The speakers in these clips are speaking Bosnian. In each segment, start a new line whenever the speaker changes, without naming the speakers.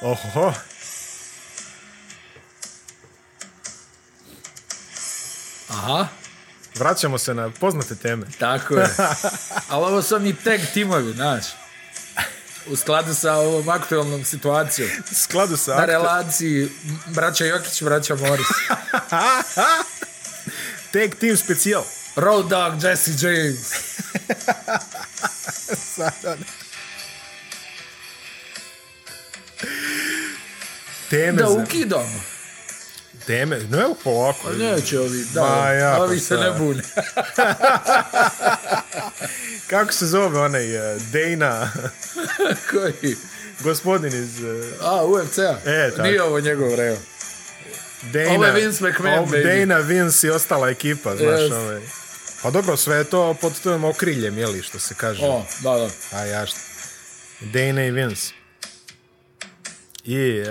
Oho.
Aha,
Vraćamo se na poznate teme.
tako je. Ali ovo su oni tag timovi, znaš. U skladu sa ovom aktualnom situacijom.
U skladu sa...
Na
aktu-
relaciji braća Jokić, braća Morris.
Tag Team specijal.
Road Dog, Jesse James.
Teme,
Da
za-
ukidamo.
teme. No evo
Pa
polako.
Neće ovi, da,
Ma, jako
ovi se ne
sad.
bune.
Kako se zove onaj uh, Dana,
Koji?
gospodin iz... Uh,
A, UFC-a.
E, tako.
Nije ovo njegov reo.
Dana,
Ovo je Vince McMahon,
Ovo-
baby.
Dana, Vince i ostala ekipa, znaš,
Jest.
ovaj. Pa dobro, sve je to pod tvojim okriljem, jeli, što se kaže.
O, da, da.
A ja što. Dana i Vince. I uh,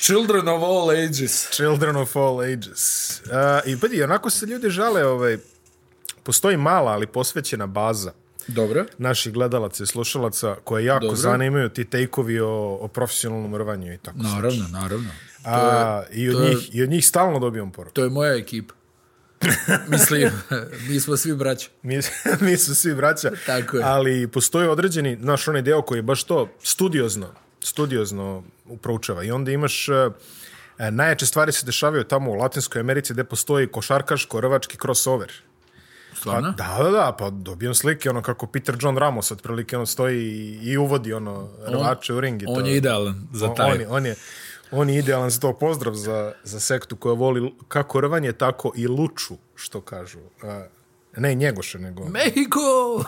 Children of all ages.
Children of All Ages. Uh, I vidi, onako se ljudi žale, ovaj, postoji mala, ali posvećena baza
Dobro.
naših gledalaca i slušalaca koje jako
Dobro.
Dobro. zanimaju ti tejkovi o, o profesionalnom rvanju i tako.
Naravno, naravno.
A, i, od
je-
njih, I od njih stalno dobijam poruku.
To je moja ekipa. Mislim, mi smo svi braća.
Mi, mi su svi braća.
Tako je.
Ali postoji određeni, naš onaj deo koji je baš to studiozno, studiozno proučava. I onda imaš... e, Najjače stvari se dešavaju tamo u Latinskoj Americi gde postoji košarkaško-rvački crossover.
Stvarno?
Da, da, da, pa dobijam slike, ono kako Peter John Ramos otprilike, ono stoji i, i uvodi ono rvače u ring. i
On
to.
je idealan za
On-
taj.
On, je, on, je, on je idealan za to. Pozdrav za, za sektu koja voli kako rvanje, tako i luču, što kažu. A, ne njegoše, nego...
Mexico!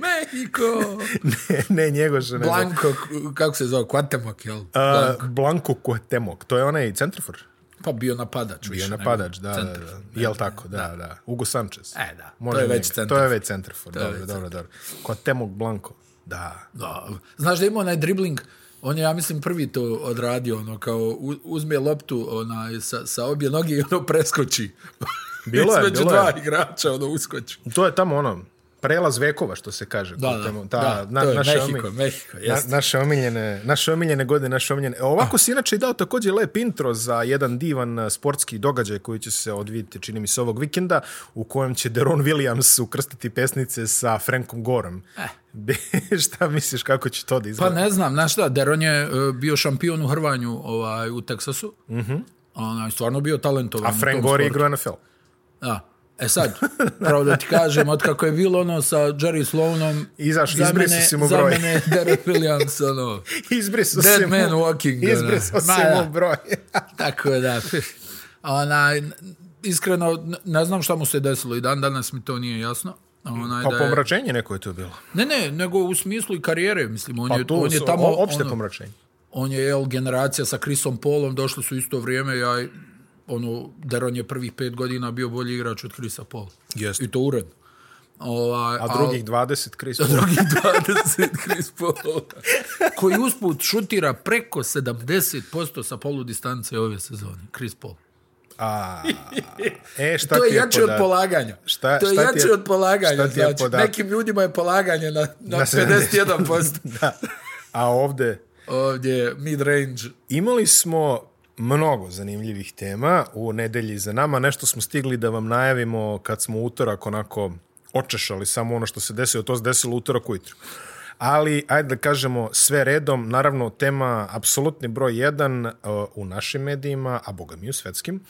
Mexico!
ne, ne njegoše, nego...
Blanco, k- kako se zove, Quatemoc, jel?
A, Blanco Cuauhtemoc, to je onaj centrfor,
Pa bio napadač.
bio
više nego
napadač, da, da,
centar.
da. Jel tako, da, da. da. Hugo Sanchez.
E, da, to
Može
je već
njega.
centarfor.
To je već centrfor,
je
dobro,
već
dobro, dobro. Cuauhtemoc Blanco, da.
Da. Znaš da ima onaj dribling, on je, ja mislim, prvi to odradio, ono, kao u- uzme loptu onaj, sa, sa obje noge i ono preskoči.
Bilo je,
Između
bilo
dva
je.
igrača, ono, uskoči.
To je tamo ono, prelaz vekova, što se kaže.
Da, da,
Tamo,
da, to je
naše
Mexico,
omi-
Mexico,
na,
jeste.
naše, omiljene, naše omiljene godine, naše omiljene... E, Ovako
Ah.
si inače i dao također lep intro za jedan divan eh, sportski događaj koji će se odvijeti, čini mi se, ovog vikenda, u kojem će Deron Williams ukrstiti pesnice sa Frankom Gorom. Eh. Šta misliš kako će to da
Pa
izgleda?
ne znam, znaš šta, Deron je e, bio šampion u Hrvanju ovaj, u Teksasu. Mm -hmm. Onaj, stvarno bio talentovan.
A
u
Frank
tom
Gore
sportu.
igra u NFL.
Da. E sad, pravo da ti kažem, od kako je bilo ono sa Jerry Sloanom,
Izaš-
za
izbrisao
mene-
si mu
za
broj.
mene Darren Williams, ono,
Izbrisao
Dead
se mu-
man walking, ono.
Izbrisao
Ma,
se
da.
mu broj.
tako da, onaj, n- iskreno, n- ne znam šta mu se desilo i dan danas mi to nije jasno. Onaj,
Pa
da je,
pomračenje neko je to bilo.
ne, ne, nego u smislu i karijere, mislim, on,
Pa
je,
to
on je
su-
tamo,
o- opšte
ono,
pomračenje.
on je jel, generacija sa Chrisom Paulom, došli su isto vrijeme, ja, ono, Deron je prvih pet godina bio bolji igrač od Chrisa Paula.
Jeste.
I to uredno. Ovaj,
A drugih 20, Chris Paul.
drugi 20 Chris Paul. Koji usput šutira preko 70% sa polu distance ove sezone. Chris Paul.
A, e, šta
To je
ti je
jače od
podat-
polaganja.
Šta-
to je
šta ti
jače
je-
od polaganja.
šta ti je
znači,
podatak?
nekim ljudima je polaganje na, na,
Na 70.
51%.
Da. A ovde
Ovdje je mid-range.
imali smo mnogo zanimljivih tema u nedelji za nama. Nešto smo stigli da vam najavimo kad smo u utorak onako očešali samo ono što se desilo. To se desilo u utorak ujutru. Ali, ajde da kažemo sve redom. Naravno, tema apsolutni broj jedan e, u našim medijima, a boga mi u svetskim,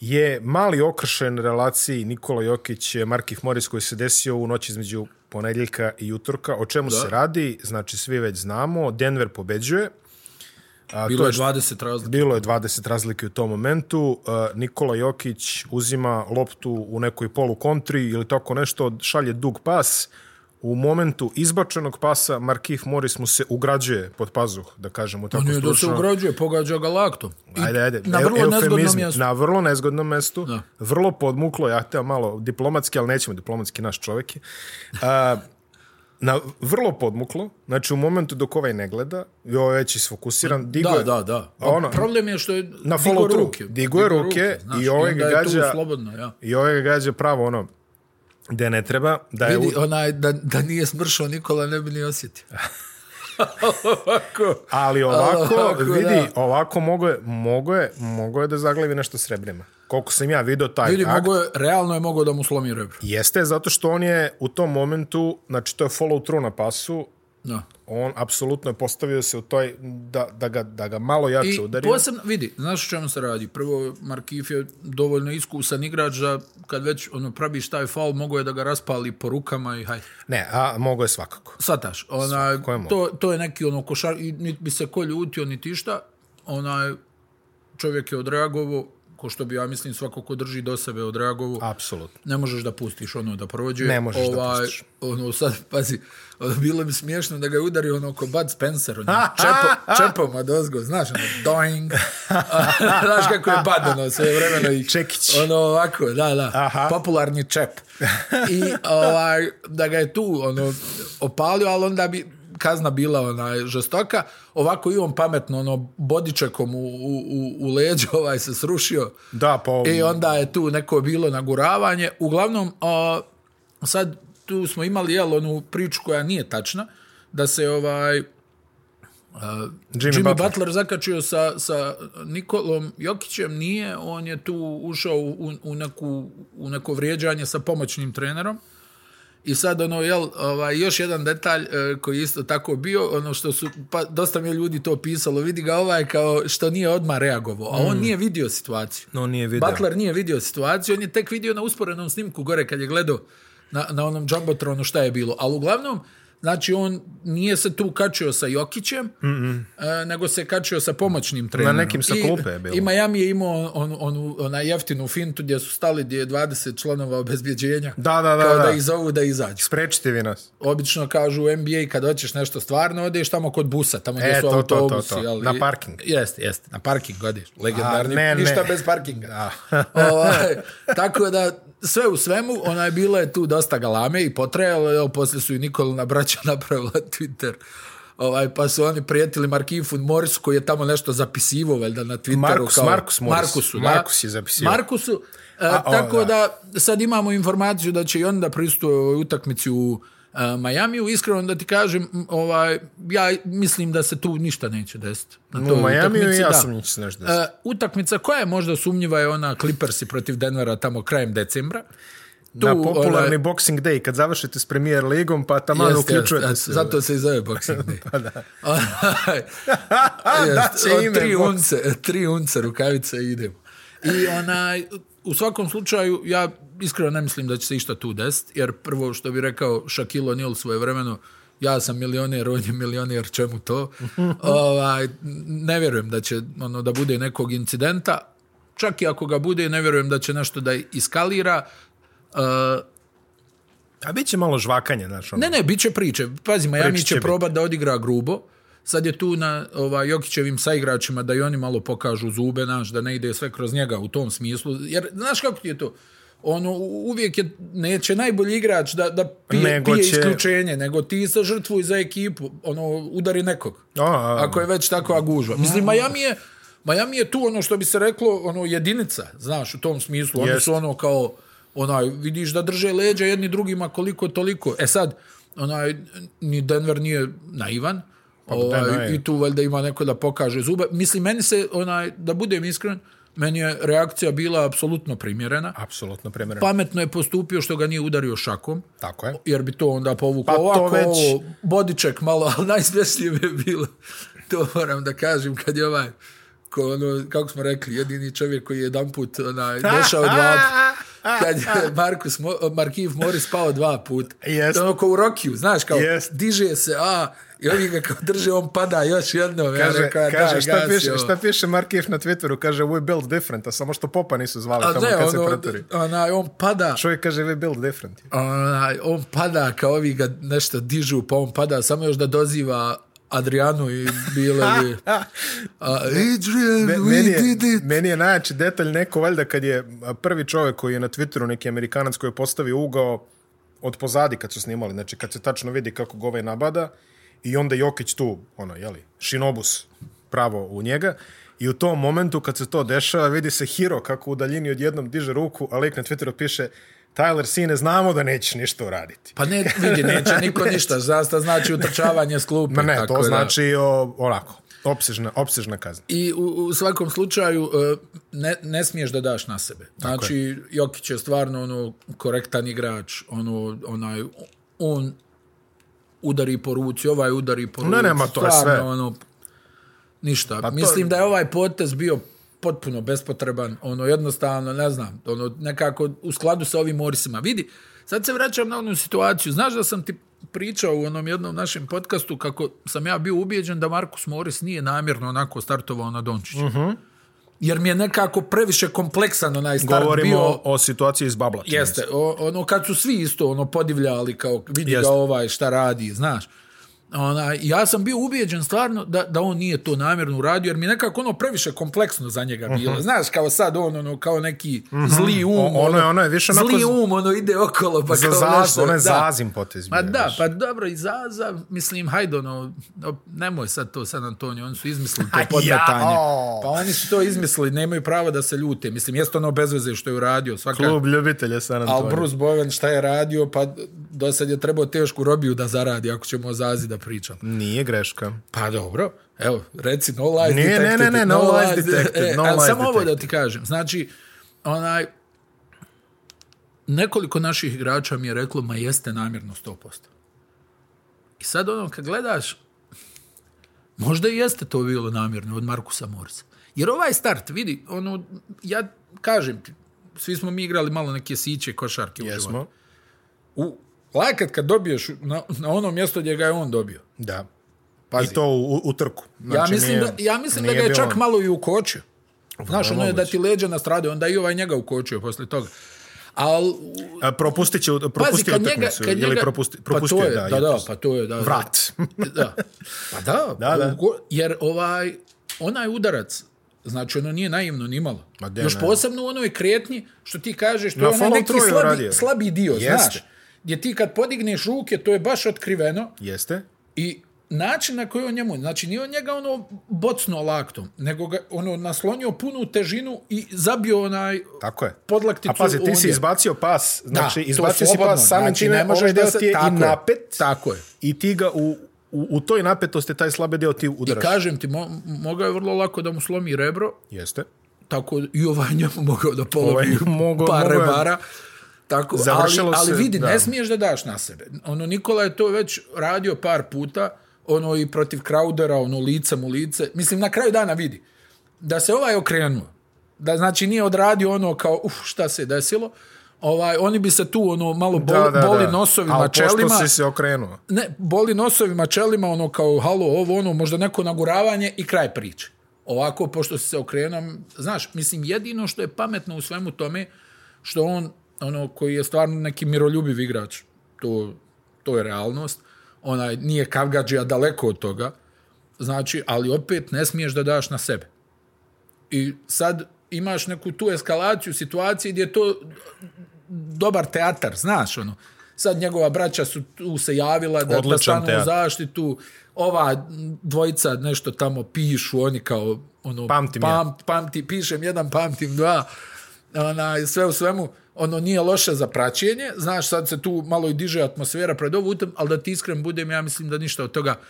je mali okršen relaciji Nikola Jokić, Markif Moris koji se desio u noći između ponedjeljka i utorka. O čemu da. se radi? Znači, svi već znamo. Denver pobeđuje. A,
Bilo
to
je 20 razlika.
Bilo je 20 razlike u tom momentu. Uh, Nikola Jokić uzima loptu u nekoj polu kontri ili tako nešto, šalje dug pas. U momentu izbačenog pasa Markif Morris mu se ugrađuje pod pazuh, da kažemo tako
On je da se
stručno.
ugrađuje, pogađa ga laktom. I
Ajde, ajde.
Na
Eu-
vrlo nezgodnom
eufemizmi.
mjestu.
Na vrlo nezgodnom mestu. Da. Vrlo podmuklo, ja hteo malo diplomatski, ali nećemo diplomatski, naš čovjek je. A, na vrlo podmuklo, znači u momentu dok ovaj ne gleda, i ovaj već isfokusiran, digo
Da,
je-
da, da.
A ono,
Problem je što je
na
digo
follow through.
ruke.
Digo je ruke
znaš,
i ovaj
onda
ga
je tu
gađa-
slobodno, ja.
I ovaj ga gađa pravo ono, gde ne treba, da je...
Vidi,
u-
onaj, da, da nije smršao Nikola ne bi ni osjetio. ovako.
Ali ovako,
ovako,
vidi,
da.
ovako mogo je, mogo je, mogo je da zaglavi nešto srebrima. Koliko sam ja video taj
Vidi,
akt,
mogo je, realno je mogao da mu slomi rebro.
jeste zato što on je u tom momentu, znači to je follow through na pasu,
Da.
on apsolutno je postavio se u toj, da, da, ga, da ga malo jače
I
udari.
posebno, vidi, znaš o čemu se radi? Prvo, Markif je dovoljno iskusan igrač da kad već ono, praviš taj faul, mogo je da ga raspali po rukama i hajde.
Ne, a mogo je svakako.
Sataš, onaj,
Svakako je mogo.
to, to je neki ono košar, i niti bi se ko ljutio, niti šta, onaj, čovjek je odreagovao, ko što bi ja mislim svako ko drži do sebe odreagovao.
Apsolutno.
ne možeš da pustiš ono da prođe.
Ne možeš da pustiš.
Ono, sad, pazi, ono, bilo bi smiješno da ga udari ono ko Bud Spencer, ono, čepo, čepom od ozgo, znaš, ono, doing. znaš kako je Bud, ono, sve vremeno i...
Čekić.
Ono, ovako, da, da,
Aha.
popularni čep. I, ovaj, da ga je tu, ono, opalio, ali onda bi kazna bila onaj žestoka, ovako i on pametno, ono, bodičekom u, u, u- u leđe ovaj se srušio.
Da, pa...
I E, onda je tu neko bilo naguravanje. Uglavnom, a, sad tu smo imali jel, onu priču koja nije tačna, da se ovaj
Jimmy,
Jimmy, Butler. zakačio sa, sa Nikolom Jokićem, nije, on je tu ušao u, u, neku, u neko vrijeđanje sa pomoćnim trenerom. I sad ono jel ovaj još jedan detalj e, koji je isto tako bio, ono što su pa dosta mi je ljudi to pisalo, vidi ga ovaj kao što nije odmah reagovao, a on nije vidio situaciju.
No, nije video.
Butler nije vidio situaciju, on je tek vidio na usporenom snimku gore kad je gledao na, na onom jumbotronu šta je bilo. Ali uglavnom, znači on nije se tu kačio sa Jokićem, mm -hmm. e, nego se kačio sa pomoćnim trenerom.
nekim sa
I-
klupe je bilo.
I Miami je imao on, on, ona jeftinu fintu gdje su stali gdje je 20 članova obezbjeđenja.
Da, da, da,
Kao da,
da.
ih zovu da izađu
Sprečite vi nas.
obično kažu u NBA kad hoćeš nešto stvarno odeš tamo kod busa, tamo gdje
E,
su
to, to, to,
autobusi.
to.
jel?
Na
I-
parking.
Jeste, jeste, na parking odeš. Legendarni,
A, ne, ne.
ništa bez parkinga.
Da.
ovaj, tako da sve u svemu, ona je bila je tu dosta galame i potrajalo, evo, poslije su i Nikolina braća napravila Twitter. Ovaj, pa su oni prijetili Markifu Morrisu koji je tamo nešto zapisivo valjda na Twitteru.
Markus-
kao,
Markus Morris.
Markusu, da.
Markus je zapisivao.
Markusu, e,
o,
tako
da.
da da sad imamo informaciju da će i onda pristuje ovoj utakmici u e, Majamiju. Iskreno da ti kažem, m, ovaj, ja mislim da se tu ništa neće desiti. Na
U
toj
Majamiju i
utakmici,
ja
da.
sam njih se nešto desio.
E, utakmica koja je možda sumnjiva je ona Clippersi protiv Denvera tamo krajem decembra. Tu, ovaj,
na popularni
onaj,
Boxing Day, kad završite s premier ligom, pa tamo
jeste,
uključujete
jeste,
se.
Zato se i zove Boxing Day. pa da.
Da će ime
tri,
Boxing.
unce, tri unce rukavice i idemo. I onaj, u svakom slučaju, ja iskreno ne mislim da će se išta tu desiti, jer prvo što bi rekao Shaquille O'Neal svoje vremeno, ja sam milioner, on je milioner, čemu to? ovaj, ne vjerujem da će ono, da bude nekog incidenta, čak i ako ga bude, ne vjerujem da će nešto da iskalira, Uh,
A bit će malo žvakanje, znaš, ono.
Ne, ne, bit će priče. Pazi, Miami
Priče
će,
će
će
biti.
probat da odigra grubo. Sad je tu na ovaj, Jokićevim saigračima da i oni malo pokažu zube, naš, da ne ide sve kroz njega u tom smislu. Jer, znaš kako ti je to? Ono, u- uvijek je, neće najbolji igrač da, da pije,
Nego
nego pije
će-
će... isključenje, nego ti se žrtvuj za ekipu, ono, udari nekog.
A, a,
Ako je već takva gužva. Mislim, Miami je, Miami je tu ono što bi se reklo ono jedinica, znaš, u tom smislu. Oni
Jest.
su ono kao, onaj, vidiš da drže leđa jedni drugima koliko toliko. E sad, onaj, ni Denver nije naivan,
Denver
ovaj,
Pa je.
i tu valjda ima neko da pokaže zube. Mislim, meni se, onaj, da budem iskren, meni je reakcija bila apsolutno primjerena.
Apsolutno primjereno.
Pametno je postupio što ga nije udario šakom
Tako je.
jer bi to onda povuklo.
Pa to
Pa Ovako,
već-
već... ovo, bodiček malo, ali najsmješnije mi je bilo, to moram da kažem, kad je ovaj, ko ono, kako smo rekli, jedini čovjek koji je jedan put onaj, došao dva put. Kad je Markus, Mo- Markiv Morris pao dva puta.
Jest.
Ono ko u Rokiju, znaš, kao
Jest.
diže se, a, i ovi ga kao drže, on pada još jednom. ja
Kaže,
rekao, "A
kaže
daj,
šta,
gasi
piše,
ovo."
šta piše Markijev na Twitteru, kaže we build different, a samo što popa nisu zvali
A
tamo
ne,
kad se
ono,
pretori.
onaj, on pada,
Čovjek kaže we build different.
onaj, on pada kao ovi ga nešto dižu, pa on pada samo još da doziva Adrianu i bile bi... A, Adrian,
Me,
we
meni, je,
did it!
meni je najjači detalj neko valjda kad je a, prvi čovjek koji je na Twitteru neki Amerikanac koji je postavio ugao od pozadi kad su snimali, znači kad se tačno vidi kako ga ovaj nabada i onda Jokić tu, ono, jeli, šinobus pravo u njega i u tom momentu kad se to dešava vidi se Hiro kako u daljini odjednom diže ruku, a lik na Twitteru piše Tyler Sine, znamo da nećeš ništa uraditi.
Pa ne, vidi, neće niko ništa. Zasta znači utrčavanje s klupe.
Ma ne,
E, tako
to
da-
znači o, onako, opsežna, opsežna kazna.
I u, u svakom slučaju e, ne, ne smiješ da daš na sebe. Znači, Jokić je stvarno ono korektan igrač, ono, onaj, on udari po ruci, ovaj udari po ruci.
Ne, ne, ma to je sve.
stvarno, Ono, ništa. Pa
to-
Mislim da je ovaj potez bio potpuno bespotreban, ono, jednostavno, ne znam, ono, nekako u skladu sa ovim Morisima. Vidi, sad se vraćam na onu situaciju. Znaš da sam ti pričao u onom jednom našem podcastu kako sam ja bio ubijeđen da Markus Moris nije namjerno onako startovao na Dončića.
Mhm.
Jer mi je nekako previše kompleksan onaj start
Govorimo
bio.
o situaciji iz Babla. čini mi se.
Jeste, o, ono kad su svi isto ono podivljali kao vidi
Jeste.
ga ovaj šta radi, znaš. Ona, ja sam bio ubijeđen stvarno da, da on nije to namjerno uradio, jer mi je nekako ono previše kompleksno za njega bilo. Znaš, kao sad on, ono, kao neki zli um.
Mhm. O- ono je- ono je više onako
Zli
z-
um, ono ide okolo. Pa
Za
kao
zaz-
nešto-
ono je
da.
zazim potez
Ma
bio,
da,
znaš.
pa dobro, i Zaza, mislim, hajde, ono, op- nemoj sad to San Antonio, oni su izmislili to
Aj,
podmetanje.
jao.
Pa oni su to izmislili, nemaju prava da se ljute. Mislim, jeste ono bez veze što je uradio, svaka
Klub ljubitelja San
Al
Antonio.
Bruce Bowen šta je radio, pa do sad je trebao tešku robiju da zaradi, ako ćemo o Zazi da pričam.
Nije greška.
Pa dobro, evo, reci no lies
Nije, ne,
detected.
ne, ne, no lies
lies-
detected,
E,
no
ali
lies
Samo ovo da
detected.
ti kažem, znači, onaj, nekoliko naših igrača mi je reklo, ma jeste namjerno 100%. I sad ono, kad gledaš, možda i jeste to bilo namjerno od Markusa Morisa. Jer ovaj start, vidi, ono, ja kažem ti, svi smo mi igrali malo neke siće košarke u životu.
Jesmo.
U, lakat kad dobiješ na, na ono mjesto gdje ga je on dobio.
Da. Pazi. I to u, u- u trku.
ja mislim,
Znači, nije-
da, ja mislim da
nije
ga je
bilo-
čak malo i ukočio. Znaš, ono je da
moguće.
ti leđa nastrade, onda i ovaj njega ukočio posle toga. Al,
A, propustit će,
pazi,
propustio
kad njega...
utakmicu.
Kad
Ili
njega
propusti, propustio,
pa to
je, da.
da, da,
jutros.
pa to je, da. da.
Vrat.
da. Pa da,
Da, da.
ugo- jer ovaj, onaj udarac, znači ono nije naivno ni malo.
Ma de,
Još
ne.
posebno u onoj kretnji, što ti kažeš, to
Na
je onaj
follow
neki
through je
slabi,
uradio.
slabi dio,
Jeste.
znaš. Gdje ti kad podigneš ruke, to je baš otkriveno,
Jeste?
I način na koji on njemu, znači nije on njega ono bocno laktom, nego ga ono naslonio punu težinu i zabio onaj
Tako je.
podlakticu.
A pazi, ti si
ondje.
izbacio pas, znači
to
izbacio si
slobodno,
pas, samim
znači, ne
time
možeš
ovaj
da
deo
se-
ti je i
tako je,
napet
tako je.
i ti ga u, u, u toj napetosti taj slabe deo ti
I
udaraš.
kažem ti, mo, mogao je vrlo lako da mu slomi rebro,
Jeste.
tako i ovaj njemu mogao da polovi
Ovaj, mogao-
par
mogao je.
rebara. Tako, ali,
Završilo
ali
se,
vidi,
da.
ne smiješ da daš na sebe. Ono, Nikola je to već radio par puta, ono i protiv Crowdera, ono licem u lice. Mislim, na kraju dana vidi, da se ovaj okrenuo, da znači nije odradio ono kao, uf, šta se desilo, ovaj, oni bi se tu ono malo boli, da, da, boli nosovima,
Ali
čelima
pošto si se okrenuo.
ne, boli nosovima, čelima, ono kao halo, ovo, ono, možda neko naguravanje i kraj priče. Ovako, pošto si se okrenuo, znaš, mislim, jedino što je pametno u svemu tome, što on, ono, koji je stvarno neki miroljubiv igrač, to, to je realnost, onaj, nije kavgađija daleko od toga, znači, ali opet ne smiješ da daš na sebe. I sad imaš neku tu eskalaciju situacije gdje je to dobar teatar, znaš, ono. Sad njegova braća su tu se javila da, da
Odličan
stanu u
teatar.
zaštitu. Ova dvojica nešto tamo pišu, oni kao ono
Pamtim ja.
pam, pamti, pišem jedan, pamtim dva. Ona, sve u svemu, ono nije loše za praćenje. Znaš, sad se tu malo i diže atmosfera pred ovu utam, ali da ti iskren budem, ja mislim da ništa od toga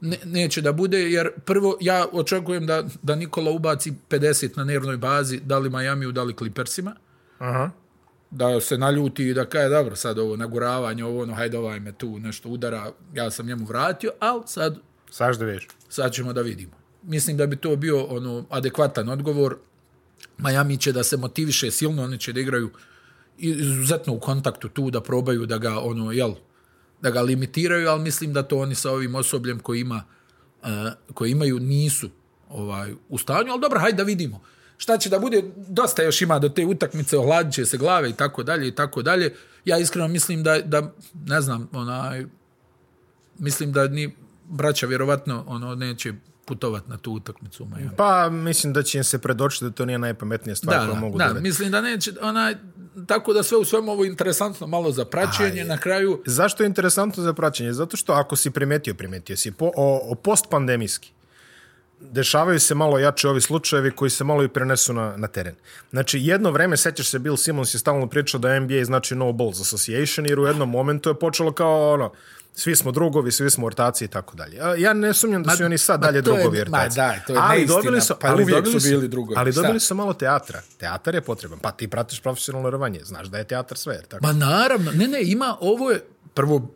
ne, neće da bude, jer prvo ja očekujem da, da Nikola ubaci 50 na nervnoj bazi, da li Majamiju, da li Clippersima
Aha.
da se naljuti i da kaže dobro sad ovo naguravanje, ovo ono, hajde ovaj me tu nešto udara, ja sam njemu vratio, ali sad,
Saš da vidiš.
sad ćemo da vidimo. Mislim da bi to bio ono adekvatan odgovor. Miami će da se motiviše silno, oni će da igraju izuzetno u kontaktu tu, da probaju da ga, ono, jel, da ga limitiraju, ali mislim da to oni sa ovim osobljem koji ima, uh, koji imaju nisu ovaj, u stanju, ali dobro, hajde da vidimo. Šta će da bude, dosta još ima do te utakmice, ohladit će se glave i tako dalje i tako dalje. Ja iskreno mislim da, da ne znam, onaj, mislim da ni braća vjerovatno ono neće putovat na tu utakmicu u Miami.
Pa mislim da će im se predočiti da to nije najpametnija stvar
Da,
koju mogu
da,
da
da,
rade.
mislim da neće, onaj, tako da sve u svemu ovo je interesantno malo za praćenje, na kraju
Zašto je interesantno za praćenje? Zato što ako si primetio, primetio si po, o, o postpandemijski. dešavaju se malo jače ovi slučajevi koji se malo i prenesu na, na teren. Znači, jedno vreme, sećaš se, Bill Simmons je stalno pričao da NBA znači no balls association, jer u jednom momentu je počelo kao ono, svi smo drugovi, svi smo ortaci i tako dalje. A Ja ne sumnjam da su i oni sad
ma
dalje
to je-
drugovi
ma
ortaci.
da, to je neistina, pa uvijek su bili drugovi.
Ali
Šta?
dobili su malo teatra. Teatar je potreban. Pa ti pratiš profesionalno rvanje, znaš da je teatar sve. jer Tako.
Ma naravno, ne, ne, ima, ovo je, prvo,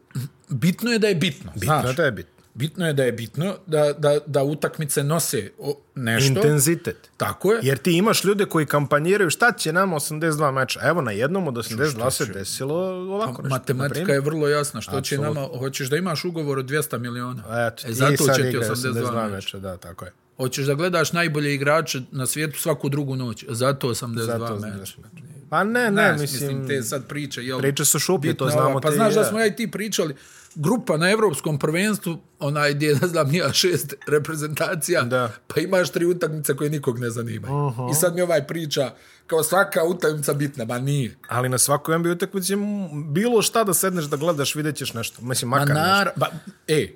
bitno je da je bitno.
Bitno
znaš.
da je bitno.
Bitno je da je bitno da, da, da utakmice nose o, nešto.
Intenzitet.
Tako je.
Jer ti imaš ljude koji kampanjiraju šta će nama 82 meča. Evo na jednom od 82 se desilo ovako nešto.
Pa Matematika je vrlo jasna. Što će nama, hoćeš da imaš ugovor od 200 miliona.
Pa Eto,
e,
i
zato
sad
će ti
igraju
82 meča.
meča. Da, tako je.
Hoćeš da gledaš najbolje igrače na svijetu svaku drugu noć. Zato 82
Zato
meča.
znaš. Pa ne, ne,
Ne, mislim,
mislim,
te sad priče, jel?
priče su šuplje, to
bitna
znamo.
ova, Pa
te i
znaš da
ja.
smo ja i ti pričali, grupa na evropskom prvenstvu, onaj gdje, ne znam, nija šest reprezentacija,
Da.
pa imaš tri utakmice koje nikog ne zanimaju. I sad mi ovaj priča, kao svaka utakmica bitna, ba nije.
Ali na svakoj NBA utakmici m, bilo šta da sedneš da gledaš, vidjet ćeš nešto. Mislim, makar
Pa
nešto.
nar, ba, e,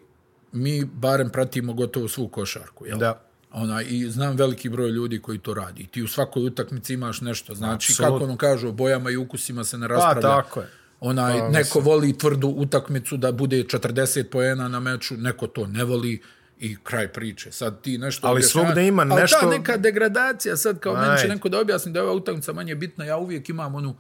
mi barem pratimo gotovo svu košarku, jel?
Da.
Ona, I znam veliki broj ljudi koji to radi. I ti u svakoj utakmici imaš nešto. Znači,
Apsolutno. Pa,
kako ono kažu, o bojama i ukusima se ne raspravlja.
tako je. Pa,
Onaj, neko voli tvrdu utakmicu da bude 40 poena na meču, neko to ne voli i kraj priče. Sad ti nešto...
Ali
objašnjavaš-
svugdje ima nešto-
Ali ta neka degradacija, sad kao meni će
Ajde.
neko da objasni da je ova utakmica manje bitna, ja uvijek imam onu,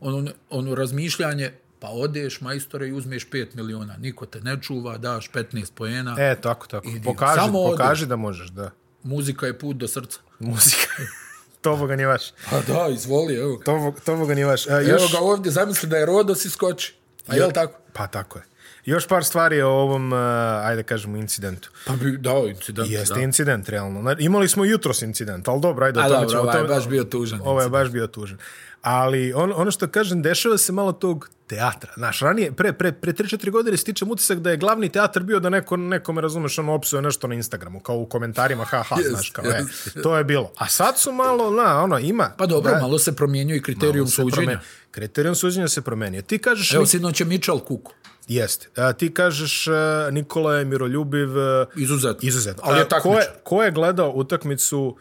onu, onu razmišljanje, pa odeš majstore i uzmeš 5 miliona, niko te ne čuva, daš 15 poena, e.
E, tako, tako. Pokaži,
Samo ode.
pokaži da možeš, da.
muzika je put do srca.
Muzika. to boga nije vaš.
Pa da, izvoli, evo.
To, bo- to boga nije vaš. E,
Pa Još...
još...
Evo ga ovdje, zamisli da je Rodos i skoči. A jel tako?
Pa tako je. Još par stvari o ovom, uh, ajde kažemo, incidentu.
Pa bi, da, incident.
Jeste
da.
incident, realno. Na- Imali smo jutros incident, ali dobro, ajde. o
A
tome
dobro,
ćemo- o
ovaj je
tome-
baš bio tužan.
Ovo je baš bio tužan. Ali on, ono što kažem, dešava se malo tog teatra. Znaš, ranije, pre, pre, pre 3-4 godine stičem utisak da je glavni teatar bio da neko, nekome, razumeš, ono opsuje nešto na Instagramu, kao u komentarima, ha, ha,
Jest,
znaš, kao, e, to je bilo. A sad su malo, na, ono, ima.
Pa dobro,
da,
malo se promijenio i kriterijum
se
suđenja.
promen- Kriterijum suđenja se promenio. Ti kažeš...
Evo, sinoć je Mitchell kuku.
Jeste. A, ti kažeš e, Nikola je miroljubiv e,
Izuzetno.
izuzetno.
Ali je
A, ko, je,
takmičar.
ko je gledao utakmicu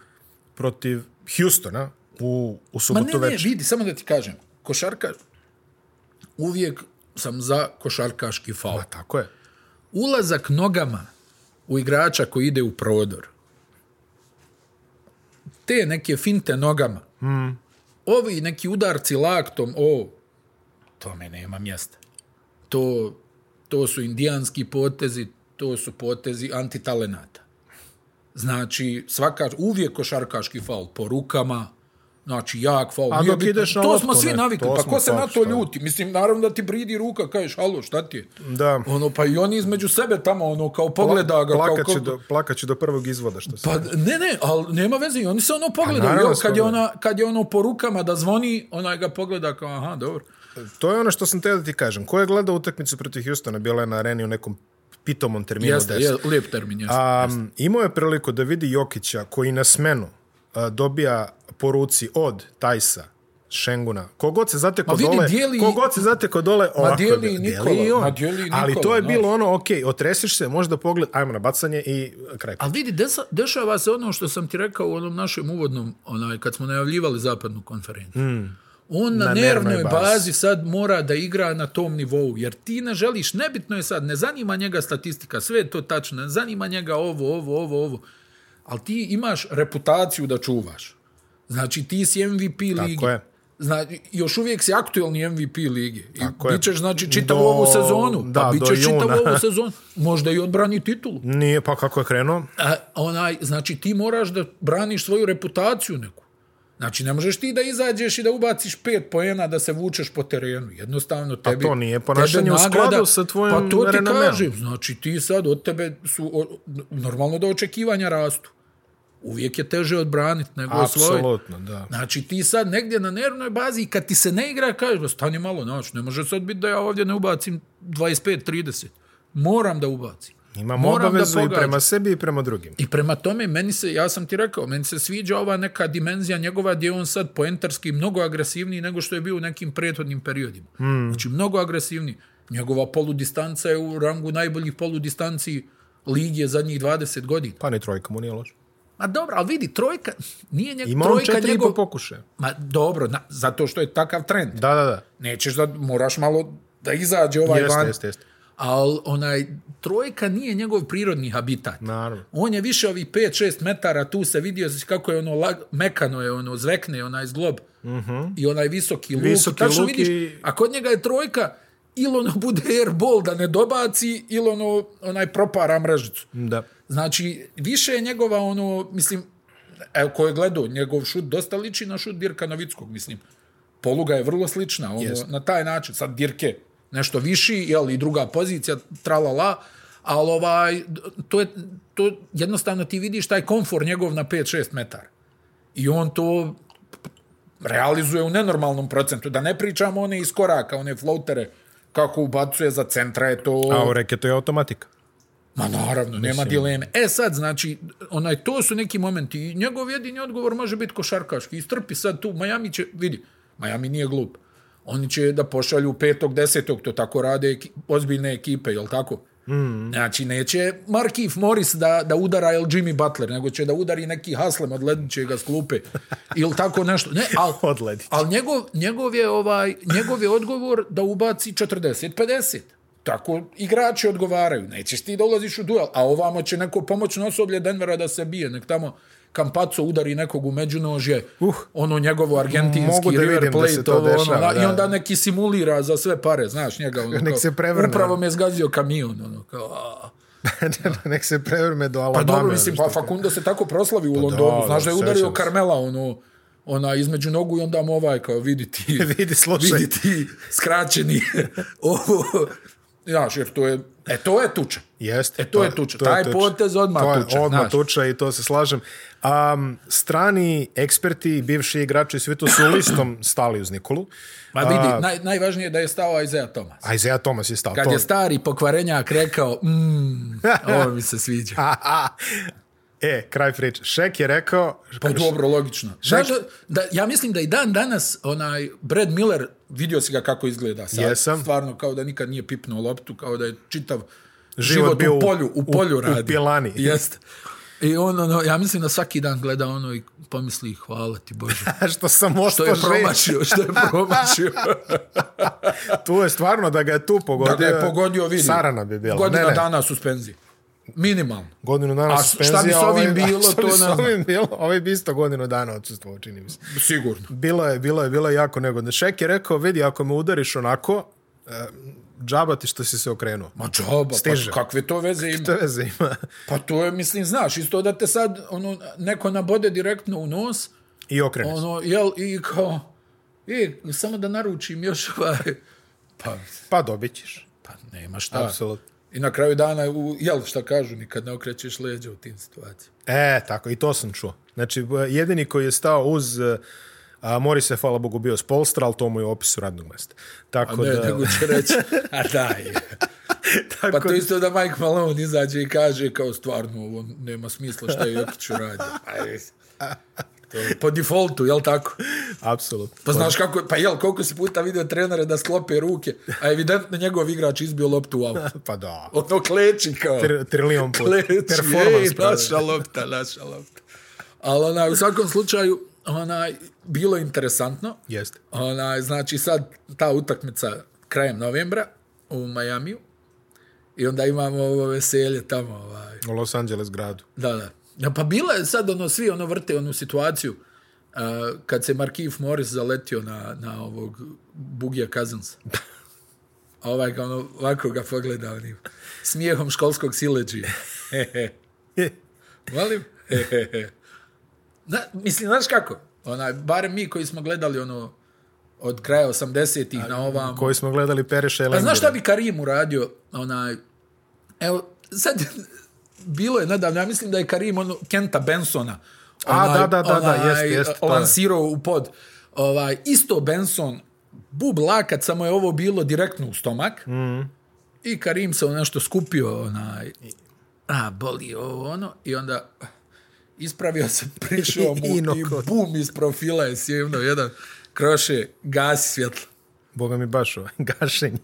protiv Hustona u, u
Ma
subotu
ne, ne,
večer?
vidi, samo da ti kažem. Košarka, uvijek sam za košarkaški faul.
Pa tako je.
Ulazak nogama u igrača koji ide u prodor, te neke finte nogama, mm.
Hmm.
ovi neki udarci laktom, o, tome nema mjesta. To, to su indijanski potezi, to su potezi antitalenata. Znači, svaka, uvijek košarkaški faul po rukama, znači jak faul.
A
Nije
dok
bitno.
ideš na
to
loptu,
smo svi
ne,
navikli,
to
pa
smo,
ko se
tako
na to
što je.
ljuti? Mislim, naravno da ti bridi ruka, kažeš, alo, šta ti je?
Da.
Ono, pa i oni između sebe tamo, ono, kao pogleda ga. kao,
Plakaće
kao,
do, plakaće do prvog izvoda što se...
Pa ne, ne, ali nema veze, i oni se ono pogledaju.
Pa naravno
Jo,
se
kad, je
pogledaju.
ona, kad je ono po rukama da zvoni, onaj ga pogleda kao, aha, dobro.
To je ono što sam teo da ti kažem. Ko je gledao utakmicu protiv Hustona? Bila je na areni u nekom pitomom terminu.
Jeste,
deset.
je, lijep termin, jeste.
A, imao je priliku da vidi Jokića koji na smenu a, dobija poruci od Tajsa, Šenguna. Kogod se zateko
Ma vidi,
dole,
dijeli-
kogod se zateko dole, ovako je
dijeli
bilo.
i
Dijeli
Nikola,
i on.
ma dijeli i
Ali
Nikola,
to je
znaš.
bilo ono, ok, otresiš se, možda pogled, ajmo na bacanje i kraj.
Ali vidi, desa, dešava se ono što sam ti rekao u onom našem uvodnom, onaj, kad smo najavljivali zapadnu konferenciju. Mm. On
Hmm. Na
na, na
nervnoj
nervnoj
bazi.
bazi sad mora da igra na tom nivou, jer ti ne želiš, nebitno je sad, ne zanima njega statistika, sve je to tačno, ne zanima njega ovo, ovo, ovo, ovo, ali ti imaš reputaciju da čuvaš. Znači, ti si MVP ligi.
je.
Znači, još uvijek si aktuelni MVP ligi. I
Tako je.
bićeš, znači, čitavu
Do-
ovu sezonu.
da,
pa
do
bićeš čitavu
juna.
ovu sezonu. Možda i odbrani titulu.
Nije, pa kako je krenuo?
A, E, onaj, znači ti moraš da braniš svoju reputaciju neku. Znači ne možeš ti da izađeš i da ubaciš pet poena da se vučeš po terenu. Jednostavno tebi...
Pa to nije
tebe
ponašanje u
nagrada-
skladu sa tvojim
Pa to ti
renomeom.
kažem. Znači ti sad od tebe su... O, normalno da očekivanja rastu. Uvijek je teže odbraniti nego osvojiti.
Apsolutno, da.
Znači ti sad negdje na nervnoj bazi i kad ti se ne igra kažeš "Ba, stani malo, znači ne može sad biti da ja ovdje ne ubacim 25-30. Moram da ubacim.
Imam
Moram da
obavezu i
pogađam."
prema sebi i prema drugim.
I prema tome, meni se, ja sam ti rekao, meni se sviđa ova neka dimenzija njegova gdje je on sad poentarski mnogo agresivniji nego što je bio u nekim prethodnim periodima.
Hmm.
Mm. Znači, mnogo agresivniji. Njegova poludistanca je u rangu najboljih poludistanci ligije zadnjih 20 godina.
Pa ni trojka mu nije loša.
Ma dobro, ali vidi, trojka, nije njeg,
Ima on
trojka
četiri
njegov...
i po pokušaja.
Ma dobro, na, zato što je takav trend.
Da, da, da.
Nećeš da moraš malo da izađe ovaj
Jeste,
van.
jeste, jeste.
Ali onaj, trojka nije njegov prirodni habitat.
Naravno.
On je više ovih 5-6 metara, tu se vidio kako je ono, lag, mekano je ono, zvekne onaj zglob mm -hmm. i onaj visoki luk.
Mhm. Visoki
Tačno
luk
vidiš,
i-
A kod njega je trojka, ili ono bude airball da ne dobaci, ili ono, onaj propara mrežicu.
Da.
Znači, više je njegova ono, mislim, evo ko je gledao, njegov šut dosta liči na šut Dirka Novickog, mislim. Poluga je vrlo slična, ono, yes. na taj način. Sad Dirke nešto viši, jel, i druga pozicija, tralala, ali ovaj, to je, to jednostavno ti vidiš taj komfor njegov na 5-6 metara. I on to realizuje u nenormalnom procentu. Da ne pričamo one iz koraka, one floatere, kako ubacuje za centra je to...
A u reketu je automatika.
Ma naravno, nema dileme. E sad, znači, onaj, to su neki momenti. I njegov jedini odgovor može biti košarkaški. Istrpi sad tu, Miami će, vidi, Miami nije glup. Oni će da pošalju petog, desetog, to tako rade eki, ozbiljne ekipe, jel tako? Mm. Znači, neće Markif Morris da, da udara El Jimmy Butler, nego će da udari neki haslem od ledničega sklupe ili tako nešto. Ne, al,
Od ledića.
Ali njegov, njegov, je ovaj, njegov je odgovor da ubaci 40-50. Tako igrači odgovaraju. Nećeš ti da ulaziš u duel, a ovamo će neko pomoćno osoblje Denvera da se bije. Nek tamo Kampaco udari nekog u međunožje,
Uh.
ono njegovo argentinski
Mogu da
River
vidim da
Plate,
se to
ovo,
dešava,
ono, da, i
da.
onda neki simulira za sve pare, znaš, njega. Ono,
Nek
kao,
se prevrne.
Upravo me zgazio kamion, ono, kao, a,
Nek se prevrme do
Pa
Alabama.
dobro, mislim, pa
pa,
Facundo se tako proslavi u Londonu,
da,
znaš da je
da,
udario
sećam se.
Carmela, ono, ona između nogu i onda mu ovaj, kao, vidi ti,
Vidi, slušaj.
vidi ti, skraćeni, ovo, znaš, jer to je, e, to je tuča.
Jeste.
E, to je tuča. Taj potez odmah
to je
tuča,
Odmah
znaš.
tuča i to se slažem. Um, strani eksperti, bivši igrači, svi to su listom stali uz Nikolu.
Ma vidi, naj, najvažnije je da je stao Isaiah Thomas.
A Isaiah Thomas je stao.
Kad
to...
je stari pokvarenjak rekao, mm, ovo mi se sviđa.
e, kraj priče. Šek je rekao...
Pa dobro, logično. Znaš, da, da, ja mislim da i dan danas onaj Brad Miller, vidio si ga kako izgleda sad,
Jesam.
stvarno kao da nikad nije pipnuo loptu, kao da je čitav
Život
život,
bio u-
u polju, u
u-
polju
u
radi.
pilani.
Jeste. I on, ono, ja mislim da svaki dan gleda ono i pomisli, hvala ti Bože,
što sam ostao
što je
živ.
promašio, što je promašio.
Tu je stvarno da ga je tu pogodio.
da ga je pogodio, vidi.
Sarana bi bila.
Godina
ne, ne.
dana suspenzije. Minimalno.
Godinu dana
A
suspenzija. ovaj-
šta bi s ovim bilo,
a šta
to
bi
ne
s
znam.
ovim bilo? Ovaj bi isto godinu dana odsustvovao, čini mi se.
Sigurno.
Bilo je, bilo je, bilo je jako negodno. Šek je rekao, vidi, ako me udariš onako, e, džaba ti što si se okrenuo.
Ma džaba,
Stiže.
pa kakve to veze ima?
To je veze ima.
Pa to je, mislim, znaš, isto da te sad ono, neko nabode direktno u nos,
I okreni se.
ono, jel, i kao, e, samo da naručim još ovaj, pa,
Pa dobit ćeš.
pa nema šta.
Apsolutno.
I na kraju dana, u, jel, šta kažu, nikad ne okrećeš leđa u tim situacijama.
E, tako, i to sam čuo. Znači, b- jedini koji je stao uz... e, A Moris je, hvala Bogu, bio s Polstra, ali to mu je opis u radnog mesta. Tako
Ne,
da...
nego će reći, a daj.
tako
Pa to isto da Mike Malone izađe i kaže kao stvarno ovo nema smisla šta je Jokić uradio. Aj, to je Po defaultu, jel tako?
Apsolutno.
Pa znaš kako, pa jel, koliko si puta vidio trenere da sklope ruke, a evidentno njegov igrač izbio loptu u auto.
Pa da.
Ono kleči kao.
Tri- Trilion put.
Kleči,
Performans.
ej, pa-
pravi.
naša lopta, naša lopta. Ali onaj, u svakom slučaju, onaj, bilo je interesantno.
Jeste.
Onaj, znači sad ta utakmica krajem novembra u Majamiju i onda imamo ovo veselje tamo. Ovaj.
U Los Angeles gradu.
Da, da. Ja, pa bila je sad ono, svi ono vrte onu situaciju uh, kad se Markif Morris zaletio na, na ovog Bugija Kazansa. A ovaj ga ono, ovako ga pogleda onim smijehom školskog sileđija.
E,
Volim? Na, mislim, znaš kako? Onaj, barem mi koji smo gledali ono od kraja 80-ih na ovam.
Koji smo gledali Pereša i
Pa
Lendera.
znaš šta bi Karim uradio? Onaj, evo, sad, bilo je nedavno, ja mislim da je Karim ono, Kenta Bensona
A, da, da, da, da, jeste, jeste, to je.
lansirao u pod. Ovaj, isto Benson, bub lakat, samo je ovo bilo direktno u stomak. Mm. I Karim se ono nešto skupio, onaj, a, boli ovo, ono, i onda ispravio se, prišao mu
I
i,
knockout.
bum, iz profila je sjevno jedan, kroše, gasi svjetlo.
Boga mi baš ovaj, gašenje,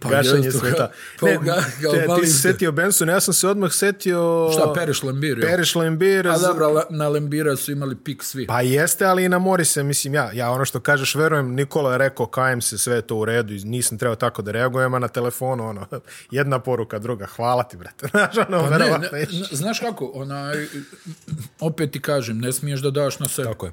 Pa,
gašenje
jeste,
sveta.
kao-
ne,
kao ga- kao
te, ti
mali-
si setio Benson, ja sam se odmah setio...
Šta, Periš Lambir? jel?
Periš Lembira.
A
za-
dobra, la- na Lembira su imali pik svi.
Pa jeste, ali i na Morise, mislim, ja, ja ono što kažeš, verujem, Nikola je rekao, kajem se, sve je to u redu, i nisam trebao tako da reagujem, a na telefonu, ono, jedna poruka, druga, hvala ti, brate. Znaš, ono,
Pa Ne, ne,
verovatno.
ne, znaš kako, onaj, opet ti kažem, ne smiješ da daš na sebe.
Tako je.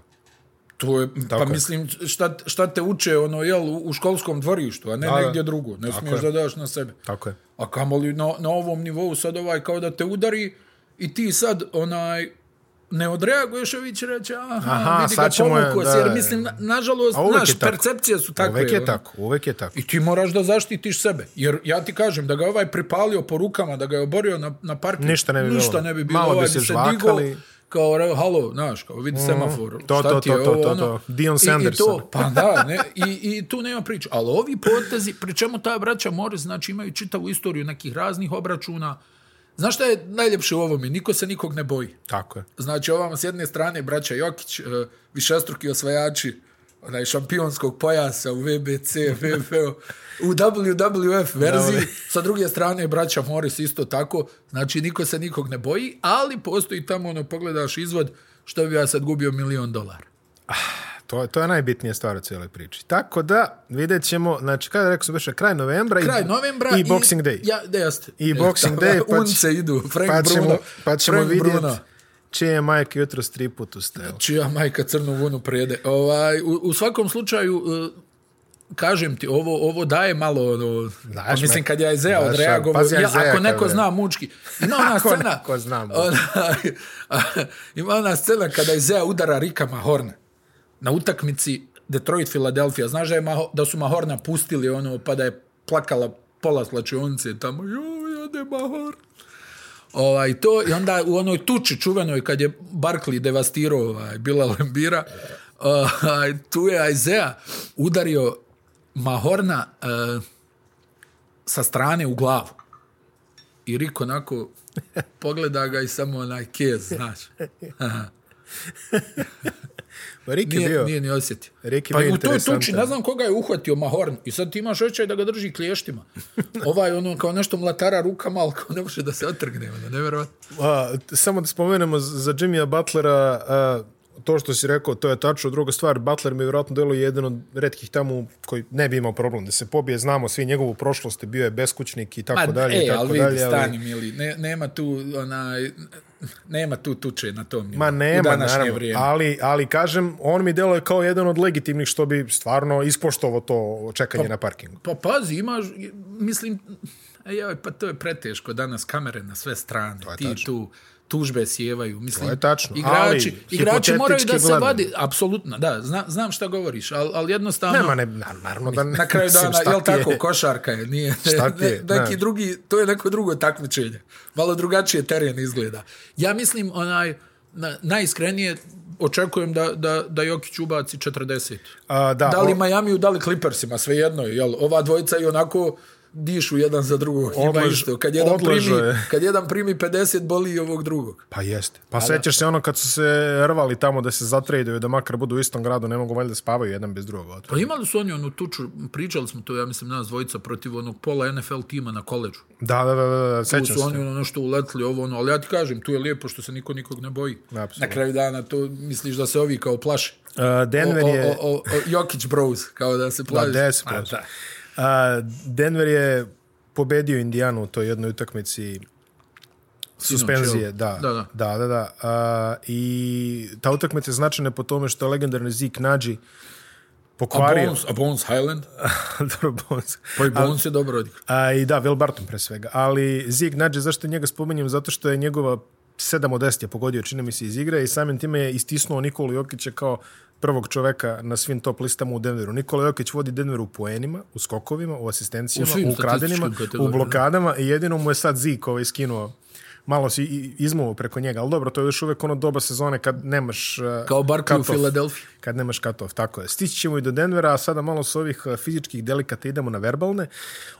To je,
Tako
pa
je.
mislim, šta, šta te uče ono, jel, u, u školskom dvorištu, a ne
da.
negdje drugo. Ne smiješ
je.
da daš na sebe.
Tako je.
A kamoli na, na ovom nivou sad ovaj kao da te udari i ti sad onaj ne odreaguješ, a vi će reći aha,
Aha,
aha vidi ga
sad ćemo je,
pomuko
da,
se, jer
da.
mislim, na, nažalost,
A uvek je
naš,
tako.
percepcije su takve.
Uvek je
ono.
tako, uvek je tako.
I ti moraš da zaštitiš sebe. Jer ja ti kažem, da ga je ovaj pripalio po rukama, da ga je oborio na, na parking,
Ništa ne bi bilo.
ništa ne bi bilo.
Malo bi
ovaj
se
se
žvakali. Mhm.
digao, kao, re, halo, znaš, kao, vidi semafor,
To,
šta
to,
ti je
to, to,
ovo,
to,
ono.
to. Dion
I- I,
Sanderson.
to, pa da, ne, i, i tu nema priče. Ali ovi potezi, pri čemu ta braća Morris, znači, imaju čitavu istoriju nekih raznih obračuna. Znaš šta je najljepše u ovome? Niko se nikog ne boji.
Tako je.
Znači, ovamo s jedne strane braća Jokić, e, višestruki osvajači onaj šampionskog pojasa u VBC, VFO, u WWF verziji. Sa druge strane, braća Morris isto tako. Znači, niko se nikog ne boji, ali postoji tamo, ono, pogledaš izvod, što bi ja sad gubio milion dolara.
To, je- to je najbitnija stvar u cijeloj priči. Tako da, vidjet ćemo, znači, kada rekao sam, beše kraj novembra,
Kraj
i,
novembra
i Boxing Day.
Ja, da jeste.
I Boxing Day, pa će-
Pa Unce idu, Frank
pa ćemo,
Bruno.
pa ćemo
Frank
vidjeti
Bruno. Znači,
čije je majke jutro striput ustajala.
Čija majka crnu vunu prede. Ovaj, u, u svakom slučaju, e, kažem ti, ovo, ovo daje malo, ono,
Znaš
pa mislim,
me.
kad ja Ezea
Znaš,
odreagovao,
pazi,
ja,
Ezeja
ako
kad
neko
je.
zna mučki, ima ona
Ako
scena,
neko zna mučki.
ona, ima ona scena kada Ezea udara Rika Mahorna na utakmici Detroit Philadelphia. Znaš da, je Maho, da su Mahorna pustili ono, pa da je plakala pola slačionice tamo, joj, ode Mahorn. Ovaj, to, I onda u onoj tuči čuvenoj kad je Barkley devastirao ovaj, Bila Lembira, ovaj, tu je Aizea udario Mahorna eh, sa strane u glavu. I Rik onako pogleda ga i samo onaj kez, znaš. pa
Rik je
Nije,
bio,
nije ni osjetio.
Rik je
Pa
bio
u toj tuči,
interesantan.
ne znam koga je uhvatio Mahorn i sad ti imaš očaj da ga drži klještima. Ovaj ono kao nešto mlatara rukama, ali kao ne može da se otrgne, ono, nevjerovatno.
A, t- samo da spomenemo z- za Jimmya Butlera, a, to što si rekao, to je tačno. Druga stvar, Butler mi vjerojatno deluje jedan od redkih tamo koji ne bi imao problem da se pobije. Znamo svi njegovu prošlost, bio je beskućnik i tako
Pa,
dalje. i
e,
tako
ali vidi,
dalje, ali-
stani, mili, ne, nema tu, onaj, nema tu tuče na tom nivou.
Ma
u
nema,
današnje
naravno.
vrijeme.
Ali, ali kažem, on mi deluje kao jedan od legitimnih što bi stvarno ispoštovo to čekanje na parkingu.
Pa pazi, imaš, mislim, joj, pa to je preteško danas, kamere na sve strane, ti tu tužbe sjevaju, mislim,
je tačno,
igrači,
ali
igrači moraju da
hipotetički
se
gledano.
vadi, apsolutno, da, zna, znam šta govoriš, ali al jednostavno,
Nema, ne, na- naravno da ne.
na kraju
mislim,
dana,
šta
jel
ti je?
tako, košarka je, nije,
Šta ti je,
ne, neki
znaš.
drugi, to je neko drugo takmičenje. Malo drugačije teren izgleda. Ja mislim, onaj, na, najiskrenije očekujem da, da, da Jokić ubaci 40.
A, da,
da li
o-
Miami, da li Clippersima, svejedno je, jel? Ova dvojica i onako dišu jedan za drugog. Ima
Odlaž-
isto. Kad jedan, primi,
odlažo je.
kad jedan primi 50, boli i ovog drugog.
Pa jeste. Pa sećaš se ono kad su se rvali tamo da se zatrejdaju, da makar budu u istom gradu, ne mogu valjda da spavaju jedan bez drugog.
Pa imali su oni onu tuču, pričali smo to, ja mislim, nas dvojica protiv onog pola NFL tima na koleđu.
Da, da, da, da, da
Tu
sećam
su oni
se.
ono nešto uletili, ovo ono, ali ja ti kažem, tu je lijepo što se niko nikog ne boji.
Apsolutno.
Na kraju dana to misliš da se ovi kao plaše.
Uh,
O,
Denver
o,
je...
o, o, o, Jokić Bros, kao da se
Da,
plaši.
Pa, deset
A,
prošlo.
pa, da.
Uh, Denver je pobedio Indijanu u toj jednoj utakmici suspenzije,
jel?
da.
Da, da.
da, da, da. Uh, I ta utakmica je značajna po tome što je legendarni Zeke Nađi
A
pokvario.
Bones, a Bones Highland?
Dobro, Bones.
Pa i Bones je dobro odigrao.
A, I da, Will Barton pre svega. Ali Zig Nađe, zašto njega spominjem? Zato što je njegova 7 od 10 je pogodio, čini mi se, iz igre i samim time je istisnuo Nikolu Jokića kao prvog čoveka na svim top listama u Denveru. Nikola Jokić vodi Denver u poenima, u skokovima, u asistencijama,
U
u,
svim
ukradenima,
statističkim
u
kategorijama.
blokadama i jedino mu je sad Zig ovaj skinuo malo si i- izmuo preko njega, ali dobro, to je još uvek ono doba sezone kad nemaš uh,
Kao Barkley u
cut-off.
Filadelfiji.
Kad nemaš cut-off, tako je. Stići ćemo i do Denvera, a sada malo s ovih uh, fizičkih delikata idemo na verbalne.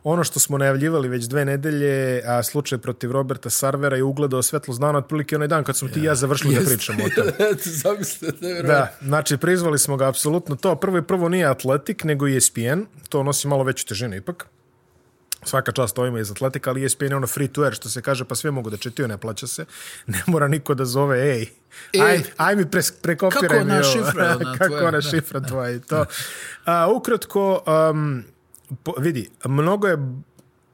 Ono što smo najavljivali već dve nedelje, a slučaj protiv Roberta Sarvera je ugledao svetlost dana, otprilike onaj dan kad smo ti i ja završili da pričamo o tome.
Zamislite, nevjerojatno.
Da, znači prizvali smo ga apsolutno to. Prvo i prvo nije atletik, nego E ESPN. To nosi malo veću težinu ipak. Svaka čast ovima iz atletika, ali ESPN je ono free to air, što se kaže, pa sve mogu da četio, ne plaća se. Ne mora niko da zove, ej, aj, aj mi pre, prekopiraj
Kako
mi
ona
ovo.
šifra, ona
Kako
tvoja,
ona
da.
šifra tvoja i to. A, ukratko, um, po, vidi, mnogo je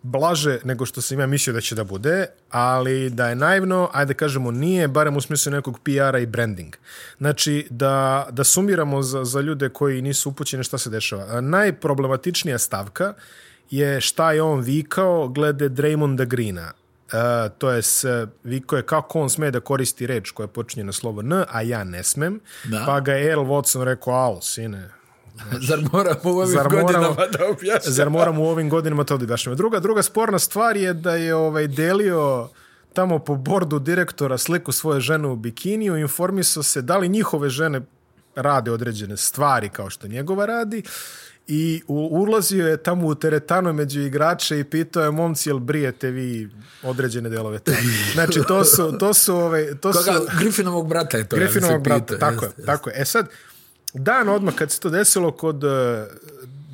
blaže nego što sam ja mislio da će da bude, ali da je naivno, ajde kažemo nije, barem u smislu nekog PR-a i branding. Znači, da, da sumiramo za, za ljude koji nisu upućeni šta se dešava. A, Najproblematičnija stavka je šta je on vikao glede Draymonda Greena. E, to je s, vikao je kako on sme da koristi reč koja počinje na slovo N, a ja ne smem.
Da.
Pa ga je Earl Watson rekao, alo, sine,
Zar moramo u ovim
Zar moramo-
godinama da objašnjamo?
Zar moramo u ovim godinama to da objašnjamo? Druga, druga sporna stvar je da je ovaj delio tamo po bordu direktora sliku svoje žene u bikiniju, informisao se da li njihove žene rade određene stvari kao što njegova radi i u, ulazio je tamo u teretanu među igrače i pitao je momci jel brijete vi određene delove tela. Znači to su, to su, ovaj, to su...
Koga, Griffinovog brata je to. ja mislim,
Griffinovog brata,
pitao,
tako
jeste.
je, tako je. E sad, dan odmah kad se to desilo kod uh,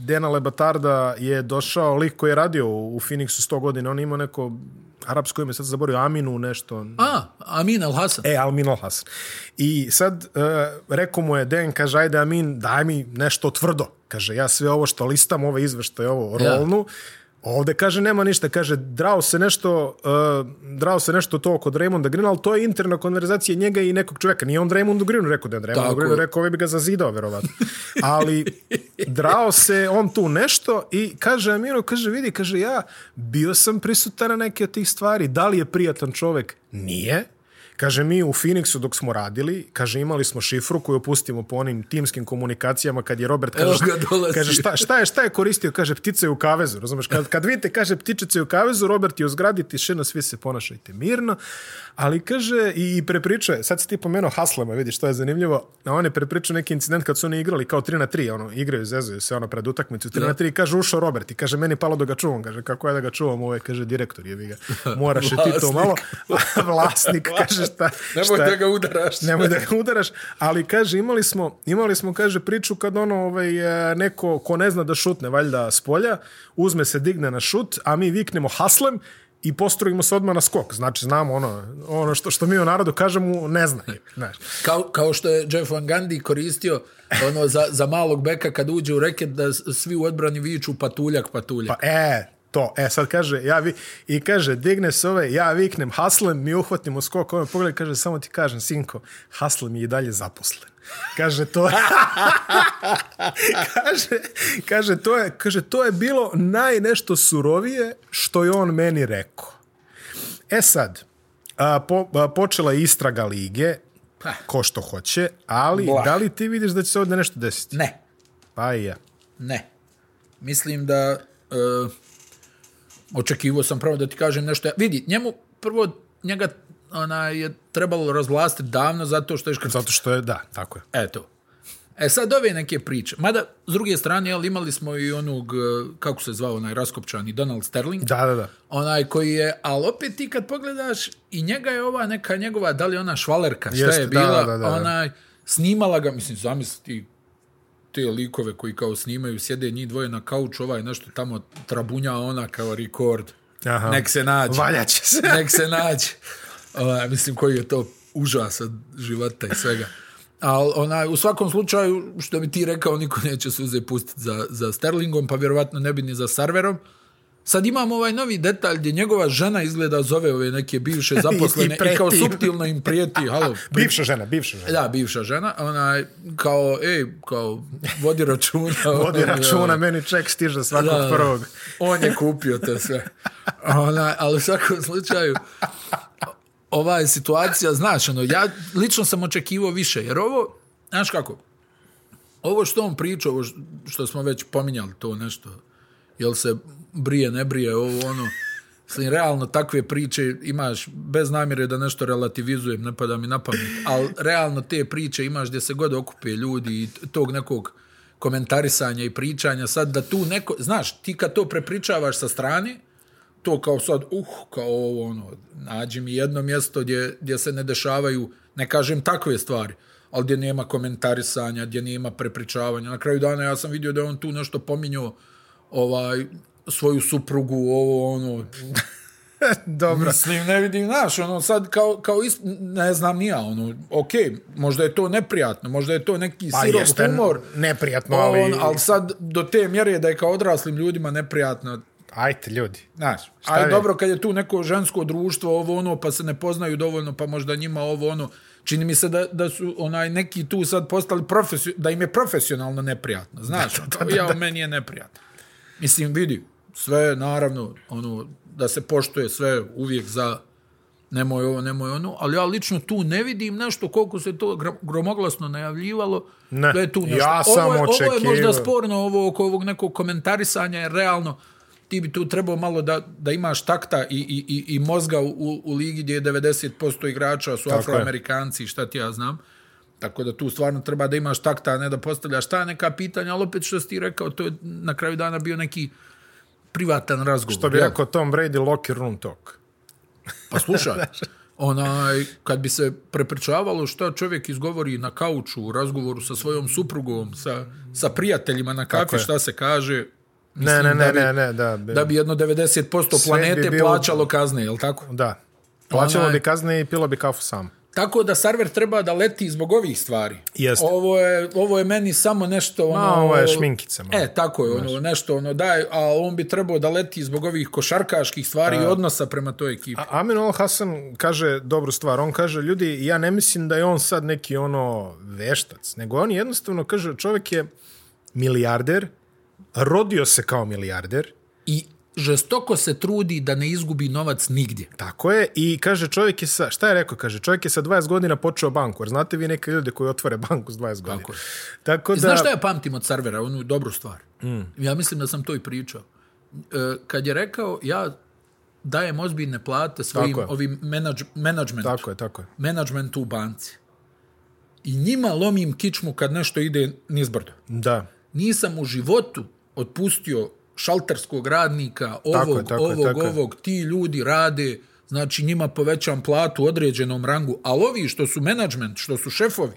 Dena Lebatarda je došao lik koji je radio u, u Phoenixu 100 godina, on je imao neko arapsko ime, sad zaboravio Aminu nešto.
A, Amin Al-Hasan.
E, Almin Olhas. I sad uh, rekao mu je Den, kaže, ajde Amin, daj mi nešto tvrdo. Kaže, ja sve ovo što listam, ove izveštaje, ovo
Ja.
rolnu, Ovde kaže nema ništa, kaže drao se nešto uh, drao se nešto to kod Raymonda Greena, ali to je interna konverzacija njega i nekog čoveka. Nije on Raymondu Greenu rekao da je on Raymondu
Tako
Greenu
je.
rekao, ovaj bi ga zazidao verovatno. Ali drao se on tu nešto i kaže Amiro, kaže vidi, kaže ja bio sam prisutan na neke od tih stvari, da li je prijatan čovek? Nije. Kaže, mi u Phoenixu dok smo radili, kaže, imali smo šifru koju opustimo po onim timskim komunikacijama kad je Robert
Evo
kaže,
ga dolazi.
kaže šta, šta, je, šta je koristio, kaže, ptica je u kavezu, razumeš? Kad, kad vidite, kaže, ptičica je u kavezu, Robert je u zgradi, tišina, svi se ponašajte mirno, ali kaže, i, i prepričuje, sad si ti pomenuo Haslema, vidi što je zanimljivo, a on je prepričao neki incident kad su oni igrali kao 3 na 3, ono, igraju, zezuju se, ono, pred utakmicu 3 na 3, kaže, ušao Robert i kaže, meni je palo da ga čuvam, kaže, kako je da ga čuvam, ovaj, kaže, direktor je, vi ga, moraš i ti to malo, vlasnik, kaže, šta,
Nemoj
šta,
da ga udaraš.
Nemoj da ga udaraš, ali kaže imali smo imali smo kaže priču kad ono ovaj e, neko ko ne zna da šutne valjda s polja, uzme se digne na šut, a mi viknemo haslem i postrojimo se odmah na skok. Znači znamo ono ono što što mi u narodu kažemo ne zna. je, Znaš.
Kao, kao što je Jeff Van Gundy koristio ono za, za malog beka kad uđe u reket da s- svi u odbrani viču patuljak, patuljak.
Pa e, to, e sad kaže, ja vi, i kaže, digne se ovaj, ja viknem haslem, mi uhvatimo skok, ovaj pogled, kaže, samo ti kažem, sinko, haslem je i dalje zaposlen. Kaže to. kaže, kaže, to je, kaže, to je bilo najnešto surovije što je on meni rekao. E sad, a, po, a, počela je istraga lige, ko što hoće, ali
Blah.
da li ti vidiš da će se ovdje nešto desiti?
Ne,
Pa i ja.
ne. Mislim da... Uh, očekivao sam pravo da ti kažem nešto. Vidi, njemu prvo njega onaj, je trebalo razvlastiti davno zato što je škrtio.
Zato što je, da, tako je.
Eto. E sad ove neke priče. Mada, s druge strane, jel, imali smo i onog, e, kako se zvao onaj raskopčani, Donald Sterling.
Da, da, da.
Onaj koji je, ali opet ti kad pogledaš, i njega je ova neka njegova, da li je ona švalerka, šta
Jeste,
je
da,
bila,
da, da, da.
onaj, snimala ga, mislim, zamisliti te likove koji kao snimaju, sjede njih dvoje na kauču, ovaj nešto tamo trabunja, a ona kao rekord.
Aha.
Nek se nađe.
Valjaće se.
Nek se nađe. Ona, mislim, koji je to užas od života i svega. Ali onaj, u svakom slučaju, što bi ti rekao, niko neće suze pustiti za, za Sterlingom, pa vjerovatno ne bi ni za Sarverom. Sad imamo ovaj novi detalj gdje njegova žena izgleda zove ove neke bivše zaposlene i,
preti.
kao suptilno im prijeti, halo,
Bivša žena, bivša žena.
da, bivša žena, onaj, kao, ej, kao, vodi računa. Ovaj,
Vodi računa, meni ček stiže svakog
Da, da.
prvog.
On je kupio to sve. Ona, ali u svakom slučaju, ova je situacija, znaš, ono, ja lično sam očekivao više, jer ovo, znaš kako, ovo što on priča, ovo š- što smo već pominjali, to nešto, jel se brije, ne brije, ovo ono, Mislim, realno takve priče imaš, bez namjere da nešto relativizujem, ne pada mi na pamet, ali realno te priče imaš gdje se god okupe ljudi i tog nekog komentarisanja i pričanja, sad da tu neko, znaš, ti kad to prepričavaš sa strane, to kao sad, uh, kao ovo, ono, nađi mi jedno mjesto gdje, gdje se ne dešavaju, ne kažem takve stvari, ali gdje nema komentarisanja, gdje nema prepričavanja. Na kraju dana ja sam vidio da je on tu nešto pominjao ovaj, svoju suprugu, ovo, ono...
Dobro.
Mislim, ne vidim, znaš, ono, sad kao, kao ist, ne znam nija, ono, okej, okay, možda je to neprijatno, možda je to neki
Pa
sirov
jeste
humor,
neprijatno,
ali...
ali...
On, ali sad do te mjere da je kao odraslim ljudima neprijatno,
Ajte, ljudi.
Znaš,
šta
a
je?
dobro kad je tu neko žensko društvo, ovo ono, pa se ne poznaju dovoljno, pa možda njima ovo ono. Čini mi se da, da su onaj neki tu sad postali profesio, da im je profesionalno neprijatno. Znaš, da, da, ja, meni je neprijatno. Mislim, vidi, sve naravno, ono, da se poštuje sve uvijek za nemoj ovo, nemoj ono, ali ja lično tu ne vidim nešto koliko se to gra- gromoglasno najavljivalo,
Ne,
da je tu nešto.
ja sam
ovo, je, ovo je možda
očekivao.
sporno ovo oko ovog nekog komentarisanja, jer realno ti bi tu trebao malo da, da imaš takta i, i, i, i mozga u, u ligi gdje je 90% igrača su
je.
afroamerikanci, i šta ti ja znam. Tako da tu stvarno treba da imaš takta, a ne da postavljaš ta neka pitanja, ali opet što si ti rekao, to je na kraju dana bio neki privatan razgovor.
Što bi
jel?
rekao Tom Brady, locker room talk.
Pa slušaj, onaj, kad bi se prepričavalo šta čovjek izgovori na kauču u razgovoru sa svojom suprugom, sa, sa prijateljima na kafi,
je.
šta se kaže,
Ne, ne, ne,
da bi-
ne, ne, da. Bi,
da bi jedno 90%
Sve bi
planete
bilo-
plaćalo kazne, jel tako?
Da. Plaćalo
Onaj-
bi kazne i pilo bi kafu sam.
Tako da server treba da leti zbog ovih stvari.
Jeste.
Ovo je, ovo je meni samo nešto ono...
ovo je šminkice malo.
E, tako je, ono, nešto ono daj, a on bi trebao da leti zbog ovih košarkaških stvari i odnosa prema toj ekipi.
A- Amin Al Hasan kaže dobru stvar. On kaže, ljudi, ja ne mislim da je on sad neki ono veštac, nego on jednostavno kaže, čovjek je milijarder, rodio se kao milijarder,
I žestoko se trudi da ne izgubi novac nigdje.
Tako je, i kaže čovjek je sa, šta je rekao, kaže čovjek je sa 20 godina počeo banku, jer znate vi neke ljude koji otvore banku s 20 godina.
Tako je.
Tako da,
Da. Znaš šta ja pamtim od servera, onu dobru stvar? Mm. Ja mislim da sam to i pričao. E, kad je rekao, ja dajem ozbiljne plate svojim
Tako je.
ovim menadž, menadžmentu,
tako je, tako je.
menadžmentu u banci. I njima lomim kičmu kad nešto ide nizbrdo.
Da,
Nisam u životu otpustio šalterskog radnika, ovog,
Tako
tako
je, tako je,
ovog,
tako je.
ovog, ti ljudi rade, znači njima povećam platu u određenom rangu, ali ovi što su menadžment, što su šefovi,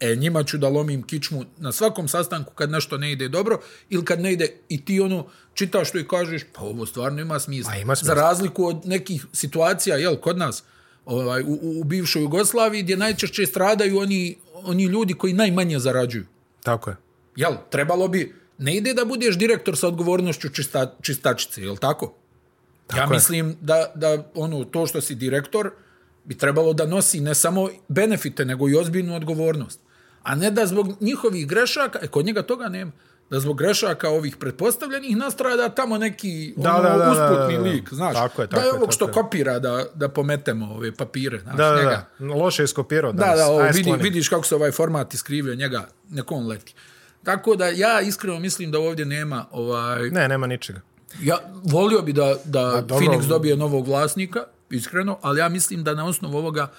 e, njima ću da lomim kičmu na svakom sastanku kad nešto ne ide dobro ili kad ne ide i ti ono čitaš to i kažeš, pa ovo stvarno ima smisla.
Pa ima smisla.
Za razliku od nekih situacija, jel, kod nas, ovaj, u, u, u bivšoj Jugoslaviji, gdje najčešće stradaju oni, oni ljudi koji najmanje zarađuju.
tako je.
Jel, trebalo bi, ne ide da budeš direktor sa odgovornošću čista, čistačice, jel tako? tako ja
je.
mislim da, da ono, to što si direktor bi trebalo da nosi ne samo benefite, nego i ozbiljnu odgovornost. A ne da zbog njihovih grešaka, e, kod njega toga nema, da zbog grešaka ovih pretpostavljenih nastrada tamo neki
Da,
ono,
da, da, da,
usputni
da, da.
lik, znaš.
Tako je,
da
tako
je
je,
ovog što
tako je.
kopira da, da pometemo ove papire, znaš,
Da, da,
njega.
da, loše je skopirao
Da,
danas.
da, ovo,
Aj,
vidi,
skloni.
vidiš kako se ovaj format iskrivio njega, neko on leti. Tako da ja iskreno mislim da ovdje nema ovaj
Ne, nema ničega.
ja volio bi da da
dobro.
Phoenix dobije novog vlasnika, iskreno, ali ja mislim da na osnovu ovoga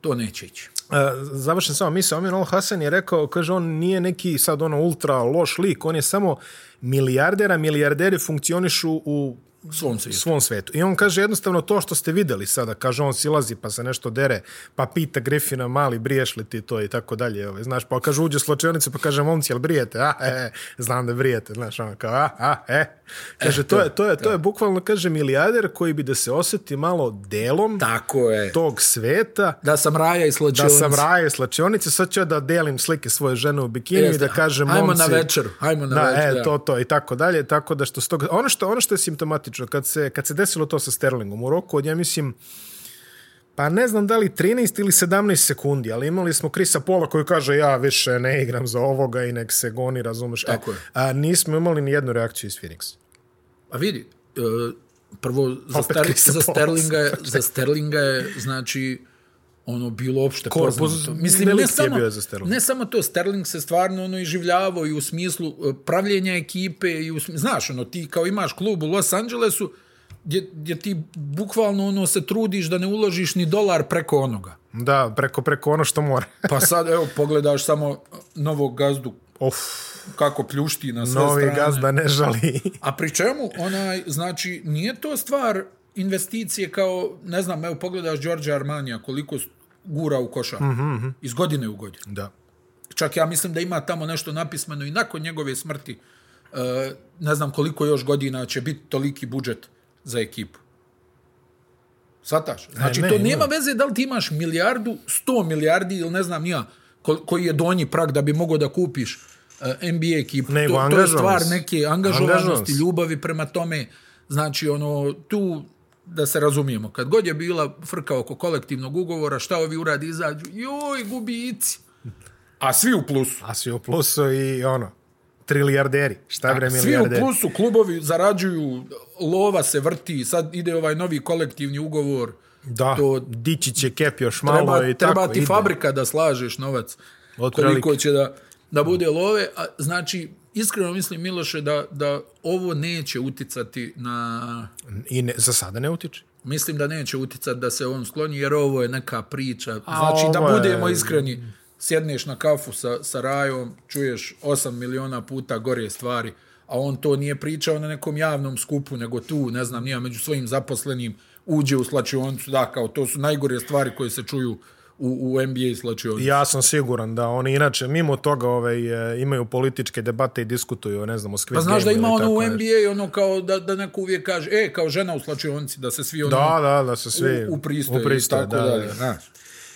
to neće ići.
E, završen samo misao, Amin Al Hasan je rekao, kaže, on nije neki sad ono ultra loš lik, on je samo milijardera, milijarderi funkcionišu u
Svom svijetu.
svom svetu. I on kaže jednostavno to što ste videli sada, kaže on silazi pa se nešto dere, pa pita Griffina mali briješ li ti to i tako dalje, ovaj, znaš, pa kaže uđe u slačionicu pa kaže momci jel brijete, a, e, e, znam da brijete, znaš, on kao, a, a, e. Kaže, to, je, to, je, to je bukvalno, kaže, milijarder koji bi da se osjeti malo delom
Tako je. To...
tog sveta,
Da sam Raja i slađionci.
da sam raje u slačionici, sad ću ja da delim slike svoje žene u bikiniju i
Jeste.
da kažem
Ajmo
momci...
na večeru, ajmo na
da,
večeru,
e,
da.
to, to i tako dalje. Tako da što, s toga, ono, što, ono što je simptomatično, kad se, kad se desilo to sa Sterlingom, u roku od, ja mislim, pa ne znam da li 13 ili 17 sekundi, ali imali smo Krisa Pola koji kaže ja više ne igram za ovoga i nek se goni, razumeš.
Tako
e,
je.
a, nismo imali ni jednu reakciju iz Phoenixa.
A vidi, e, prvo za,
Opet
Ster,
Krista
za,
Paul.
Sterlinga je, za Sterlinga je, znači, ono bilo opšte
Korpus
poznato. Mislim, ne
delikt je
samo,
bio za Sterlinga.
ne samo to, Sterling se stvarno ono iživljavao i u smislu e, pravljenja ekipe i u smislu, znaš, ono, ti kao imaš klub u Los Angelesu, gdje, gdje ti bukvalno ono se trudiš da ne uložiš ni dolar preko onoga.
Da, preko, preko ono što mora.
Pa sad, evo, pogledaš samo novog gazdu
Of,
kako pljušti na sve
novi
strane.
gazda ne žali.
A pri čemu, onaj, znači, nije to stvar investicije kao, ne znam, evo, pogledaš Đorđa Armanija koliko s- gura u košar. Mm -hmm. Iz godine u godinu.
da.
Čak ja mislim da ima tamo nešto napismeno i nakon njegove smrti, e, ne znam koliko još godina će biti toliki budžet za ekipu. Svataš? Znači,
ne,
to
ima.
nema veze da li ti imaš milijardu, sto milijardi ili ne znam nija, ko- koji je donji prag da bi mogao da kupiš e, NBA ekipu.
Nego
to, to je
angažovanost.
stvar neke
Angažovanost.
angažovanosti, ljubavi prema tome. Znači, ono, tu da se razumijemo. Kad god je bila frka oko kolektivnog ugovora, šta ovi uradi izađu? Joj, gubici. A svi u plusu.
A si u plusu i ono, trilijarderi. Šta bre
Svi u
milijarderi?
plusu, klubovi zarađuju, lova se vrti, sad ide ovaj novi kolektivni ugovor.
Da, to...
To-
dići će kep još malo
Treba,
i tako.
treba ti
ide.
fabrika da slažeš novac.
Otprilike.
Koliko će da, da bude love. A, znači, iskreno mislim, Miloše, da, da ovo neće uticati na...
I ne, za sada ne utiče.
Mislim da neće uticati da se on skloni, jer ovo je neka priča. Znači,
ovo
da
je-
budemo iskreni, sjedneš na kafu sa, sa Rajom, čuješ 8 miliona puta gore stvari, a on to nije pričao na nekom javnom skupu, nego tu, ne znam, nije među svojim zaposlenim, uđe u slačionicu, da, kao to su najgore stvari koje se čuju u, u NBA slačionicu.
Ja sam siguran da oni inače mimo toga ovaj, e, imaju političke debate i diskutuju, ne znam, o Squid
Pa znaš da
Gameu ili
ima ono
tako
u
nešto.
NBA, ono kao da, da neko uvijek kaže, e, kao žena u slačionici, da se svi ono
Da, da, da su svi
u, u pristoje,
pristoje,
i tako dalje. znaš.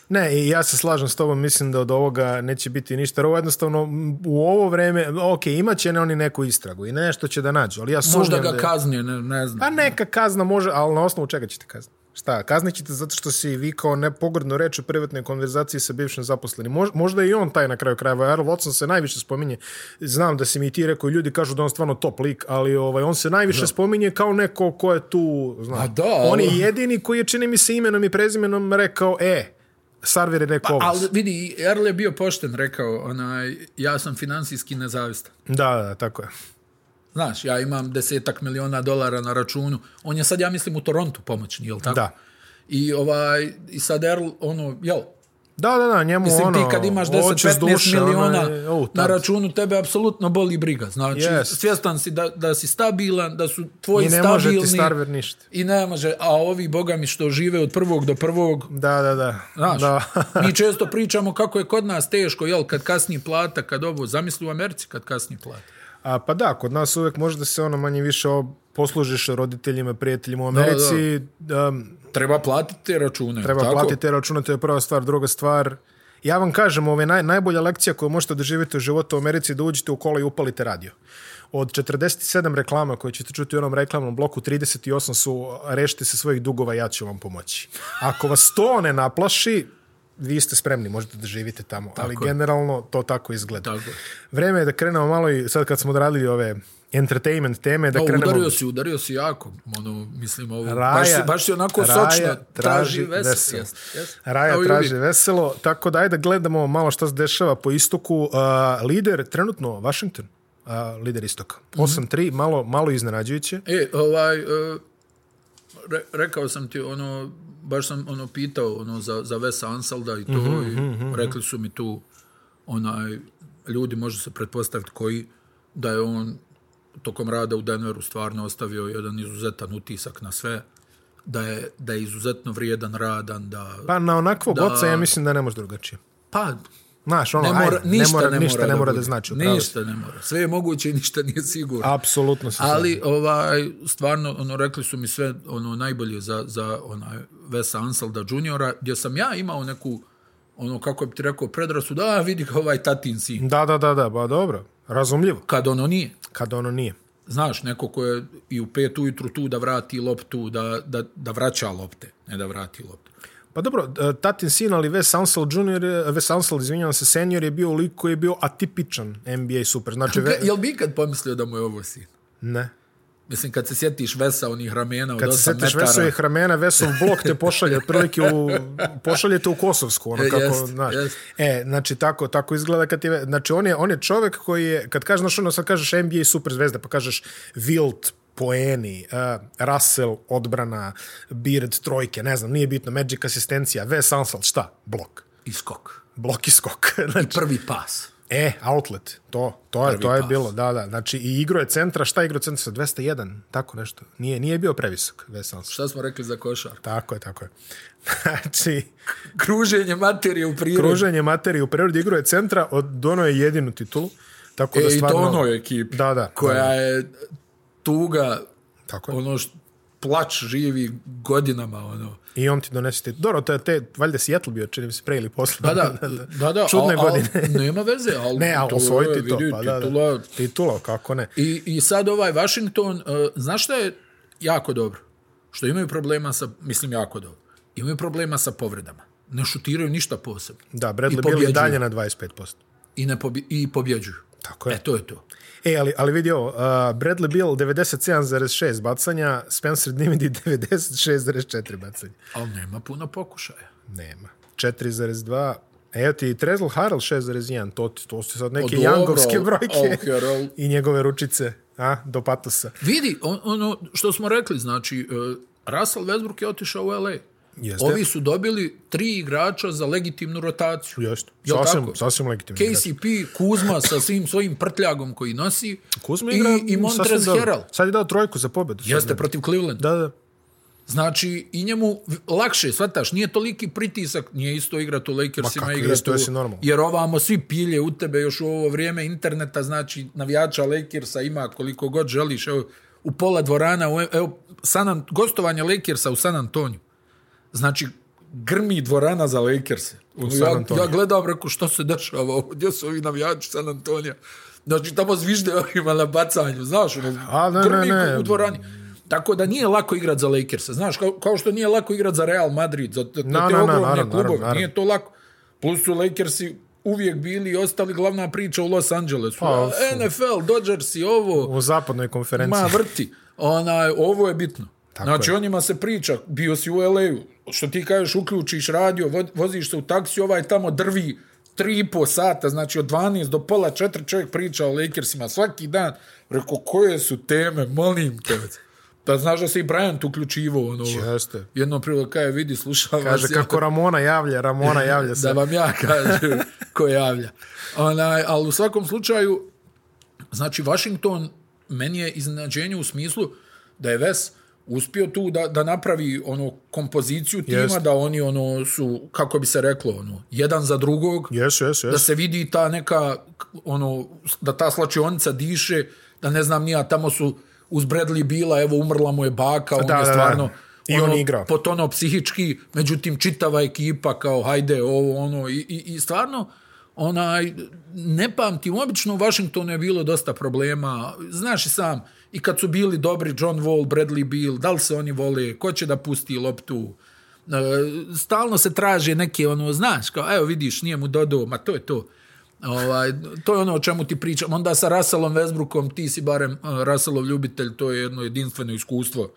Ne, i ja se slažem s tobom, mislim da od ovoga neće biti ništa, jer ovo jednostavno m, u ovo vreme, ok, imaće ne oni neku istragu i nešto će da nađu, ali ja sumnjam
Možda
da...
ga kazne, ne, ne znam.
Pa neka kazna može, ali na osnovu čega ćete kazniti? Šta, kaznit ćete zato što si vi kao nepogodnu reč u privatnoj konverzaciji sa bivšim zaposlenim. Mož, možda je i on taj na kraju krajeva. Earl Watson se najviše spominje. Znam da si mi i ti rekao, ljudi kažu da je on stvarno top lik, ali ovaj, on se najviše da. spominje kao neko ko je tu,
A
znaš.
da,
on je
ali-
jedini koji je, čini mi se, imenom i prezimenom rekao, e, Sarver je rekao pa,
Ali vidi, Erle je bio pošten, rekao, onaj, ja sam finansijski nezavistan.
Da, da, tako je.
Znaš, ja imam desetak miliona dolara na računu. On je sad, ja mislim, u Torontu pomoćni, jel tako?
Da.
I, ovaj, i sad Erl, ono, jel,
Da, da, da, njemu
mislim,
ono...
ti kad imaš
oči s
10-15
duše, ono
miliona
je, au,
na
tad.
računu, tebe apsolutno boli briga. Znači,
Yes.
yes. svjestan si da, da si stabilan, da su tvoji
I ne može
stabilni...
ti Starver ništa.
I ne može, a ovi bogami što žive od prvog do prvog,
Da, da, da.
Znaš,
da.
mi često pričamo kako je kod nas teško, jel, kad kasni plata, kad ovo, zamisli u Americi kad kasni plata.
A, pa da, kod nas uvek može da se ono manje više o- poslužiš roditeljima, prijateljima u Americi. Da, da. Um,
Treba platiti te račune.
treba
tako?
platiti te račune, to je prva stvar. Druga stvar, ja vam kažem, ove naj, najbolja lekcija koju možete doživjeti u životu u Americi je da uđete u kola i upalite radio. Od 47 reklama koje ćete čuti u onom reklamnom bloku, 38 su rešite se svojih dugova, ja ću vam pomoći. Ako vas to ne naplaši, vi ste spremni, možete da živite tamo. Tako ali
je.
generalno to tako izgleda.
Tako je.
Vreme je da krenemo malo i sad kad smo odradili ove entertainment teme, da
O,
krenemo...
Pa, udario si, udario si jako. Ono, mislim, ovo,
Raja,
baš, si, baš si onako
Raja
sočno. Traži vesel. vesel. Jest, jest.
Raja
Kao i
traži
uvijek.
veselo, tako da ajde gledamo malo šta se dešava po istoku. Uh, lider trenutno Washington, uh, lider istoka.
Mhm.
8-3, malo, malo iznenađujuće.
E, ovaj, e, re, rekao sam ti, ono, baš sam ono pitao ono, za, za Vesa Ansalda i to, mm
Mhm,
-hmm, i rekli su mi tu, onaj, ljudi može se pretpostaviti koji, da je on tokom rada u Denveru stvarno ostavio jedan izuzetan utisak na sve, da je, da je izuzetno vrijedan, radan, da...
Pa na onakvog da. oca ja mislim da ne može drugačije.
Pa,
Znaš, ono,
ne mora,
ajde,
ništa ne mora,
ništa ne mora da,
bude.
znači. upravo si.
Ništa ne mora. Sve je moguće i ništa nije sigurno.
Apsolutno se slažem.
Ali ovaj stvarno ono rekli su mi sve ono najbolje za za onaj Vesa Ansalda juniora gdje sam ja imao neku ono kako bi ti rekao predrasu da vidi ga ovaj tatin sin
Da, da, da, da, ba dobro. Razumljivo,
kad ono nije
kad ono nije.
znaš neko ko je i u pet ujutru tu da vrati loptu da, da, da vraća lopte ne da vrati loptu
Pa dobro, e, tatin sin, ali Wes Ansel junior, je- e, Wes Ansel, izvinjavam se, senior je bio lik koji je bio atipičan NBA super. Znači, ve,
Ka, jel bi ikad pomislio da mu je ovo sin
ne.
mislim kad se sjetiš Vesa onih ramena od
Kad se
8
setiš
Pa metara
Vesovih ramena, Vesov blok te pošalje otprilike u, pošaljete u Kosovsku, ono
E,
kako,
jest,
znaš.
jest.
E, znači, tako, tako izgleda kad ti, ve- znači, on je, on je čovjek koji je, kad kažeš, znaš, ono, sad kažeš NBA superzvezda, pa kažeš Wilt, poeni, uh, Russell odbrana, Beard trojke, ne znam, nije bitno, Magic asistencija, Wes Ansel, šta? Blok.
I skok.
Blok i skok. Znači,
I prvi pas.
E, outlet, to, to je, to je bilo, da, da. Znači, i igro je centra, šta je igro centra sa 201, tako nešto. Nije, nije bio previsok, Vesans.
Šta smo rekli za košar?
Tako je, tako je. Znači,
kruženje materije u prirodi.
kruženje materije u prirodi, igro je centra, od, dono je jedinu titulu. Tako
e,
Pa da stvarno,
i to ono je ekipa
Da, da,
koja
da, da.
je tuga,
Tako je.
ono što plač živi godinama, ono.
I on ti donese titulu. Dobro, to je te, valjda Seattle bio, čini mi se, pre ili posle.
Pa Da, da, da, da
Čudne
al- al-
godine.
nema veze, ali
Ne, a
to je,
osvojiti to,
vidi,
pa da,
titula-
da. Titula, kako ne.
I, I sad ovaj Washington, uh, znaš šta je jako dobro? Što imaju problema sa, mislim jako dobro, imaju problema sa povredama. Ne šutiraju ništa posebno.
Da,
I
Bradley Bill je
pobjeđuju.
dalje na 25%.
I, ne pobje, i pobjeđuju.
Tako je.
E, to je to.
E, ali, ali vidi ovo, uh, Bradley Bill 97,6 bacanja, Spencer Dimidi 96,4 bacanja.
Ali nema puno pokušaja.
Nema. 4,2, Evo E, ti Trezl Harrell 6,1, to, ti- to su sad neke
O, dobro,
jangovske brojke
o, Harrell.
i njegove ručice a, do patosa.
Vidi, on, ono što smo rekli, znači, uh, Russell Westbrook je otišao u LA.
Jeste.
Ovi su dobili tri igrača za legitimnu rotaciju.
Jeste.
Jel
Sasvim,
tako?
sasvim legitimno.
KCP, Kuzma sa svim svojim prtljagom koji nosi
Kuzma
i,
igra
i
sasvim
Montrez
dobro.
Harrell.
Sad je dao trojku za pobedu.
Jeste protiv Cleveland.
Da, da.
Znači, i njemu v- lakše, shvataš, nije toliki pritisak, nije isto igrat u Lakersima,
kako
igrat
isto,
u-
jesi normalan.
Jer ovamo svi pilje u tebe još u ovo vrijeme interneta, znači navijača Lakersa ima koliko god želiš, evo, u pola dvorana, u, evo, San, Ant- gostovanje Lakersa u San Antoniju. Znači, grmi dvorana za Lakerse.
San
ja,
Antonio.
ja gledam, reku, što se dešava, ovo, gdje su ovi navijači San Antonija? Znači, tamo zvižde ovima na bacanju, znaš, ono,
A, ne,
grmi
ne, ne.
u dvorani. Tako da nije lako igrat za Lakersa. Znaš, kao, kao što nije lako igrat za Real Madrid, za te,
Na, na,
te
na,
ogromne
naravno,
klubove.
naravno.
Nije to lako. Plus su Lakersi uvijek bili i ostali glavna priča u Los Angelesu.
Pa,
A, NFL, Dodgersi, ovo,
U zapadnoj konferenciji.
ma vrti. Onaj, ovo je bitno.
Tako
znači,
je.
o njima se priča. Bio si u LA-u, što ti kažeš, uključiš radio, vo- voziš se u taksi, ovaj tamo drvi tri i po sata, znači od 12 do pola četiri čovjek priča o Lakersima svaki dan. Rekao, koje su teme, molim te. Pa znaš da se i Bryant uključivo ono.
Jeste.
Jedno prilo kaže, vidi, slušam
Kaže
vas. ja-
kako Ramona javlja, Ramona javlja se.
da vam ja kažem ko javlja. Onaj, ali u svakom slučaju, znači Washington meni je iznenađenje u smislu da je Ves uspio tu da, da napravi ono kompoziciju tima,
Jeste.
da oni ono su, kako bi se reklo, ono, jedan za drugog,
Jesu, jesu,
da
jesu.
se vidi ta neka, k- ono, da ta slačionica diše, da ne znam nija, tamo su uz Bradley bila, evo umrla mu je baka, on
Da,
da, je
da, da.
stvarno...
I on
ono,
igra.
Potono psihički, međutim čitava ekipa kao hajde ovo ono i, i, i stvarno onaj, ne pamtim, obično u Washingtonu je bilo dosta problema, znaš i sam, i kad su bili dobri John Wall, Bradley Beal, da li se oni vole, ko će da pusti loptu, E, stalno se traže neke, ono, znaš, kao, evo vidiš, nije mu dodao, ma to je to. Ovaj, to je ono o čemu ti pričam. Onda sa Russellom Westbrookom, ti si barem uh, Russellov ljubitelj, to je jedno jedinstveno iskustvo.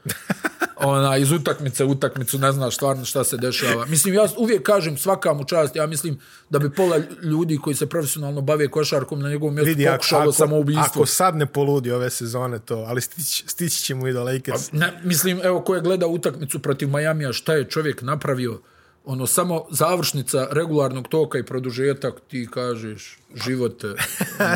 Ona, iz utakmice u utakmicu ne znaš stvarno šta se dešava. Mislim, ja uvijek kažem svaka mu čast, ja mislim da bi pola ljudi koji se profesionalno bave košarkom na njegovom mjestu
Vidi, ako,
pokušalo
ako,
samoubistvo.
ako sad ne poludi ove sezone to, ali stići, stići ćemo i do Lakers.
Ne, mislim, evo ko je gledao utakmicu protiv Majamija, šta je čovjek napravio, ono, samo završnica regularnog toka i produžetak, ti kažeš, život, e,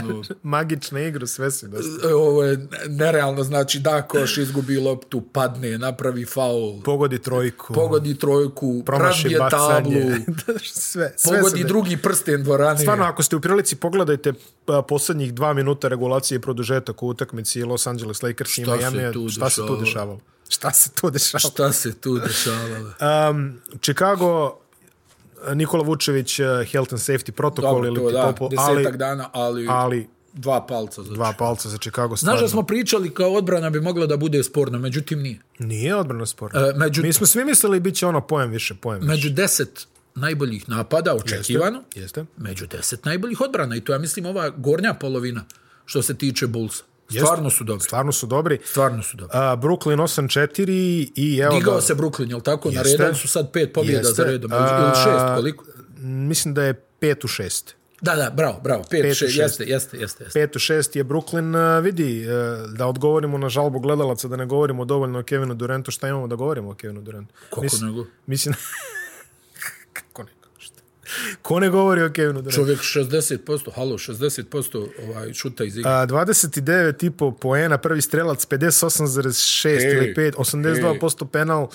ono,
Magična igra, sve si dosta.
e, ovo je nerealno, znači, da, koš izgubi loptu, padne, napravi faul,
Pogodi trojku.
pogodi trojku,
promaši
probije tablu,
bacanje. Da, sve, sve
pogodi
se de-
drugi prsten dvorane.
Stvarno, ako ste u prilici, pogledajte a, posljednjih dva minuta regulacije i produžetak u utakmici Los Angeles Lakers i
Šta se
Miami.
tu
Šta se tu
dešavalo?
dešavalo? Šta se tu dešavalo?
Šta se tu dešavalo?
Um, Chicago, Nikola Vučević, eh, health and safety protokol
Dobro,
ili
to
ti
da,
popo,
desetak
ali,
dana, ali,
ali
dva palca. Znači.
dva palca za Chicago
Znaš
stvarno.
da smo pričali kao odbrana bi mogla da bude sporna, međutim nije.
Nije odbrana sporna.
E, među-
Mi smo svi mislili bit će ono pojem više, pojem više.
među deset najboljih napada, očekivano,
Jeste?
među deset najboljih odbrana. I to ja mislim ova gornja polovina što se tiče Bullsa. Stvarno su dobri.
Stvarno su dobri.
Stvarno su dobri.
A, Brooklyn 8-4 i evo
Digao
da,
se Brooklyn, jel tako? Na
Jeste.
redan su sad pet pobjeda
Jeste.
za redom.
A,
Ili šest, koliko?
mislim da je 5 u 6.
Da, da, bravo, bravo. Pet,
Pet,
pet šest,
šest.
jeste, jeste, jeste. jeste.
5-6 je Brooklyn, e, vidi, e, da odgovorimo na žalbu gledalaca, da ne govorimo dovoljno o Kevinu Durantu, šta imamo da govorimo o Kevinu Durantu?
Kako nego?
Mislim, kako nego? Šta? Ko ne govori o Kevinu Durantu?
Čovjek 60%, halo, 60% ovaj, šuta iz igre.
A, 29,5 poena, prvi strelac, 58,6
Ej,
ili 5, 82% penal.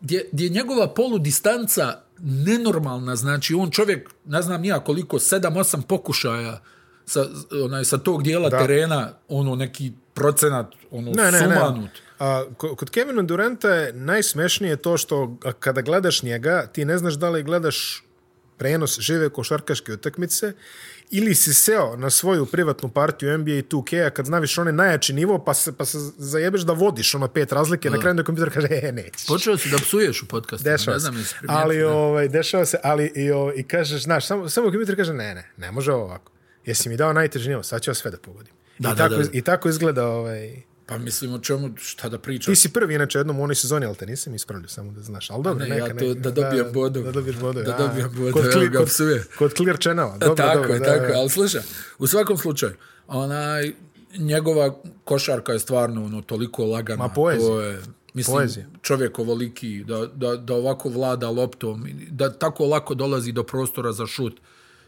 Gdje, gdje je njegova poludistanca nenormalna, znači on čovjek, ne znam nija koliko, 7-8 pokušaja sa, onaj, sa tog dijela da. terena, ono neki procenat, ono ne, sumanut.
A, ko- kod Kevina Duranta je najsmešnije to što a, kada gledaš njega, ti ne znaš da li gledaš prenos žive košarkaške utakmice ili si seo na svoju privatnu partiju NBA 2K-a kad znaviš onaj najjači nivo pa se, pa se zajebeš da vodiš ono pet razlike, na kraju da kompjuter kaže e, nećeš.
Počeo si da psuješ u podcastu,
Dešava
ne
se.
znam jesi primijetio.
Ali, ovaj, dešava se, ali i, o, i kažeš, znaš, samo, samo kompjuter kaže, ne, ne, ne može ovo ovako. Jesi mi dao najteži nivo, sad ću ja sve da pogodim.
Da,
I,
da,
tako,
da.
I tako izgleda ovaj...
Pa mislim o čemu, šta da pričam.
Ti si prvi, inače, jednom u onoj sezoni, ali te nisam ispravljao, samo da znaš. Ali dobro,
Ne,
neka,
ja to-
neka,
da dobijem bodove.
Da dobiješ bodove.
Da
a.
dobijem bodove,
Kod,
evo
clear,
ga,
kod,
psuje.
kod Clear Channela. Dobro,
tako
dobro,
je,
da,
tako je,
da.
ali slušaj, u svakom slučaju, onaj, njegova košarka je stvarno ono, toliko lagana.
Ma, poezija.
To je, mislim,
Poezija.
čovjek ovoliki, da, da, da ovako vlada loptom, da tako lako dolazi do prostora za šut,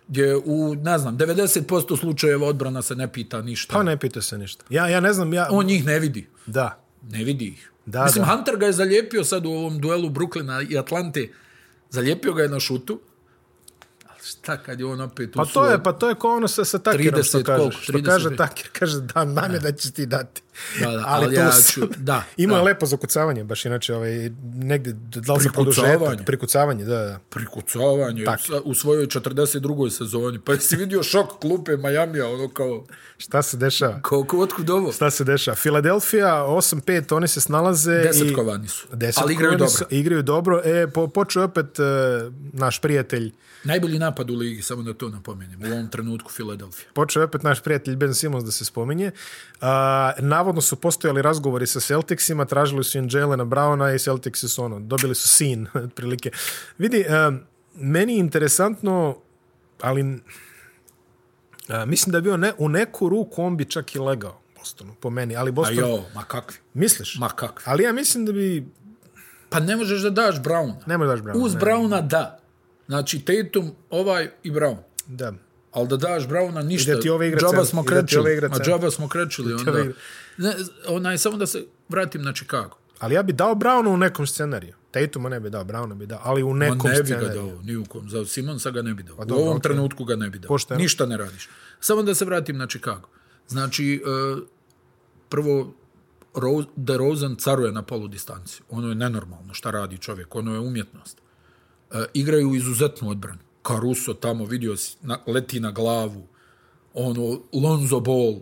gdje u, ne znam, 90% slučajeva odbrana se ne pita ništa.
Pa ne pita se ništa. Ja, ja ne znam, ja...
On njih ne vidi.
Da.
Ne vidi ih.
Da,
Mislim,
da.
Hunter ga je zalijepio sad u ovom duelu Brooklyna i Atlante. Zalijepio ga je na šutu. Ali šta kad je on opet
Pa
u
to
svom-
je, pa to je kao ono sa, sa Takerom što
30
kaže.
koliko,
Što
30.
kaže Taker, kaže da, nam je da ćeš ti dati.
Da, da, ali ja
to-
ću- da,
Ima
da.
lepo zakucavanje, baš inače, ovaj, negdje, da li za
Prikucavanje.
produžetak, prikucavanje, da, da.
prikucavanje u, sa- u svojoj 42. sezoni. Pa jesi vidio šok klupe Majamija, ono kao,
Šta se dešava?
kao, kao otkud ovo?
Šta se dešava? Filadelfija 8-5, oni se snalaze
Desetkovani su.
i desetkovani
ali igraju dobro.
su, Igraju dobro. E, po, počeo je opet e, naš prijatelj,
Najbolji napad u ligi, samo da to napomenem. U ovom trenutku Filadelfija.
počeo je opet naš prijatelj Ben Simmons da se spominje. A, navodno su postojali razgovori sa Celticsima, tražili su im Jelena Browna i Celticsi su ono, dobili su sin, otprilike. Vidi, e, meni je interesantno, ali a, mislim da je bio ne, u neku ruku on bi čak i legao Bostonu, po meni, ali
A
Boston...
jo, ma kakvi.
Misliš?
Ma kakvi.
Ali ja mislim da bi
Pa ne možeš da daš Browna.
Ne možeš daš Browna,
Uz
ne.
Browna da. Znači Tatum, ovaj i Brown.
Da.
Ali da daš Browna ništa.
I da ti ove igra
džaba
cent-
smo
i da ti ove
krećili.
igra
Ma
cent-
džaba smo krećili onda.
ove igra-
Ne, onaj, samo da se vratim na Chicago.
Ali ja bi dao Brownu u nekom scenariju. Tatuma ne bi dao, Browna bi dao, ali u
Ma
nekom
ne bi ga
scenariju. Pa
dao, ni u kom. Za Simonsa ga ne bi dao.
dobro,
u ovom
okej.
trenutku ga ne bi dao.
Pošteno.
Ništa ne radiš. Samo da se vratim na Chicago. Znači, e, prvo, Ro- DeRozan caruje na polu distanci. Ono je nenormalno šta radi čovjek. Ono je umjetnost. E, igraju izuzetnu odbranu. Caruso tamo, vidio si, na, leti na glavu. Ono, Lonzo Ball.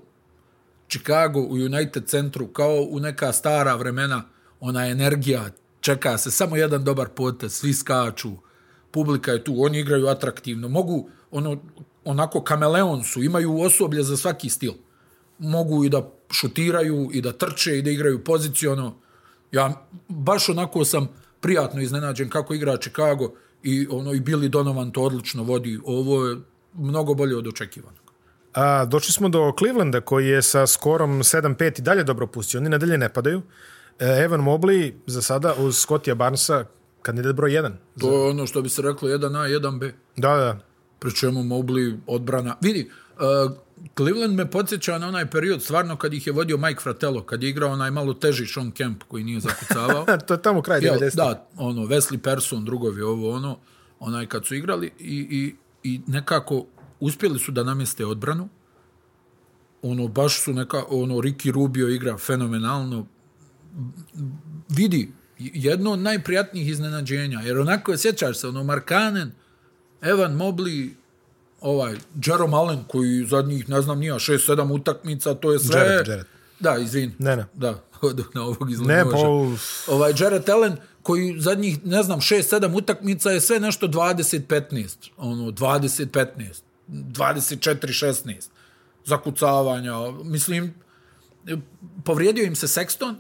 Chicago u United centru, kao u neka stara vremena, ona energija, čeka se samo jedan dobar potez, svi skaču, publika je tu, oni igraju atraktivno, mogu, ono, onako kameleon su, imaju osoblje za svaki stil. Mogu i da šutiraju, i da trče, i da igraju poziciono. Ja baš onako sam prijatno iznenađen kako igra Chicago i ono i Billy Donovan to odlično vodi. Ovo je mnogo bolje od očekivanog.
A, došli smo do Clevelanda koji je sa skorom 7-5 i dalje dobro pustio. Oni nadalje ne padaju. E, Evan Mobley za sada uz Scottija Barnesa kandidat broj 1.
To je ono što bi se reklo 1A, 1B.
Da, da.
pri čemu Mobley odbrana. Vidi, uh, Cleveland me podsjeća na onaj period stvarno kad ih je vodio Mike Fratello, kad je igrao onaj malo teži Sean Kemp koji nije zakucavao.
Ha, to je tamo kraj
Jel,
90.
da, ono, Wesley Person, drugovi, ovo, ono, onaj kad su igrali i, i, i nekako uspjeli su da namjeste odbranu. Ono, baš su neka, ono, Ricky Rubio igra fenomenalno. Vidi, jedno od najprijatnijih iznenađenja, jer onako, sjećaš se, ono, Markanen, Evan Mobley, ovaj, Jerome Allen, koji zadnjih, ne znam, nija, 6-7 utakmica, to je sve...
Jarrett, Jarrett.
Da, izvin.
Ne, ne.
Da, odoh na ovog iz
Ne, pa
Limoža.
ovo-
Ovaj, Jared Allen, koji zadnjih, ne znam, 6-7 utakmica je sve nešto 20-15. Ono, 20-15. 24-16. Zakucavanja. Mislim, povrijedio im se Sexton,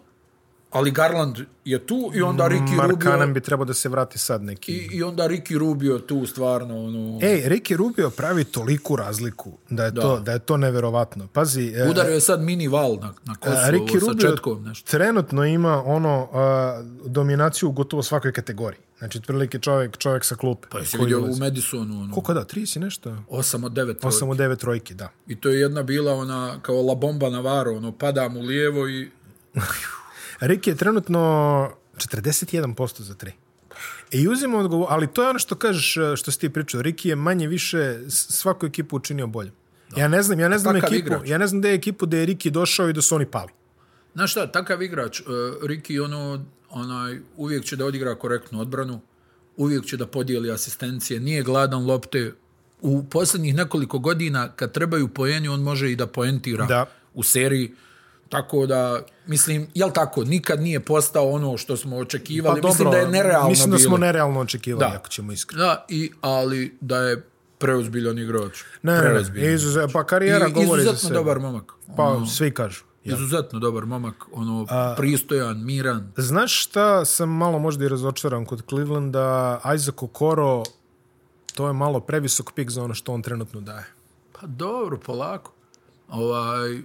Ali Garland je tu i onda Ricky
Mm, Mark
Rubio...
Cannon bi trebao da se vrati sad neki.
I, I onda Ricky Rubio tu stvarno, ono...
Ej, Ricky Rubio pravi toliku razliku da je, da. To, da je to neverovatno. Pazi, e,
Udario je sad mini val na, na Kosovo
a, Ricky
sa
Rubio
četkom nešto.
trenutno ima ono a, dominaciju u gotovo svakoj kategoriji. Znači, otprilike čovjek, čovjek sa klupe. Pa
Si vidio u Madisonu, ono,
Koliko da? 30 i nešto?
8 od 9
8 u 9 trojki, da.
I to je jedna bila ona, kao la bomba na varu, ono, padam u lijevo i...
Ricky je trenutno 41% za 3. I uzimo odgovor, ali to je ono što kažeš, što si ti pričao, Riki je manje više s- svaku ekipu učinio bolje. Ja ne znam, ja ne znam
Takav
ekipu,
igrač.
ja ne znam da je ekipu da je Riki došao i da su oni pali.
Znaš šta, takav igrač, uh, Riki, ono, onaj, uvijek će da odigra korektnu odbranu, uvijek će da podijeli asistencije, nije gladan lopte. U posljednjih nekoliko godina, kad trebaju poeni, on može i da poentira
Da.
u seriji. Tako da, mislim, jel tako, nikad nije postao ono što smo očekivali. mislim da je nerealno
Pa mislim da smo
bilo.
nerealno očekivali,
Da.
ako ćemo iskreno.
Da, i, ali da je preozbiljan igrač.
Ne, ne,
Preozbiljan.
ne, izuze, pa karijera
I
govori za
izuzetno
sebe.
dobar Mm. momak.
Pa, svi kažu.
Izuzetno dobar momak, ono, pristojan, miran.
Znaš šta sam malo možda i razočaran kod Clevelanda, Isaac Okoro, to je malo previsok pik za ono što on trenutno daje.
Pa dobro, polako. Ovaj,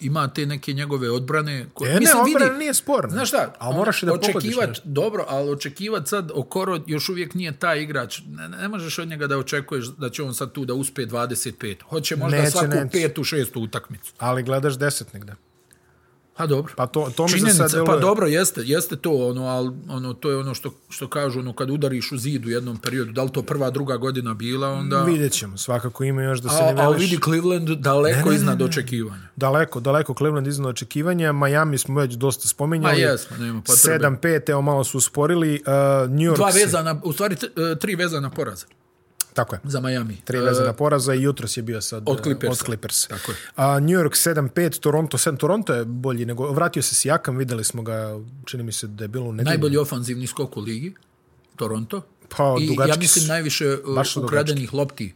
ima te neke njegove odbrane. Koje,
E, ne,
Mislim,
obrana
vidi,
nije sporna.
Znaš šta?
Ali moraš i da pogodiš
očekivat,
nešto.
Dobro, ali očekivat sad Okoro još uvijek nije taj igrač. Ne, ne možeš od njega da očekuješ da će on sad tu da uspe 25. Hoće možda
Neće,
svaku
neće.
petu, šestu utakmicu.
Ali gledaš deset negde.
Pa dobro.
Pa to, to mi za sad
pa
deluje.
dobro jeste, jeste to ono, al ono to je ono što što kažu ono kad udariš u zid u jednom periodu, da li to prva druga godina bila, onda
Vidjet ćemo, svakako ima još da se
a,
ne
a
veliš.
vidi Cleveland daleko iznad očekivanja.
Daleko, daleko Cleveland iznad očekivanja. Miami smo već dosta spominjali.
Ma jesmo, nema potrebe.
7-5, evo malo su usporili. Uh, New York
Dva
se-
vezana, u stvari t- e, tri vezana poraza
Tako je.
za Miami.
Tri vezana poraza i jutros je bio sad
E, Od
e,
Clippersa.
Od Clippersa.
Tako je.
A, New York 7-5, Toronto 7. Toronto je bolji nego... Vratio se Sijakam, videli smo ga, čini mi se da je bilo u nedelju.
Najbolji ofanzivni skok u ligi, Toronto.
Pa,
I ja
dugački
mislim
su.
najviše e,
Baš su
ukradenih lopti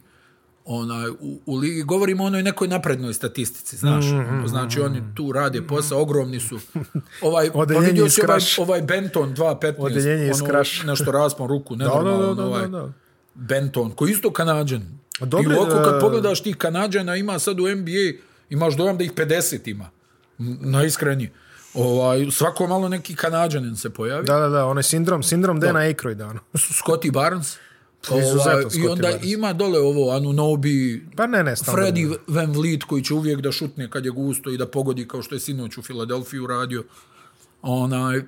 onaj, u, u ligi. Govorimo o onoj nekoj naprednoj statistici, znaš.
Mhm.
ono, znači oni tu rade posao, ogromni su. Ovaj, pa
Odeljenje
vidio
iz
si ovaj,
Kraša.
ovaj Benton 2.15.
Odeljenje iz
ono,
Kraša.
Nešto raspon ruku, ne da,
da, da, da,
ovaj,
da.
Benton, koji je isto kanadžan.
dobro
I
je
ovako
da-
kad pogledaš ti kanadžana, ima sad u NBA, imaš dojam da ih 50 ima. M, Najiskrenije. Ovaj, svako malo neki kanadžanin se pojavi.
Da, da, da, onaj sindrom, sindrom Dana Aykroyda. Ono.
Scotty Barnes.
izuzetan
Ovaj, I
Scotty
onda
Barnes.
ima dole ovo ono, Anunobi,
Pa ne, ne, standardno.
Freddy Van Vliet koji će uvijek da šutne kad je gusto i da pogodi kao što je sinoć u Filadelfiju radio. Onaj,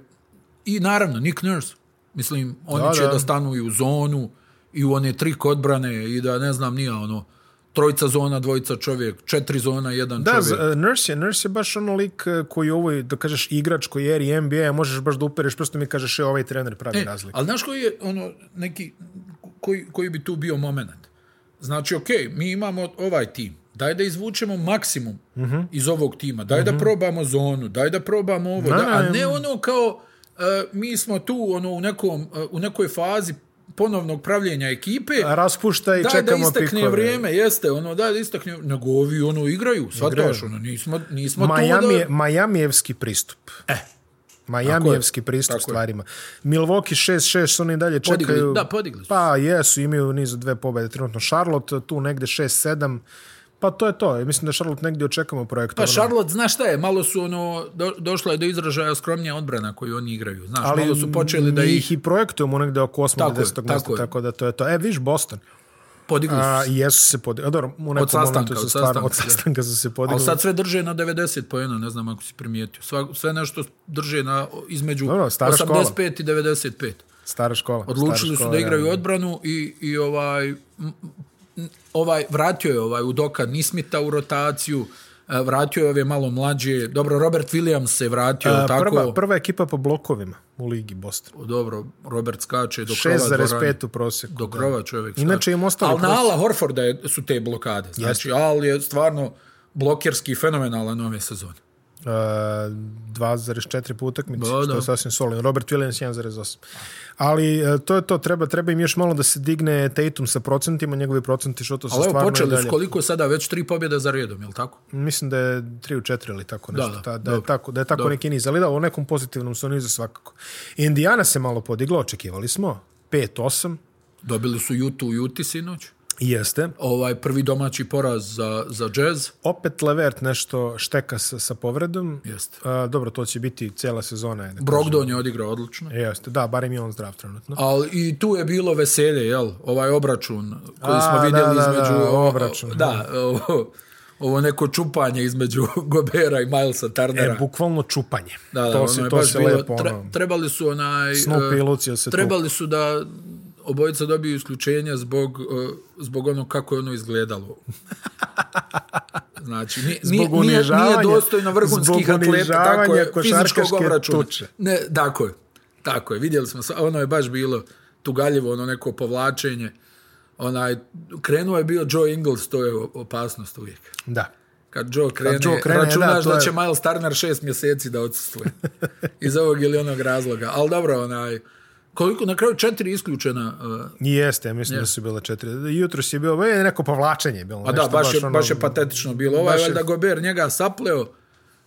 I naravno, Nick Nurse. Mislim, oni
Da,
da, će
da.
da. stanu i u zonu i u one trik odbrane i da ne znam, nije ono trojca zona, dvojica čovjek, četiri zona, jedan
Da,
čovjek.
z- e, Nurse je, Nurse je baš ono lik e, koji ovo, je, da kažeš, igrač koji je eri NBA, možeš baš da upereš prstom i kažeš, e, ovaj trener pravi
E,
razliku.
Ali znaš koji je ono neki koji, koji bi tu bio moment? Znači, ok, mi imamo ovaj tim. Daj da izvučemo maksimum
Mhm.
iz ovog tima. Daj da probamo zonu, daj da probamo ovo. Da, a ne ono kao e, mi smo tu ono u nekom e, u nekoj fazi ponovnog pravljenja ekipe.
Raspušta i
Daj da
čekamo
istekne
pikove.
vrijeme, jeste, ono, daj da istekne, nego ovi ono igraju, svataš, ono, nismo, nismo tu
Miami,
da...
je- Majamijevski pristup.
E,
Eh. Majamijevski pristup stvarima. Milwaukee 6-6, oni i dalje
Podigli-
čekaju...
da, podigli su.
Pa, jesu, imaju niz od dve pobjede. Trenutno Charlotte, tu negde 6-7. Pa to je to. Mislim da Charlotte negdje očekamo projekta.
Pa Charlotte, znaš šta je, malo su ono, do, došla je do izražaja skromnija odbrana koju oni igraju. Znaš, Ali malo su počeli da ih
i projektujemo negde oko 8.
Tako
Tako
je,
10. mjesta,
tako
tako,
je.
da to je to. E, viš Boston.
podigli
A,
su. se.
jesu se podigli. Dobro, u nekom
sastanka,
momentu su
od
stvarno,
sastanka,
od
da.
sastanka su se podigli.
Ali sad sve drže na 90 pojena, ne znam ako si primijetio. Sva, sve nešto drže na, između
Dobro, stara
85
škola.
i 95.
Stara škola. stara
Odlučili su
škola,
da
realno.
igraju odbranu i, i ovaj, m, m, ovaj vratio je ovaj Udoka Nismita u rotaciju, e, vratio je ove malo mlađe. Dobro, Robert Williams se vratio,
A,
tako?
E, Prva, prva ekipa po blokovima u ligi Boston.
Dobro, Robert skače do krova dvorane.
6,5 u prosjeku.
Do krova čovjek.
Inače im ostali
Ali na
prosi-
Ala Horforda je, su te blokade. Znači, Al je stvarno blokirski fenomenalan ove sezone.
Uh, 2,4 po utakmici,
Da,
što
da.
je sasvim solidno. Robert Williams 1,8. Ali e, to je to, treba, treba im još malo da se digne Tatum sa procentima, njegovi procenti što to se
Ali evo,
stvarno i
počeli
dalje.
su koliko sada, već tri pobjede za redom, je li tako?
Mislim da je 3 u 4 ili tako nešto. Da,
da,
da, da, je,
dobro.
tako, da je tako neki niz. Ali da, u nekom pozitivnom su nizu svakako. Indiana se malo podigla, očekivali smo. 5-8,
Dobili su Jutu u Juti sinoć.
jeste.
Ovaj prvi domaći poraz za, za jazz.
Opet Levert nešto šteka sa, sa povredom.
Jeste.
A, dobro, to će biti cijela sezona. je, da
Brogdon je odigrao odlično.
kažem. Jeste, da, barem je on zdrav trenutno.
Ali i tu je bilo veselje, jel? Ovaj obračun koji
A,
smo vidjeli
da, da,
između...
da,
o-
obračun.
Da, ovo, ovo neko čupanje između Gobera i Milesa Turnera.
E, bukvalno čupanje.
Da, da,
to
ono
se,
je
to
baš
se
bilo-
lepo,
tre-
ono,
trebali su onaj...
Snoop
e,
i Lucio se tu.
Trebali su da obojica dobiju isključenja zbog, e, zbog ono kako je ono izgledalo. Znači, nije, nije, nije,
unižavanja-
nije dostojno vrhunskih
zbog
atleta, tako je,
unižavanja
fizičkog
košarkaške
obračuna.
tuče.
Ne, tako je, tako je, vidjeli smo, sva- ono je baš bilo tugaljivo, ono neko povlačenje. Onaj, krenuo je bio Joe Ingles, to je o- opasnost uvijek.
Da.
Kad Joe krene, Kad
Joe
Joe
krene,
krene
da,
računaš
to
da, da
je-
će Miles Turner šest mjeseci da odsustuje. Iz ovog ili onog razloga. Ali dobro, onaj, koliko, na kraju četiri isključena. Uh,
Jeste, ja mislim da su bile četiri. Jutros je bilo, e, neko povlačenje je bilo.
a pa da, baš, je, baš je patetično bilo. Ovaj,
ono baš je-
valjda Gober njega sapleo,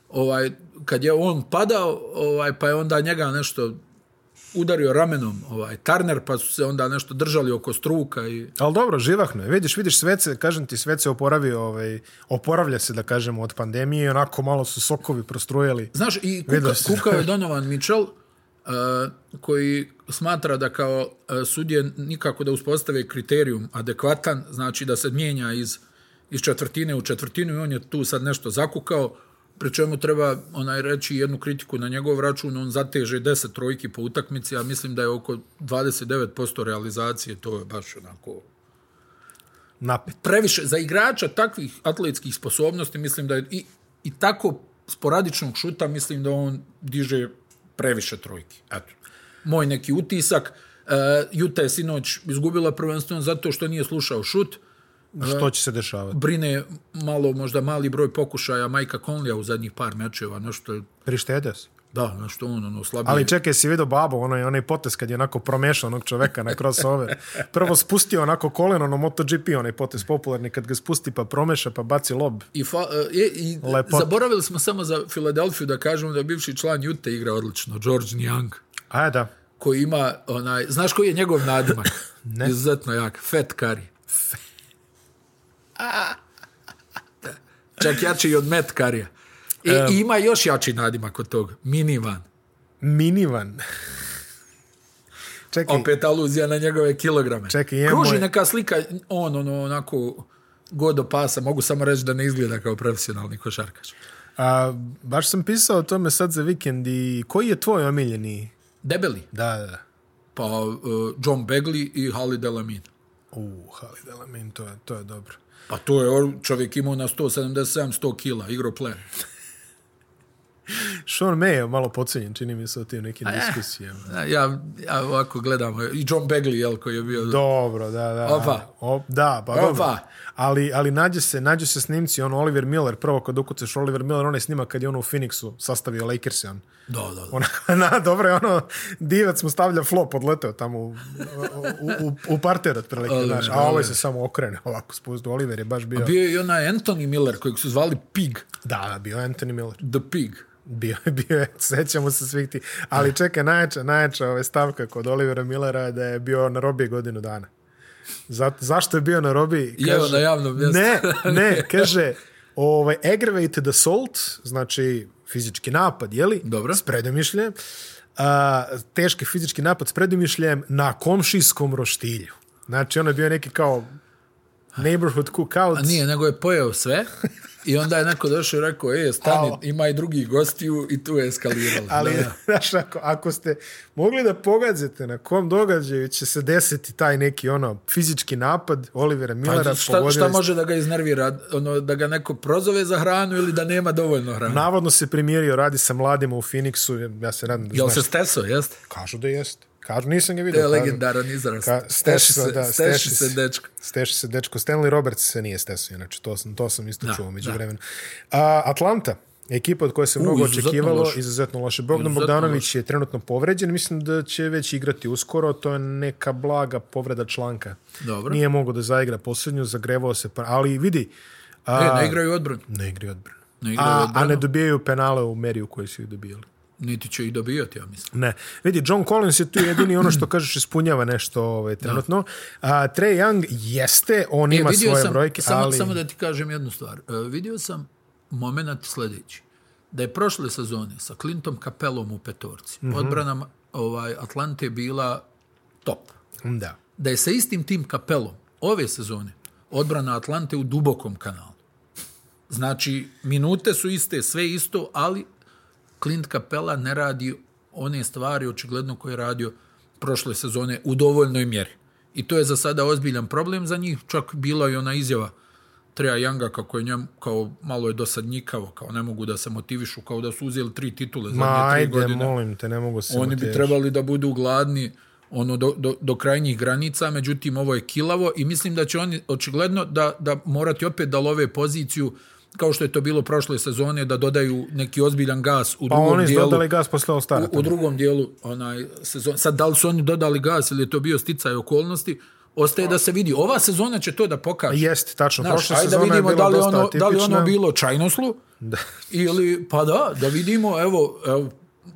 ovaj, kad je on padao, ovaj, pa je onda njega nešto udario ramenom ovaj, Turner, pa su se onda nešto držali oko struka i
Ali dobro, živahno je. Vidiš, vidiš, svet se, kažem ti, svet se oporavi, ovaj, oporavlja se, da kažemo, od pandemije i onako malo su sokovi prostrujeli.
Znaš, i
Vidio
kuka,
si.
kukao je Donovan Mitchell, uh, koji smatra da kao uh, sudje nikako da uspostave kriterijum adekvatan, znači da se mijenja iz, iz četvrtine u četvrtinu i on je tu sad nešto zakukao, pri čemu treba onaj reći jednu kritiku na njegov račun, on zateže 10 trojki po utakmici, a mislim da je oko 29% realizacije, to je baš onako
Napet.
previše za igrača takvih atletskih sposobnosti mislim da je i, i tako sporadičnog šuta mislim da on diže previše trojki. Eto. Moj neki utisak. Uh, Juta je sinoć izgubila prvenstveno zato što nije slušao šut.
Što će se dešavati?
Brine malo, možda mali broj pokušaja Majka Conlija u zadnjih par mečeva. Nešto, je-
Prištede se.
da, nešto on ono slabije.
Ali čekaj, si vidio babo, onaj, onaj potes kad je onako promešao onog čoveka na crossover. Prvo spustio onako koleno, ono MotoGP, onaj potes popularni, kad ga spusti pa promeša pa baci lob.
I, fa, e, i
Lepota.
zaboravili smo samo za Filadelfiju da kažemo da je bivši član Jute igra odlično, George Niang.
A da,
koji ima onaj, znaš koji je njegov nadimak? ne. Izuzetno jak, fat curry. Čak jači i od Matt curry I, I ima još jači nadimak od toga, minivan.
minivan. čekaj,
Opet aluzija na njegove kilograme.
Čekaj, je
Kruži
moj-
neka slika, on ono onako god do pasa, mogu samo reći da ne izgleda kao profesionalni košarkaš.
a, baš sam pisao o tome sad za vikend i koji je tvoj omiljeni?
Debeli,
Da, da, da.
pa uh, John Bagley i Hali Delamin.
U, Halid Alamin, to je, to je dobro.
Pa to je on- čovjek imao na 177-100 kila, igro player.
Sean May je malo pocenjen, čini mi se o tim nekim diskusijama.
Ja, ja ovako gledam. I John Bagley, jel, koji je bio... Do.
Dobro, da, da.
Opa.
Op, da, pa
Opa.
dobro. Ali, ali nađe se, nađe se snimci, ono Oliver Miller, prvo kad ukucaš Oliver Miller, onaj snimak kad je ono u Phoenixu sastavio Lakers, on.
Do, do, do.
Ona, na, dobro je ono, divac mu stavlja flop, odleteo tamo u, u, u, u parter otprilike,
Oliver,
znaš, a ovaj se samo okrene ovako spuzdu. Oliver je baš bio, bio...
Bio je i onaj Anthony Miller, kojeg su zvali Pig.
da, da, bio je Anthony Miller.
The Pig.
Bio, je- bio je, sećamo se svih ti. Ali čekaj, najjača, najjača ove stavka kod Olivera Millera je da je bio na robiji godinu dana. Za, zašto je bio na robiji?
Jeo na javnom mjestu.
Ne, ne, kaže, ovaj, aggravated assault, znači fizički napad, jeli?
Dobro.
S predomišljem. A, teški fizički napad s predomišljem na komšijskom roštilju. Znači, ono je bio neki kao neighborhood cookout.
A nije, nego je pojeo sve. I onda je neko došao i rekao, e, stani,
Alo.
ima i drugi gostiju i tu je eskaliralo.
Ali,
Da, da.
znaš, ako, ako ste mogli da pogadzite na kom događaju će se desiti taj neki ono fizički napad Olivera Millera,
Pa, šta,
pogodili
šta
ste.
može da ga iznervira? Ono, da ga neko prozove za hranu ili da nema dovoljno hrane? Na,
Navodno se primirio, radi sa mladima u Phoenixu, ja se nadam da
Jel
znaš.
se steso, jeste?
Kažu da jeste. Kažu, nisam ga
To
vidio.
je
kažu.
legendaran izraz.
Ka, steši se, da, steši se.
dečko.
Steši se dečko. Stanley Roberts se nije stesio, znači to sam, to sam isto čuo među vremenu. A, Atlanta, Ekipa od koje se mnogo
izuzetno
očekivalo,
loše.
izuzetno loše. Bogdan
Izuzetno
Bogdanović je trenutno povređen, mislim da će već igrati uskoro, to je neka blaga povreda članka.
Dobro.
Nije mogao da zaigra posljednju, zagrevao se, pa- ali vidi, a,
E, ne igraju odbranu.
ne igri odbranu.
Ne igraju
A, a
odbranu.
ne dobijaju penale u meri u kojoj su ih dobijali.
Niti će i dobijati, ja mislim.
Ne. Vidi, John Collins je tu jedini, ono što kažeš, ispunjava nešto ovaj, trenutno. A, Trae Young jeste, on
E,
ima
vidio
svoje
sam,
brojke,
samo,
ali...
samo da ti kažem jednu stvar. E, vidio sam moment sljedeći. Da je prošle sezone sa Clintom Capellom u petorci,
Mhm.
odbrana ovaj, Atlante bila top.
Da.
Da je sa istim tim Capellom ove sezone odbrana Atlante u dubokom kanalu. Znači, minute su iste, sve isto, ali Clint Capella ne radi one stvari očigledno koje je radio prošle sezone u dovoljnoj mjeri. I to je za sada ozbiljan problem za njih. Čak bila i ona izjava Treja Younga kako je njem, kao malo je dosadnjikavo, kao ne mogu da se motivišu, kao da su uzeli tri titule zadnje
Ma,
tri
ajde,
godine.
molim te, ne mogu se
Oni bi
motiviš.
trebali da budu gladni ono do, do, do krajnjih granica, međutim ovo je kilavo i mislim da će oni očigledno da, da morati opet da love poziciju kao što je to bilo prošle sezone, da dodaju neki ozbiljan gas u
Pa
drugom
oni su
dijelu.
dodali gas posle all stara.
U, u drugom dijelu onaj sezon. Sad, da li su oni dodali gas ili je to bio sticaj okolnosti, ostaje da se vidi. Ova sezona će to da pokaže.
Jeste, tačno.
Znaš,
Prošla
ajde da
sezona
vidimo
je bila
da li,
dosta
ono, da li ono
atipična.
bilo čajnoslu da. ili, pa da, da vidimo, evo, evo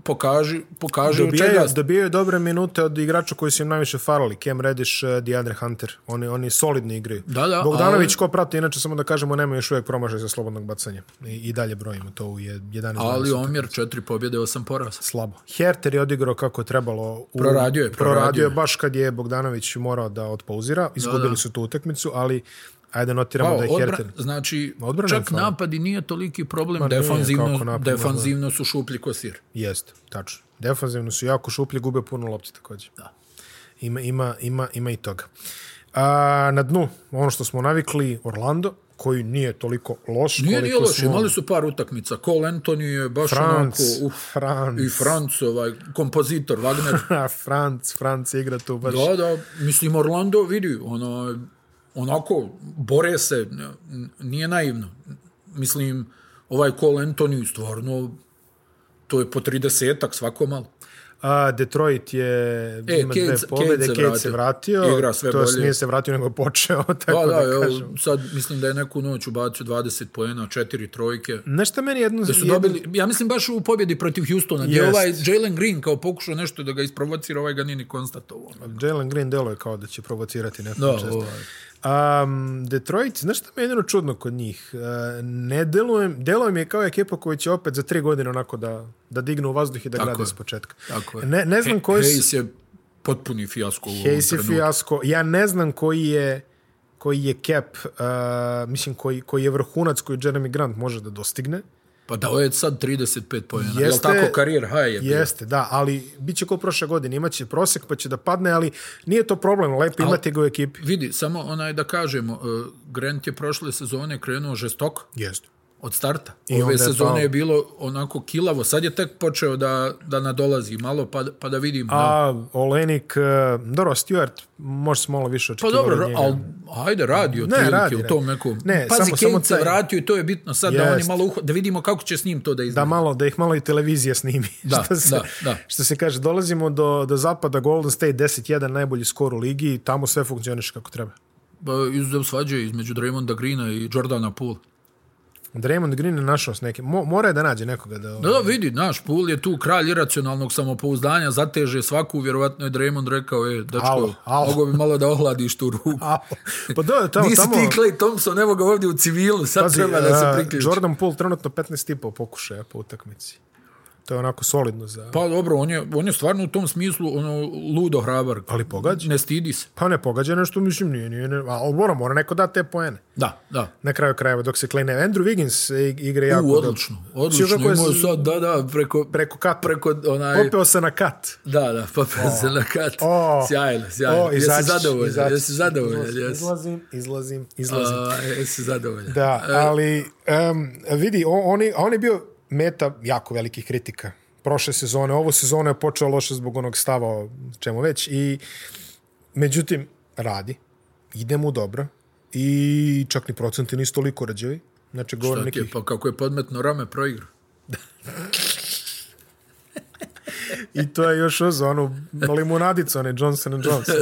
pokaži, pokaži od čega.
Dobijaju, dobijaju dobre minute od igrača koji su im najviše farali. Cam Reddish, eh, DeAndre Hunter. Oni, oni solidno igraju.
Da, da,
Bogdanović,
ali-
ko prati, inače samo da kažemo, nema još uvijek promašaj za slobodnog bacanja. I, i dalje brojimo to u je- 11
Ali
20.
omjer četiri pobjede, osam poraza.
slabo. Herter je odigrao kako je trebalo. U,
Proradio je, proradio
proradio je.
je.
baš kad je Bogdanović morao da otpauzira. Izgubili su tu utakmicu, ali ajde notiramo
Pao,
da je
odbra,
Herter...
znači,
Odbrana je
čak
fala.
napadi nije toliki problem,
nije,
defanzivno,
kako napad,
defanzivno su šuplji kosir.
Jeste, tačno. Defanzivno su jako šuplji, gube puno lopti takođe.
Da.
Ima, ima, ima, ima i toga. A, na dnu, ono što smo navikli, Orlando, koji nije toliko loš.
Nije,
koliko
nije loše,
smo-
imali su par utakmica. Cole Anthony je baš
Franc,
onako, uf,
Franc.
i Franc, ovaj, kompozitor, Wagner.
A, Franc, Franc igra tu baš.
Da, da, mislim, Orlando vidi, ono, onako, bore se, n- nije naivno. Mislim, ovaj Cole Anthony stvarno, to je po 30-ak svako malo.
A, Detroit je e, ima dve
Cade-
pobjede,
Cade se
Kate se
vratio.
vratio.
Igra sve
to jest,
bolje.
Nije se vratio, nego je počeo,
Pa
tako
da,
da,
evo,
kažem.
sad mislim da je neku noć ubacio 20 poena, četiri trojke.
Nešto meni jedno...
Da su dobili, ja mislim baš u pobjedi protiv Houstona, gdje je
Jest.
ovaj Jalen Green kao pokušao nešto da ga isprovocira, ovaj ga nije ni konstatovao. ono.
Jalen Green deluje kao da će provocirati nekom
Da,
često.
ovaj.
Um, Detroit, znaš šta mi je jedino čudno kod njih? Uh, ne delujem, delujem je kao ekipa koja će opet za tri godine onako da, da dignu u vazduh i da
Tako
grade
je.
iz početka.
Tako je.
Ne, ne znam koji su...
Hayes je potpuni fijasko u ovom
Hayes je
trenutku.
fijasko. Ja ne znam koji je koji je cap, uh, mislim koji, koji je vrhunac koji Jeremy Grant može da dostigne.
Pa da, ovo je sad 35 pojena. Jeste, Jel
Jeste-
tako, karijer high je bio.
Jeste, da, ali bit će kao prošle godine, imaće prosek pa će da padne, ali nije to problem, lepo imati ga u ekipi.
Vidi, samo onaj da kažemo, eh, Grant je prošle sezone krenuo žestoko
Jeste.
od starta.
I onda
Ove
je pao.
sezone je bilo onako kilavo. Sad je tek počeo da, da nadolazi malo, pa, pa da vidimo. da.
A Olenik, uh, dobro, Stewart, možda se malo više
Pa
očekivalo od
dobro,
njega.
ali ajde, radi od
Ne, radi,
prilike
radi.
u tom nekom.
Ne,
Pazi,
samo-
samo,
samo
se
taj-
vratio i to je bitno sad da oni
Jest.
malo uho... Da vidimo kako će s njim to da izgleda.
Da malo, da ih malo i televizija snimi.
Da,
što, se,
da, da.
što se kaže, dolazimo do, do zapada Golden State 10-1, najbolji skor u ligi i tamo sve funkcioniš kako treba.
Ba, Izuzev svađe između Draymonda Greena i Jordana Poole.
Draymond Green je našao s nekim, mo, mora je da nađe nekoga da...
Da, da, vidi, naš Poole je tu kralj iracionalnog samopouzdanja, zateže svaku, vjerovatno je Draymond rekao, e,
Au,
dačko,
au.
mogo bi malo da ohladiš tu ruku.
A, pa da, tamo,
Nisi
tamo...
ti Clay Thompson, evo ga ovdje u civilu, sad
Pazi,
treba da se
a,
priključi.
Jordan Poole trenutno 15,5 pokušaja po utakmici. To je onako solidno za...
Pa dobro, on je, on je stvarno u tom smislu ono, ludo hrabar.
Ali pogađa.
Ne stidi se.
Pa ne pogađa nešto, mislim, nije, nije, nije ali mora, mora neko da te poene.
Da, da.
Na kraju krajeva, dok se klene. Andrew Wiggins e, igra jako
U,
dobro.
odlično,
Sviš
odlično.
kako je
Imao
s-
sad, da, da, preko,
Preko kata.
preko onaj...
Popeo se na kat.
Da, da, pa se na kat.
O.
sjajno, sjajno.
O,
jesi
izaći,
zadovoljan,
izaći.
jesi zadovoljan,
Izlazim,
jesi.
Izlazim, izlazim, izlazim.
A, Jesi zadovoljan.
Da, ali um, vidi, on, on, je, on je bio meta jako velikih kritika prošle sezone. Ovo sezone je počeo loše zbog onog stava, o čemu već. I, međutim, radi. Ide mu dobro. I čak ni procenti nisu toliko rađevi. Znači, govorim
Tako je,
nekih...
pa kako je podmetno rame proigra.
I to je još uz onu limunadicu, one Johnson Johnson.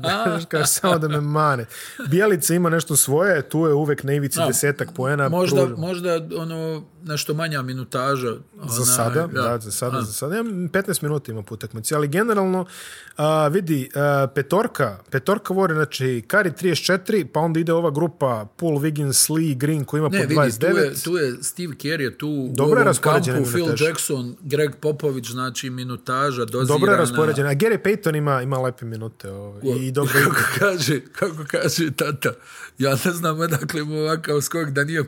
Znaš, kaže samo da me mane. Bijelica ima nešto svoje, tu je uvek na ivici
Da.
desetak poena.
Možda,
pruža-
možda ono, nešto manja minutaža. Ona,
Za sada, da, za sada, za sada. Ja, 15 minuta ima po utakmici, ali generalno a, vidi, a, petorka, petorka vore, znači Kari 34, pa onda ide ova grupa Paul Wiggins, Lee, Green koji ima
Ne,
po
vidi,
29.
tu je, tu je Steve Kerr je tu
Dobro je
u ovom
raspoređena
kampu, Phil
minutaža.
Jackson, Greg Popović, znači minutaža dozirana.
Dobro je raspoređena. A Gary Payton ima, ima lepe minute. Ovaj, I dobro
Kako kaže, kako kaže tata, ja ne znam odakle mu ovakav skok da nije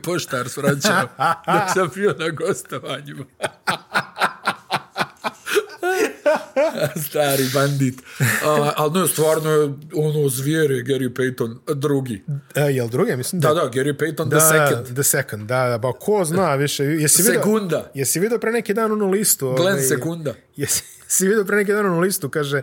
poštar svraćao, da sam bio na gostovanjima. Stari bandit. A, ali ne, stvarno je ono zvijer je Gary Payton drugi.
E, jel druge, mislim?
Da, da, Gary Payton
da,
the second. E,
The second, da, da. Pa ko zna više. Jesi vidio,
Sekunda.
Jesi vidio pre neki dan onu listu? ovaj,
Glenn Sekunda.
Jesi, jesi vidio pre neki dan onu listu, kaže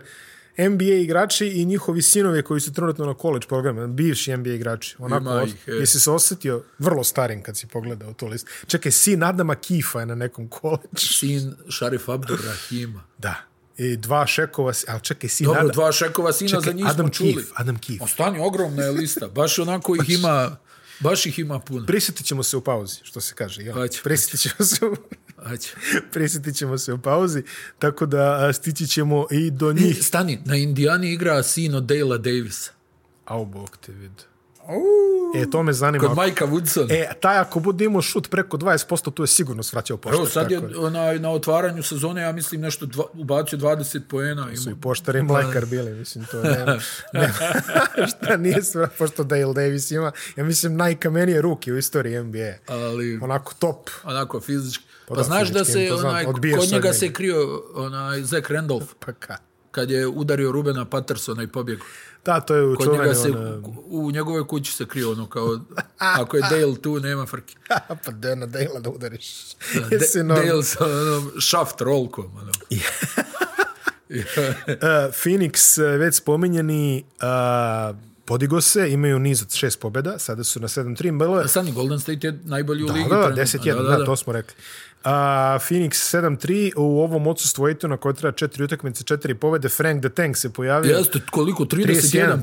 NBA igrači i njihovi sinovi koji su trenutno na college programu, bivši NBA igrači. Onako,
Ima
os-
ih, e.
jesi se osetio vrlo starim kad si pogledao tu listu. Čekaj, sin Adama Kifa je na nekom college.
Sin Šarif Abdurrahima.
Da. I dva šekova, si- ali čekaj, sin
Dobro,
Adam,
dva šekova sina
čekaj,
za njih
Adam
smo čuli.
Keefe, Adam Keefe.
O, stani, ogromna je lista. Baš onako ih ima, baš ih ima puno.
Prisjetit ćemo se u pauzi, što se kaže. Ja.
Hoće,
Prisjetit ćemo se u...
Ajde.
Prisjetit ćemo se u pauzi, tako da a, stići ćemo i do njih.
Stani, na Indijani igra sin od Dale Davisa.
Au, bog te vidi. E, to me zanima.
Kod Majka Woodsona.
E, taj ako bude imao šut preko 20%, tu je sigurno svraćao poštar.
Evo sad je
tako da.
onaj, na otvaranju sezone, ja mislim, nešto dva, ubacio 20 poena.
su i
Ima.
poštari i mlekar bili, mislim, to nema, nema šta nije svra, pošto Dale Davis ima, ja mislim, najkamenije ruke u istoriji NBA.
Ali,
Onako top.
onako fizički. Pa,
da,
znaš da
fizički
se,
impozantno.
onaj,
Odbio
kod
se od
njega
njega.
se krio onaj, Zach Randolph,
Pa ka.
kad je udario Rubena Pattersona i pobjegao.
Da, to je u ono-
Kod njega
čuvanju.
se,
ona-
u njegovoj kući se krio ono kao, ako je Dale tu, nema frke.
pa da na Dale da udariš.
De,
Jesi normalan.
Dale sa onom šaft rolkom. Ono.
Uh, Phoenix, uh, već spominjeni, uh, podigo se, imaju niz od šest pobjeda, sada su na 7-3, bilo je...
Stani, Golden State je najbolji u ligi.
Da, da,
trenutno.
10-1, da, da, to smo rekli. Uh, Phoenix 7-3, u ovom odsustvu Ejtona koja treba četiri utakmice, četiri pobjede, Frank the Tank se pojavio.
Jeste, koliko? 31,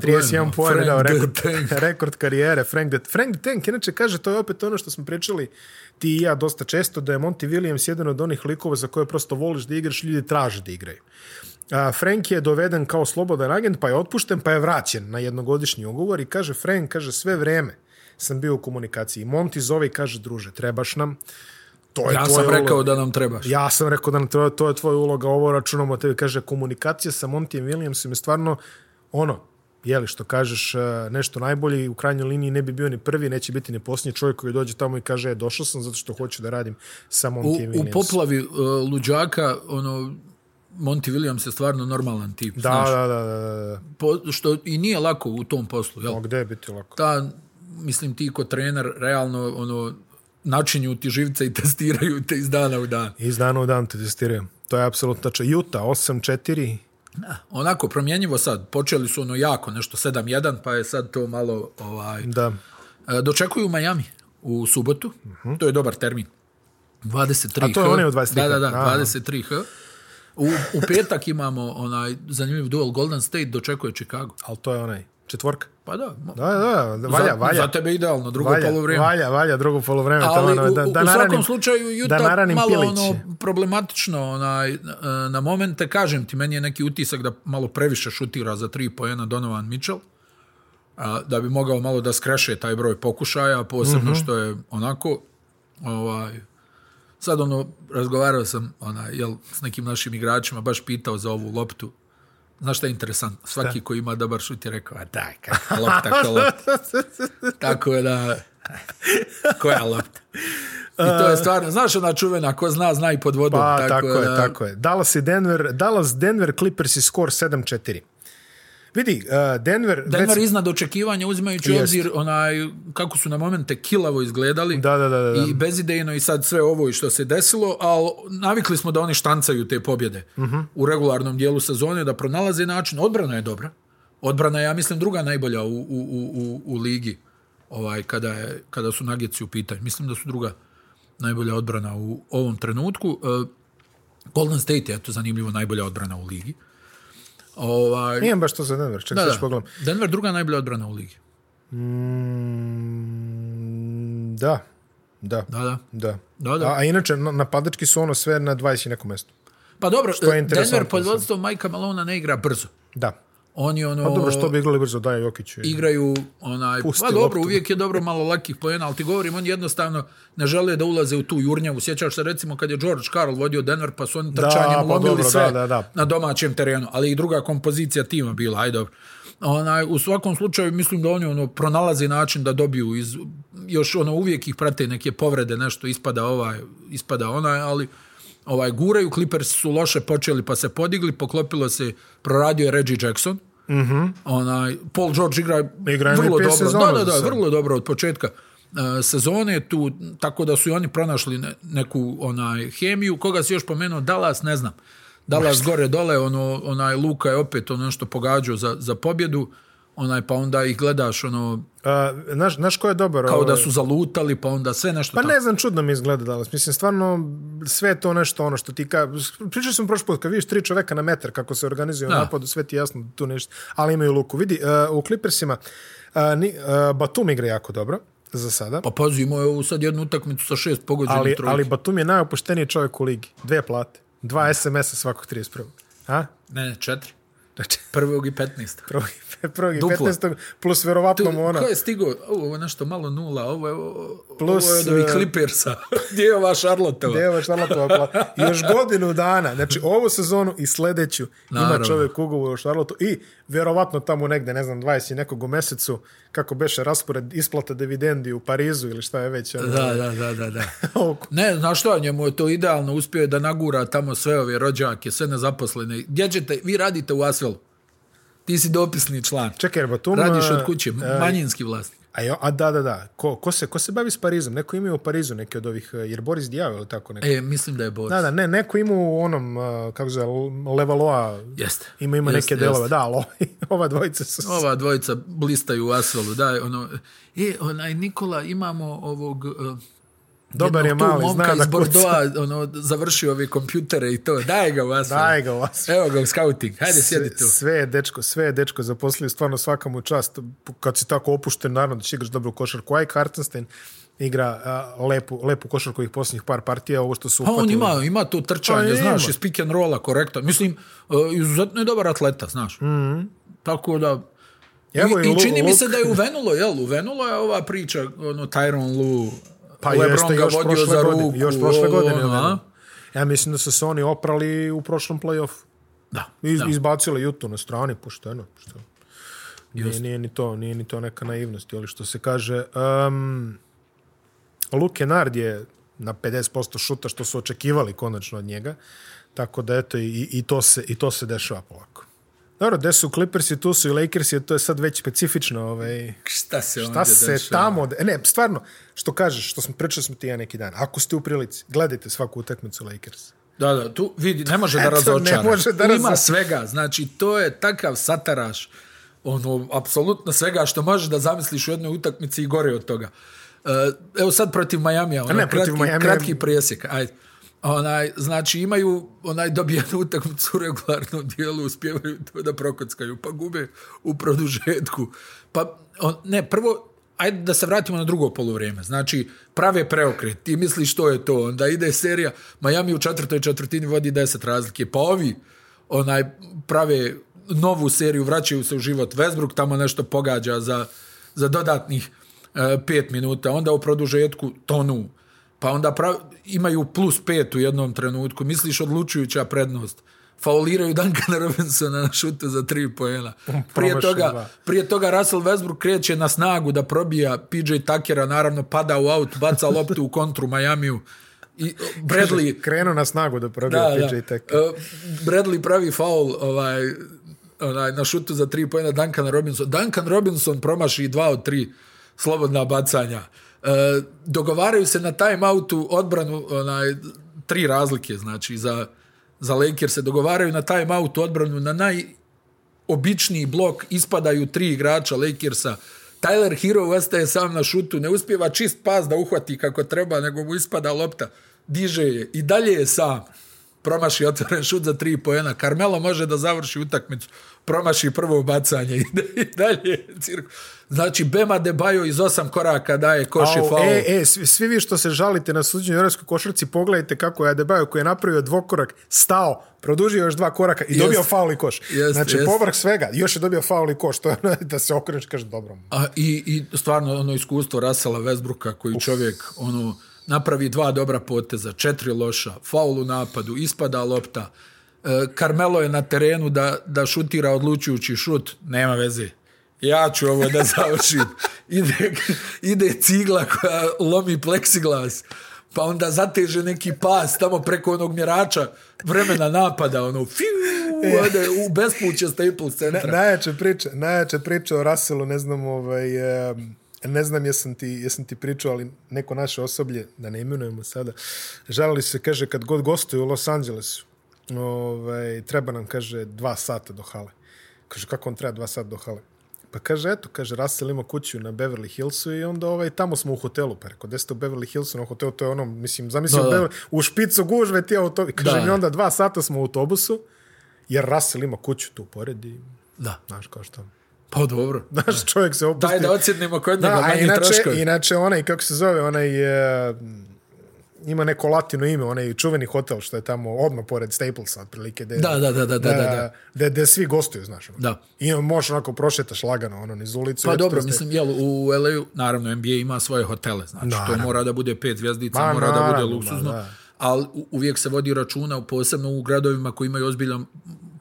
31, 31 poena, da, rekord,
Tank.
rekord karijere. Frank the, Frank the Tank, inače kaže, to je opet ono što smo pričali ti i ja dosta često, da je Monty Williams jedan od onih likova za koje prosto voliš da igraš, ljudi traže da igraju. A, Frank je doveden kao slobodan agent, pa je otpušten, pa je vraćen na jednogodišnji ugovor i kaže, Frank, kaže, sve vreme sam bio u komunikaciji. Monty zove i kaže, druže, trebaš nam. To je
Ja
tvoja
sam
uloga.
rekao da nam trebaš.
Ja sam rekao da nam to, to je tvoja uloga, ovo računamo o tebi. Kaže, komunikacija sa Montijem Williamsom je stvarno ono, jeli što kažeš, eh, nešto najbolje i u krajnjoj liniji ne bi bio ni prvi, neće biti ni posljednji čovjek koji dođe tamo i kaže, e, došao sam zato što hoću da radim sa
U,
Montijem
u
Williamsom.
poplavi uh, luđaka, ono, Monty Williams je stvarno normalan tip.
Da,
znaš,
da, da, da, da.
po, što i nije lako u tom poslu. Jel?
O, gde je biti lako?
Ta, mislim, ti ko trener, realno, ono, načinju ti živce i testiraju te iz dana u dan.
Iz dana u dan te testiram. To je apsolutno tačno. Juta, 8-4.
Onako, promjenjivo sad. Počeli su ono jako, nešto 7-1, pa je sad to malo... Ovaj,
Da.
E, Dočekuju Miami u subotu. To je dobar termin. 23H.
Mhm. A to je onaj u 23H.
Da, da, da,
Aha.
23H. U, u petak imamo onaj zanimljiv duel Golden State dočekuje Chicago.
Ali to je onaj četvorka.
Pa da, mo-
Da, da, da, valja,
za,
valja.
za tebe idealno, drugo
valja,
polovrijeme.
Valja, valja, drugo polovreme.
Ali
tamo,
u, u svakom
ono, naranim-
slučaju Utah
da naranim
malo
piliće.
ono problematično onaj, e, na momente. Kažem ti, meni je neki utisak da malo previše šutira za tri pojena Donovan Mitchell. A, da bi mogao malo da skreše taj broj pokušaja, posebno
Mhm.
što je onako ovaj, sad ono, razgovarao sam onaj, jel, s nekim našim igračima, baš pitao za ovu loptu. Znaš šta je interesantno? Svaki ko ima dobar šut je rekao, a daj, kakva lopta, ko lopta. Tako da, koja lopta? I to je stvarno, znaš ona čuvena, ko zna, zna i pod vodom.
Pa,
tako,
tako,
da,
je, tako je. Dallas i Denver, Dallas, Denver, Clippers i skor 7-4. Vidi, uh, Denver...
Denver
već-
iznad očekivanja, uzimajući
Jest.
Jest. obzir onaj, kako su na momente kilavo izgledali.
Da, da, da, da, da.
I bezidejno i sad sve ovo i što se desilo, ali navikli smo da oni štancaju te pobjede u regularnom dijelu sezone, da pronalaze način. Odbrana je dobra. Odbrana je, ja mislim, druga najbolja u, u, u, u, u ligi ovaj, kada, je, kada su nageci u pitanju. Mislim da su druga najbolja odbrana u ovom trenutku. E, Golden State je, eto, zanimljivo, najbolja odbrana u ligi. Ovaj,
Nijem baš to za Denver, čekaj,
da,
da,
da.
pogledam.
Denver druga najbolja odbrana u ligi.
Mm, da, da,
Da, da.
da.
Da, da.
A, a inače, na- napadački su ono sve na 20 i nekom mestu.
Pa dobro,
Što je
Denver
interesantno
pod
sad.
vodstvom Majka Malona ne igra brzo.
Da.
Oni ono...
Pa dobro, što bi igrali brzo Daje Jokić. I...
igraju onaj,
Pusti
pa dobro,
loptu.
uvijek je dobro malo lakih poena, ali ti govorim, oni jednostavno ne žele da ulaze u tu jurnjavu. Sjećaš se recimo kad je George Karl vodio Denver, pa su oni trčanjem
pa
lomili
dobro,
sve
da, da, da.
na domaćem terenu, ali i druga kompozicija tima bila, aj dobro. Onaj, u svakom slučaju mislim da oni ono pronalaze način da dobiju iz, još ono uvijek ih prate neke povrede, nešto ispada ovaj, ispada onaj, ali ovaj guraju, Clippers su loše počeli pa se podigli, poklopilo se, proradio je Reggie Jackson. Mhm. onaj Paul George igra
Igra MVP
vrlo dobro.
sezonu
da, da,
za
da,
sad.
vrlo dobro od početka e, sezone tu, tako da su i oni pronašli ne, neku onaj hemiju. Koga si još pomenuo? Dallas, ne znam. Dallas gore dole, ono, onaj Luka je opet ono nešto pogađao za, za pobjedu, onaj pa onda ih gledaš ono
A, Uh, znaš, znaš ko je dobar?
kao da
ovaj?
su zalutali, pa onda sve nešto
Pa
tako.
ne znam, čudno mi izgleda danas. Mislim, stvarno, sve je to nešto ono što ti ka... Pričao sam prošli put, kad vidiš tri čoveka na metar, kako se organizuju
Da.
napadu, sve ti je jasno da tu nešto... Ali imaju luku. Vidi, uh, u Clippersima uh, ni, uh, Batum igra jako dobro, za sada.
Pa pazi, imao je ovu sad jednu utakmicu sa šest pogođenih
ali,
trojki.
ali Batum je najopušteniji čovjek u ligi. Dve plate, dva SMS-a svakog 31. A?
Ne, ne, četiri.
Znači,
Prvog i petnista.
Progi, progi
Duplo.
15. plus verovatno mu ono- ona.
Ko je stigo? Ovo je nešto malo nula, ovo je, o-
Plus,
ovo je od ovih
e,
Clippersa. Gdje je ova Charlotteova?
Deva Šarlatova plata. Još godinu dana, znači ovu sezonu i sledeću
Naravno.
ima čovjek ugovor u Šarlotu i verovatno tamo negde, ne znam, 20 i nekog u mesecu, kako beše raspored isplata dividendi u Parizu ili šta je već. ono.
Da, da, da, da, da.
Oko.
Ne, znaš šta, njemu je to idealno, uspio je da nagura tamo sve ove rođake, sve nezaposlene. Gdje ćete, vi radite u Asvelu. Ti si dopisni član.
Čekaj, jer Batum...
Radiš
e,
od kuće, manjinski vlasnik.
A, jo, a da, da, da. Ko, ko, se, ko se bavi s Parizom? Neko ima u Parizu neke od ovih, e, jer Boris Dijao ili tako neko.
E, mislim da je Boris.
Da, da, ne, neko ima u onom, e, kako se zove, Levaloa,
Jeste.
ima, ima
Jeste,
neke delove. Da, ali ovi- ova dvojica su...
Ova dvojica blistaju u asfalu, da, ono, e, onaj Nikola, imamo ovog... eh,
Dobar je
jednog tu
mali,
momka
zna da
iz Bordeaux, ono, završio ove kompjutere i to, daj ga u asfalu.
Daj ga u asfalt.
Evo ga u scouting, hajde sjedi tu.
Sve, sve je dečko, sve je dečko zaposlio, stvarno svaka mu čast. Kad si tako opušten, naravno da će igraš dobru košarku. Ajk Hartenstein igra a, lepu, lepu košarku ovih posljednjih par partija, ovo što su
Pa
uhvatili.
on ima, ima to trčanje,
Pa
znaš,
ima.
iz pick and rolla, korektno. Mislim, eh, izuzetno je dobar atleta, znaš. Mm -hmm. Tako da...
Evo
I,
i
I čini
Lu-
mi se
Luke.
da je uvenulo, jel? Uvenulo je ova priča, ono, Tyron Lu,
Pa
LeBron
jeste,
ga
još
vodio
prošle
za ruku.
godine. Još prošle
ovo,
godine.
ono,
ono.
a?
ja mislim da su se oni oprali u prošlom play-offu.
Da,
Iz,
da.
Izbacili Jutu na strani, pošteno. Što... Nije, nije, ni to, nije ni to neka naivnost, ili što se kaže. Um, Luke Nard je na 50% šuta što su očekivali konačno od njega. Tako da eto i, i, to, se, i to se dešava polako. Dobro, gde su Clippersi, tu su i Lakersi, to je sad već specifično. Ovaj,
Šta se
Šta
onda
se
dešava?
tamo... de- Ne, stvarno, što kažeš, što smo pričali smo ti ja neki dan. Ako ste u prilici, gledajte svaku utakmicu Lakers.
Da, da, tu vidi, ne može da
Eto, ne
razočara.
može da
Tu Ima
razočara.
svega, znači to je takav sataraš, ono, apsolutno svega što možeš da zamisliš u jednoj utakmici i gore od toga. E, Evo sad protiv Majamija, ono,
ne, protiv
kratki,
Majamija-
kratki presjek, ajde. Onaj, znači imaju onaj dobijenu utakmicu u regularnom dijelu, uspjevaju to da prokockaju, pa gube u produžetku. Pa, on, ne, prvo, ajde da se vratimo na drugo polovrijeme. Znači, prave preokret. Ti misliš to je to. Onda ide serija. Miami u četvrtoj četvrtini vodi 10 razlike. Pa ovi onaj prave novu seriju, vraćaju se u život. Westbrook tamo nešto pogađa za, za dodatnih e, 5 minuta. Onda u produžetku tonu. Pa onda pravi, imaju plus 5 u jednom trenutku. Misliš odlučujuća prednost. Fauliraju Duncana Robinsona na šutu za 3 pojena. Prije
Promašaj
toga,
dva.
Prije toga Russell Westbrook kreće na snagu da probija PJ Tuckera, naravno pada u aut, baca loptu u kontru Majamiju. I Bradley,
Krenuo na snagu da probio
da, da,
PJ Tucker.
E, Bradley pravi faul ovaj, onaj, na šutu za tri pojena Duncan Robinson. Duncan Robinson promaši dva od tri slobodna bacanja. E, dogovaraju se na timeoutu odbranu onaj, tri razlike, znači za, za Lakers se dogovaraju na timeoutu odbranu na naj obični blok, ispadaju tri igrača Lakersa, Tyler Hero ostaje sam na šutu, ne uspjeva čist pas da uhvati kako treba, nego mu ispada lopta, diže je i dalje je sam. promaši otvoren šut za tri pojena. Carmelo može da završi utakmicu, promaši prvo bacanje i dalje. Cirku. Znači, Bema Debajo iz osam koraka daje koši
Au,
faul.
E, e, svi, svi vi što se žalite na suđenju u Europskoj košarci, pogledajte kako je Adebayo koji je napravio dvokorak, stao, produžio još dva koraka i
Jest.
dobio faul i koš.
Jest,
znači,
jest.
povrh svega, još je dobio faul i koš, to je ono da se okreneš i kažeš dobro.
A, i, I stvarno ono iskustvo Rasela Vesbruka koji čovjek ono napravi dva dobra poteza, četiri loša, faul u napadu, ispada lopta. E, Carmelo je na terenu da, da šutira odlučujući šut, nema veze. Ja ću ovo da završim. Ide, ide cigla koja lomi pleksiglas, pa onda zateže neki pas tamo preko onog mjerača vremena napada, ono, fiu, ode u bespuće Staples centra.
Najjače priče, najjače priče o Russellu, ne znam, ovaj, e, ne znam jesam ti, jesam ti pričao, ali neko naše osoblje, da ne imenujemo sada, žalili se, kaže, kad god gostuju u Los Angelesu, ovaj, treba nam, kaže, dva sata do hale. Kaže, kako on treba dva sata do hale? Pa kaže, eto, kaže, Russell ima kuću na Beverly Hillsu i onda ovaj, tamo smo u hotelu, pa rekao, gde ste u Beverly Hillsu, na hotelu, to je ono, mislim, zamislim,
Da,
da,
da.
Beverly, u špicu gužve ti auto, kaže
Da.
mi onda dva sata smo u autobusu, jer Russell ima kuću tu pored i,
Da.
znaš, kao što,
Pa dobro.
znaš, čovjek se opusti.
Daj da ocjenimo kod njega
Da, a
manji
inače,
troškovi.
inače onaj, kako se zove, onaj, e, ima neko latino ime, onaj čuveni hotel što je tamo odmah pored Staplesa, otprilike. Gde,
Da, da, da, da, da, da, da.
Gde, gde svi gostuju, znaš. ono.
Da.
I možeš onako prošetaš lagano, ono, niz ulicu.
Pa
eto,
dobro,
ste-
mislim, jel, u LA-u, naravno, NBA ima svoje hotele, znači, to
Naravno.
mora da bude pet zvijezdica,
Ma,
mora da bude
naravno,
luksuzno,
ma, da.
ali u- uvijek se vodi računa, posebno u gradovima koji imaju ozbiljan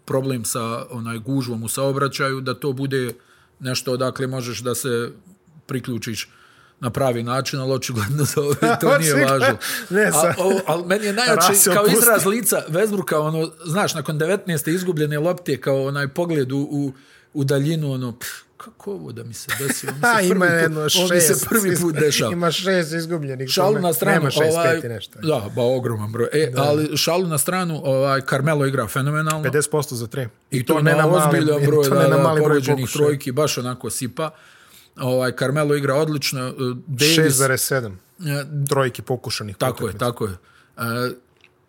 problem sa onaj gužvom u saobraćaju, da to bude nešto odakle možeš da se priključiš na pravi način, ali očigledno za ove to nije
Očigledno.
važno.
Ne,
A,
sad-
o, ali meni je najjači,
Rasio
kao
pusti.
izraz lica Vesbruka, ono, znaš, nakon 19. izgubljene lopte, kao onaj pogled u, u, u daljinu, ono, pff, kako ovo da mi se desi? Ovo mi se
Da,
prvi
ima
put-
jedno šest.
Ovo mi se prvi put dešava.
Ima šest izgubljenih.
Šalu na stranu.
Nema šest,
ovaj,
pet i nešto.
Da, ba, ogroman broj. E, ali šalu na stranu, ovaj, Carmelo igra fenomenalno.
50% za tri.
I to, ne na
mali-
ozbiljan
i
broj,
to ne
da,
na
da,
mali broj
pogođenih
pokušaja.
trojki, baš onako sipa. Ovaj, Carmelo igra odlično. eh, Davis,
6,7
eh,
trojki pokušanih.
Tako je, tako je. Uh,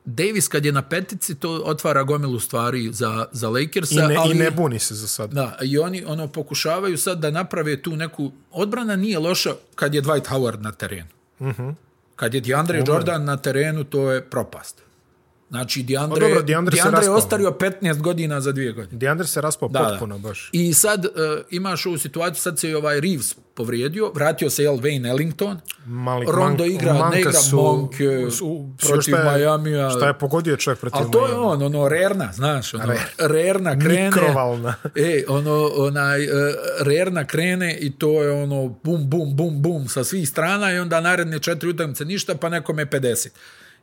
Davis kad je na petici, to otvara gomilu stvari za, za Lakersa.
I ne,
ali,
I ne buni se za sad.
Da, i oni ono pokušavaju sad da naprave tu neku... Odbrana nije loša kad je Dwight Howard na terenu. Uh
Mhm.
-huh. Kad je DeAndre Jordan na terenu, to je propast. Znači, DeAndre,
Pa dobro, DeAndre se
DeAndre je
raspao.
ostario 15 godina za dvije godine.
Deandre se raspao
da.
potpuno baš.
I sad uh, imaš ovu situaciju, sad se i ovaj Reeves povrijedio, vratio se jel Wayne Ellington,
Mali,
Rondo igra, ne igra su, Monk e, protiv
šta je,
Majamija.
Šta je pogodio čovjek protiv
Ali to je
Miamija?
on, ono, rerna, znaš, ono, rerna krene.
Mikrovalna.
E, ono, onaj, e, rerna krene i to je ono, bum, bum, bum, bum, sa svih strana i onda naredne četiri utakmice ništa, pa nekome 50.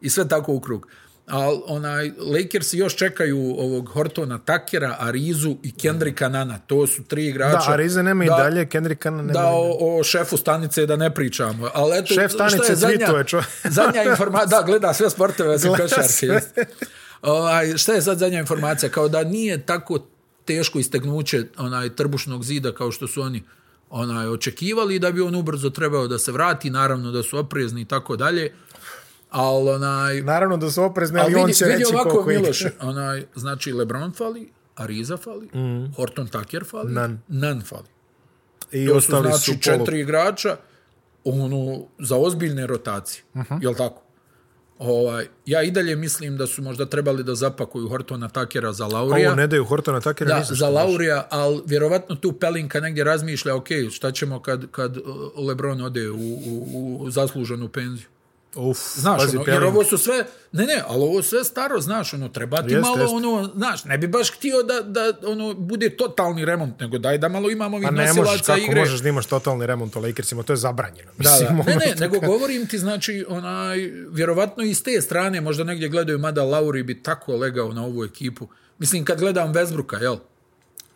I sve tako u krug. Ali, onaj, Lakersi još čekaju ovog Hortona Takera, Arizu i Kendricka Nana. To su tri igrača.
Da, Ariza nema i
znači, Da,
dalje, Kendrick Nana nema.
da o, o šefu stanice da ne pričamo. Ali eto,
Šef stanice
šta je zadnja,
tweetuje, čo-
zadnja informacija, da, gleda sve sportove osim
Gleda
košarke.
sve.
jest. Ovaj, šta je sad zadnja informacija? Kao da nije tako teško istegnuće onaj trbušnog zida kao što su oni onaj očekivali i da bi on ubrzo trebao da se vrati, naravno da su oprezni i tako dalje. Ali onaj
Naravno da su oprezni, ali,
ali
on će reći
ovako,
koliko
Miloš,
igra.
onaj, znači LeBron fali, Ariza fali,
Mm.
Horton Tucker fali, Nan, Nan fali.
I
To su
ostali
znači
su polu.
četiri igrača ono, za ozbiljne rotacije.
Mhm.
Jel tako? Ovaj, ja i dalje mislim da su možda trebali da zapakuju Hortona Takera za Laurija.
Ovo ne daju Hortona Takera
da,
ni za
za Laurija, ali vjerovatno tu Pelinka negdje razmišlja, ok, šta ćemo kad, kad uh, Lebron ode u, u, u zasluženu penziju.
Uf,
Znaš,
pazi,
ono, jer
Pelin.
ovo su sve, ne, ne, ali ovo sve staro, znaš, ono, treba ti
Jeste,
malo,
jeste.
ono, znaš, ne bi baš htio da, da, ono, bude totalni remont, nego daj da malo imamo ovih
Pa ne možeš,
nosilaca
kako
igre.
možeš da imaš totalni remont u Lakersima, to je zabranjeno.
Da,
Mislim,
da. Ne,
ono-
ne, nego govorim ti, znači, onaj, vjerovatno i s te strane, možda negdje gledaju, mada Lauri bi tako legao na ovu ekipu. Mislim, kad gledam Westbrooka, jel?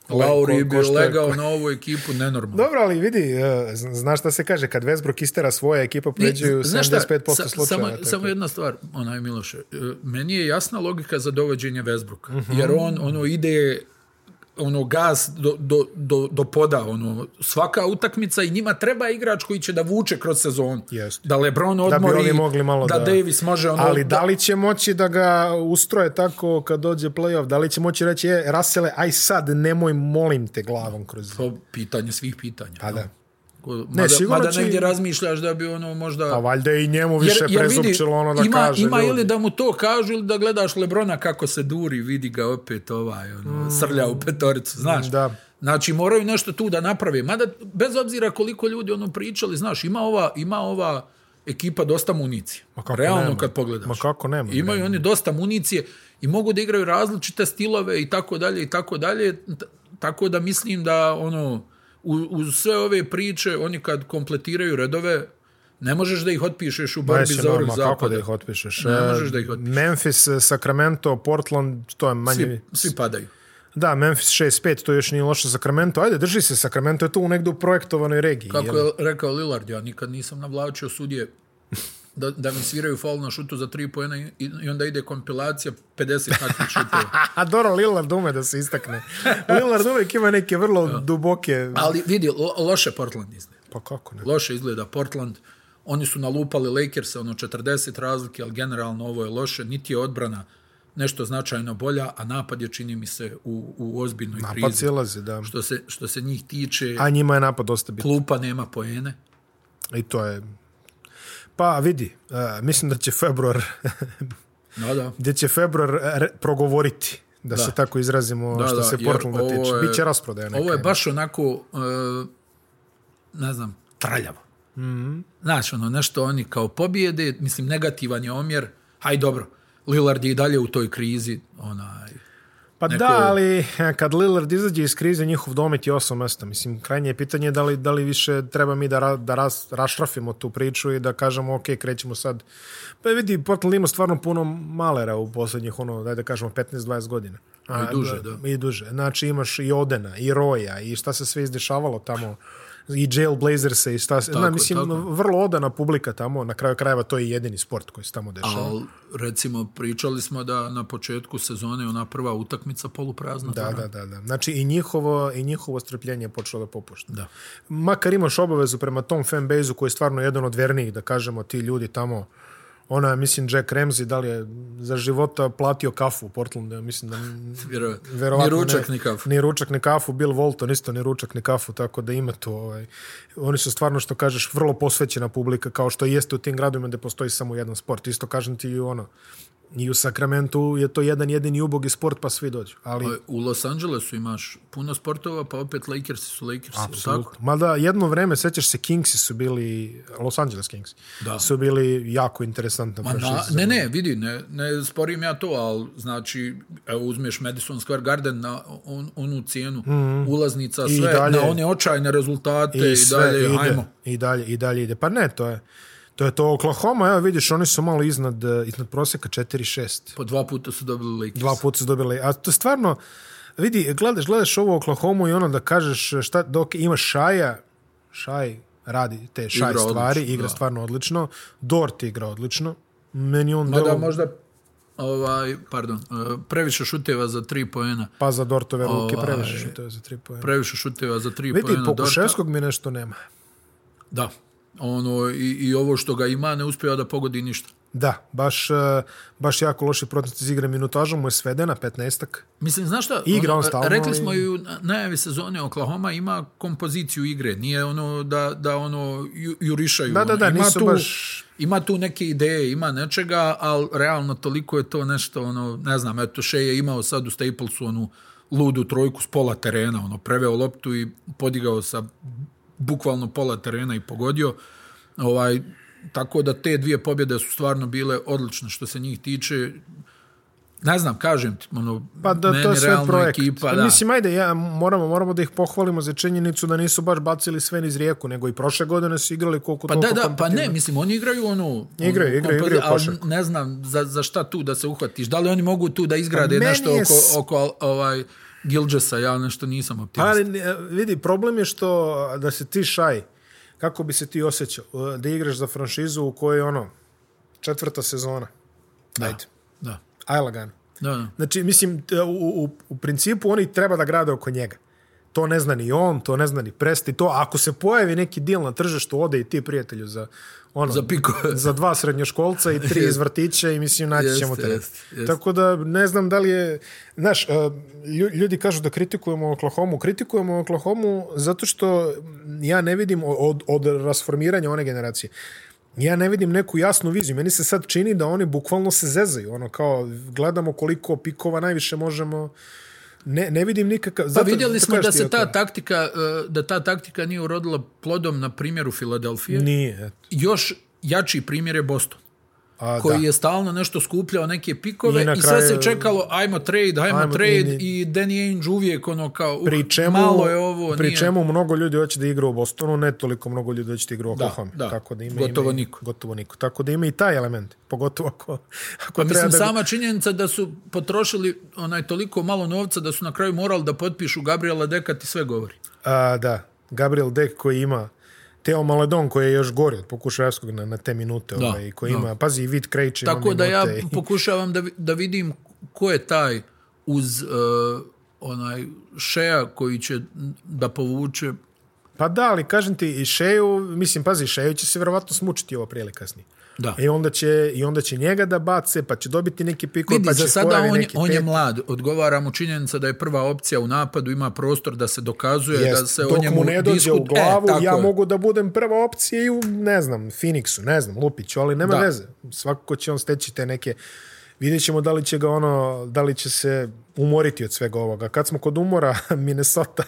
Lauri
ko-
bi
ko šta je-
legao na ovu ekipu nenormalno.
Dobro, ali vidi, e, zna- znaš šta se kaže, kad Westbrook istera svoje, ekipa pređuju
Znaš šta,
75%
sa-
slučaja.
Samo,
tako.
samo jedna stvar, onaj
Mhm.
Miloše, e, meni je jasna logika za dovođenje Westbrooka, jer on ono ide ono gaz do, do, do, do poda ono svaka utakmica i njima treba igrač koji će da vuče kroz sezon
Jeste.
da LeBron
Da bi
odmori
oni mogli malo da...
Davis može ono
Ali da li će moći da ga ustroje tako kad dođe playoff? Da li će moći reći, e, Rasele, aj sad nemoj, molim te glavom kroz...
to pitanje svih pitanja
Pa da.
Ko- mada,
sigurno
mada
će-
negdje razmišljaš da bi ono možda
Pa valjda je i njemu više jer,
vidi,
prezupčilo ono da
ima,
kaže
ima
ljudi.
ili da mu to kažu ili da gledaš Lebrona kako se duri, vidi ga opet ovaj, ono, srlja u petoricu, znaš.
Mm. Da.
Znači, moraju nešto tu da naprave. Mada, bez obzira koliko ljudi ono pričali, znaš, ima ova, ima ova ekipa dosta municije.
Ma kako
Realno
nema?
kad pogledaš.
Ma kako nema?
Imaju oni dosta municije i mogu da igraju različite stilove i tako dalje i tako dalje. T- Tako da mislim da ono u- uz sve ove priče oni kad kompletiraju redove ne možeš da ih otpišeš u borbi
Neće
za vrh
nama, kako da
zapada.
ih otpišeš?
Ne
E,
možeš da ih otpišeš.
Memphis, Sacramento, Portland, to je manje...
Svi, svi padaju.
Da, Memphis 6-5, to još nije loše Sacramento. Ajde, drži se, Sacramento je tu negdje u projektovanoj regiji.
Kako
jel?
je rekao Lillard, ja nikad nisam navlačio sudje da, da mi sviraju faul na šutu za tri pojena i, i onda ide kompilacija 50 takvih šuteva.
A dobro, Lillard ume da se istakne. Lillard uvijek ima neke vrlo duboke...
Ali vidi, lo, loše Portland izgleda.
Pa kako ne?
Loše izgleda Portland. Oni su nalupali Lakersa, ono 40 razlike, ali generalno ovo je loše. Niti je odbrana nešto značajno bolja, a napad je, čini mi se, u, u ozbiljnoj
Pa
krizi.
cilazi, da.
Što se, što se njih tiče,
A njima je napad dosta bitan.
klupa nema poene.
I to je... Pa vidi, e, mislim da će februar,
Da, da.
gdje će februar re, progovoriti, da, se tako izrazimo
Da,
što
da,
se
jer
Portlanda
ovo
tiče.
je-
Biće rasprodaja neka.
Ovo je baš onako, e, ne znam, traljavo. Mm
Mhm.
-hmm. Znaš, ono, nešto oni kao pobijede, mislim, negativan je omjer, haj dobro, Lillard je i dalje u toj krizi, onaj,
Pa neko... da, ali e, kad Lillard izađe iz krize, njihov domet je osam mesta. Mislim, krajnje je pitanje da li, da li više treba mi da, ra, da ras, rašrafimo tu priču i da kažemo, ok, krećemo sad. Pa vidi, Portland ima stvarno puno malera u posljednjih, ono, daj da kažemo, 15-20 godina. A,
I duže, da.
I duže. Znači, imaš i Odena, i Roja, i šta se sve izdešavalo tamo i Jailblazersa i šta se... Tako,
Tako,
mislim,
tako.
vrlo odana publika tamo, na kraju krajeva to je i jedini sport koji se tamo dešava.
ali recimo pričali smo da na početku sezone ona prva utakmica poluprazna.
Da, da, da, da. Znači i njihovo, i njihovo strpljenje je počelo da popušta.
Da.
Makar imaš obavezu prema tom fanbase-u koji je stvarno jedan od vernijih, da kažemo, ti ljudi tamo, ona, je, mislim, Jack Ramsey, da li je za života platio kafu u Portlandu, ja mislim da
Vjerovatno.
verovatno
Ni ručak,
ne.
ni kafu.
Ni ručak, ni kafu. Bill Walton isto ni ručak, ni kafu, tako da ima tu. Ovaj. Oni su stvarno, što kažeš, vrlo posvećena publika, kao što jeste u tim gradovima gde postoji samo jedan sport. Isto kažem ti i ono, i u Sakramentu je to jedan jedini ubogi sport, pa svi dođu. Ali,
U Los Angelesu imaš puno sportova, pa opet Lakersi su Lakersi. Apsolutno. Tako?
Mada jedno vreme, sećaš se, Kingsi su bili, Los Angeles Kings,
Da.
su bili jako interesantna
Ma
franšiza.
na, ne, ne, vidi, ne, ne sporim ja to, ali znači, evo, uzmeš Madison Square Garden na on, onu cijenu, mm -hmm. ulaznica, sve,
Mhm. dalje.
na one očajne rezultate i, i
sve
dalje,
ide,
ajmo.
I dalje, I dalje ide. Pa ne, to je, to je to Oklahoma, evo vidiš, oni su malo iznad, eh, iznad proseka 4-6.
Po dva puta su dobili Lakers.
Dva puta su dobili, a to stvarno, vidi, gledaš, gledaš ovo Oklahomu i ono da kažeš šta, dok imaš Šaja, Šaj radi te Šaj
Igra
stvari,
odlično,
igra
da.
stvarno odlično, Dort igra odlično, meni on
Mada
delo-
možda, ovaj, pardon, eh, previše šuteva za tri poena,
pa za Dortove ruke
Ovaj,
previše šuteva za tri pojena.
previše šuteva za tri
Vidi,
poena.
Pokuševskog mi nešto nema.
Dorta. Da, ono, i, i ovo što ga ima ne uspjeva da pogodi ništa.
Da, baš, eh, baš jako loši procent iz igre. Minutaža mu je svedena, 15-ak.
Mislim, znaš šta?
Igra
ono,
on stalno,
Rekli
ali-
smo i u na- najavi sezone Oklahoma ima kompoziciju igre. Nije ono da, da ono ju- jurišaju.
Da, da, da,
ono, ima
nisu
tu,
baš-
Ima tu neke ideje, ima nečega, ali realno toliko je to nešto, ono, ne znam, eto, Shea je imao sad u Staplesu onu ludu trojku s pola terena, ono, preveo loptu i podigao sa bukvalno pola terena i pogodio. Ovaj, tako da te dvije pobjede su stvarno bile odlične što se njih tiče. Ne znam, kažem ti, ono,
Pa da, to je sve
realno
projekt.
Ekipa,
Pa
da.
Mislim, ajde, ja, moramo, moramo da ih pohvalimo za činjenicu da nisu baš bacili sve niz rijeku, nego i prošle godine su igrali koliko
pa da,
toliko
da, pa
kompetitivno.
ne, mislim, oni igraju ono...
Igraju,
ono,
igraju, igraju
ali
košarku.
Ne znam za, za šta tu da se uhvatiš. Da li oni mogu tu da izgrade
Pa meni
nešto
je
oko,
s-
oko ovaj, Gilgesa, ja nešto nisam optimist.
Ali ne, vidi, problem je što da se ti šaj, kako bi se ti osjećao, E, da igraš za franšizu u kojoj je ono, četvrta sezona. Da. Ajde,
Da.
aj lagano.
Da, da.
Znači, mislim, t- u, u, u principu oni treba da grade oko njega. To ne zna ni on, to ne zna ni Presti, to ako se pojavi neki deal na tržištu, ode i ti prijatelju za ono,
Za piko.
za dva srednjoškolca i tri iz vrtića i mislim naći
Jeste,
ćemo te.
jeste, jeste.
Tako da ne znam da li je, znaš, e, lju- ljudi kažu da kritikujemo Oklahoma, kritikujemo Oklahoma zato što ja ne vidim o- od, od rasformiranja one generacije. Ja ne vidim neku jasnu viziju. Meni se sad čini da oni bukvalno se zezaju. Ono kao, gledamo koliko pikova najviše možemo... Ne, ne vidim nikakav...
Pa
Zato,
vidjeli
zato
smo
kažeš
da
ti
se
oko-
ta taktika, e, da ta taktika nije urodila plodom na primjeru Filadelfije.
Nije, eto.
Još jači primjer je Boston.
A,
koji
Pa da.
je stalno nešto skupljao neke pikove
I
i,
na
sve se
kraju-
čekalo ajmo trade, ajmo,
Ajmo,
trade
i-
i, Danny Ainge uvijek ono kao uh,
pri čemu,
malo je ovo,
pri
nije.
čemu mnogo ljudi hoće da igra u Bostonu, ne toliko mnogo ljudi hoće da igra u Oklahoma.
da.
Tako da ima,
Gotovo
ima, i-
niko.
Gotovo niko. Tako da ima i taj element. Pogotovo ako, ako
Pa
treba
mislim,
da...
sama činjenica da su potrošili onaj toliko malo novca da su na kraju morali da potpišu Gabriela Deka ti sve govori.
A, da, Gabriel Dek koji ima Teo Maledon koji je još gori od pokušajevskog na, na te minute.
Da,
ovaj, koji ima, pazi, i Vid Krejč ima
Tako da
minute.
ja
i-
pokušavam da, vi- da vidim ko je taj uz uh, onaj šeja koji će da povuče
Pa da, ali kažem ti, i Šeju, mislim, pazi, Šeju će se vjerovatno smučiti ovo prije ili kasnije.
da.
I onda, će, I onda će njega da bace, pa će dobiti neki pikor,
Vidi,
pa će
za sada
pojavi
on, je-
neki
on je
pet.
mlad. Odgovara mu činjenica da je prva opcija u napadu, ima prostor da se dokazuje,
Jest,
da se
dok
o njemu
mu ne dođe
diskut-
u glavu,
e, tako
ja
je.
mogu da budem prva opcija i u, ne znam, Phoenixu, ne znam, Lupiću, ali nema
Da.
veze. Svakako će on steći te neke... Vidjet ćemo da li će ga ono, da li će se umoriti od svega ovoga. Kad smo kod umora, Minnesota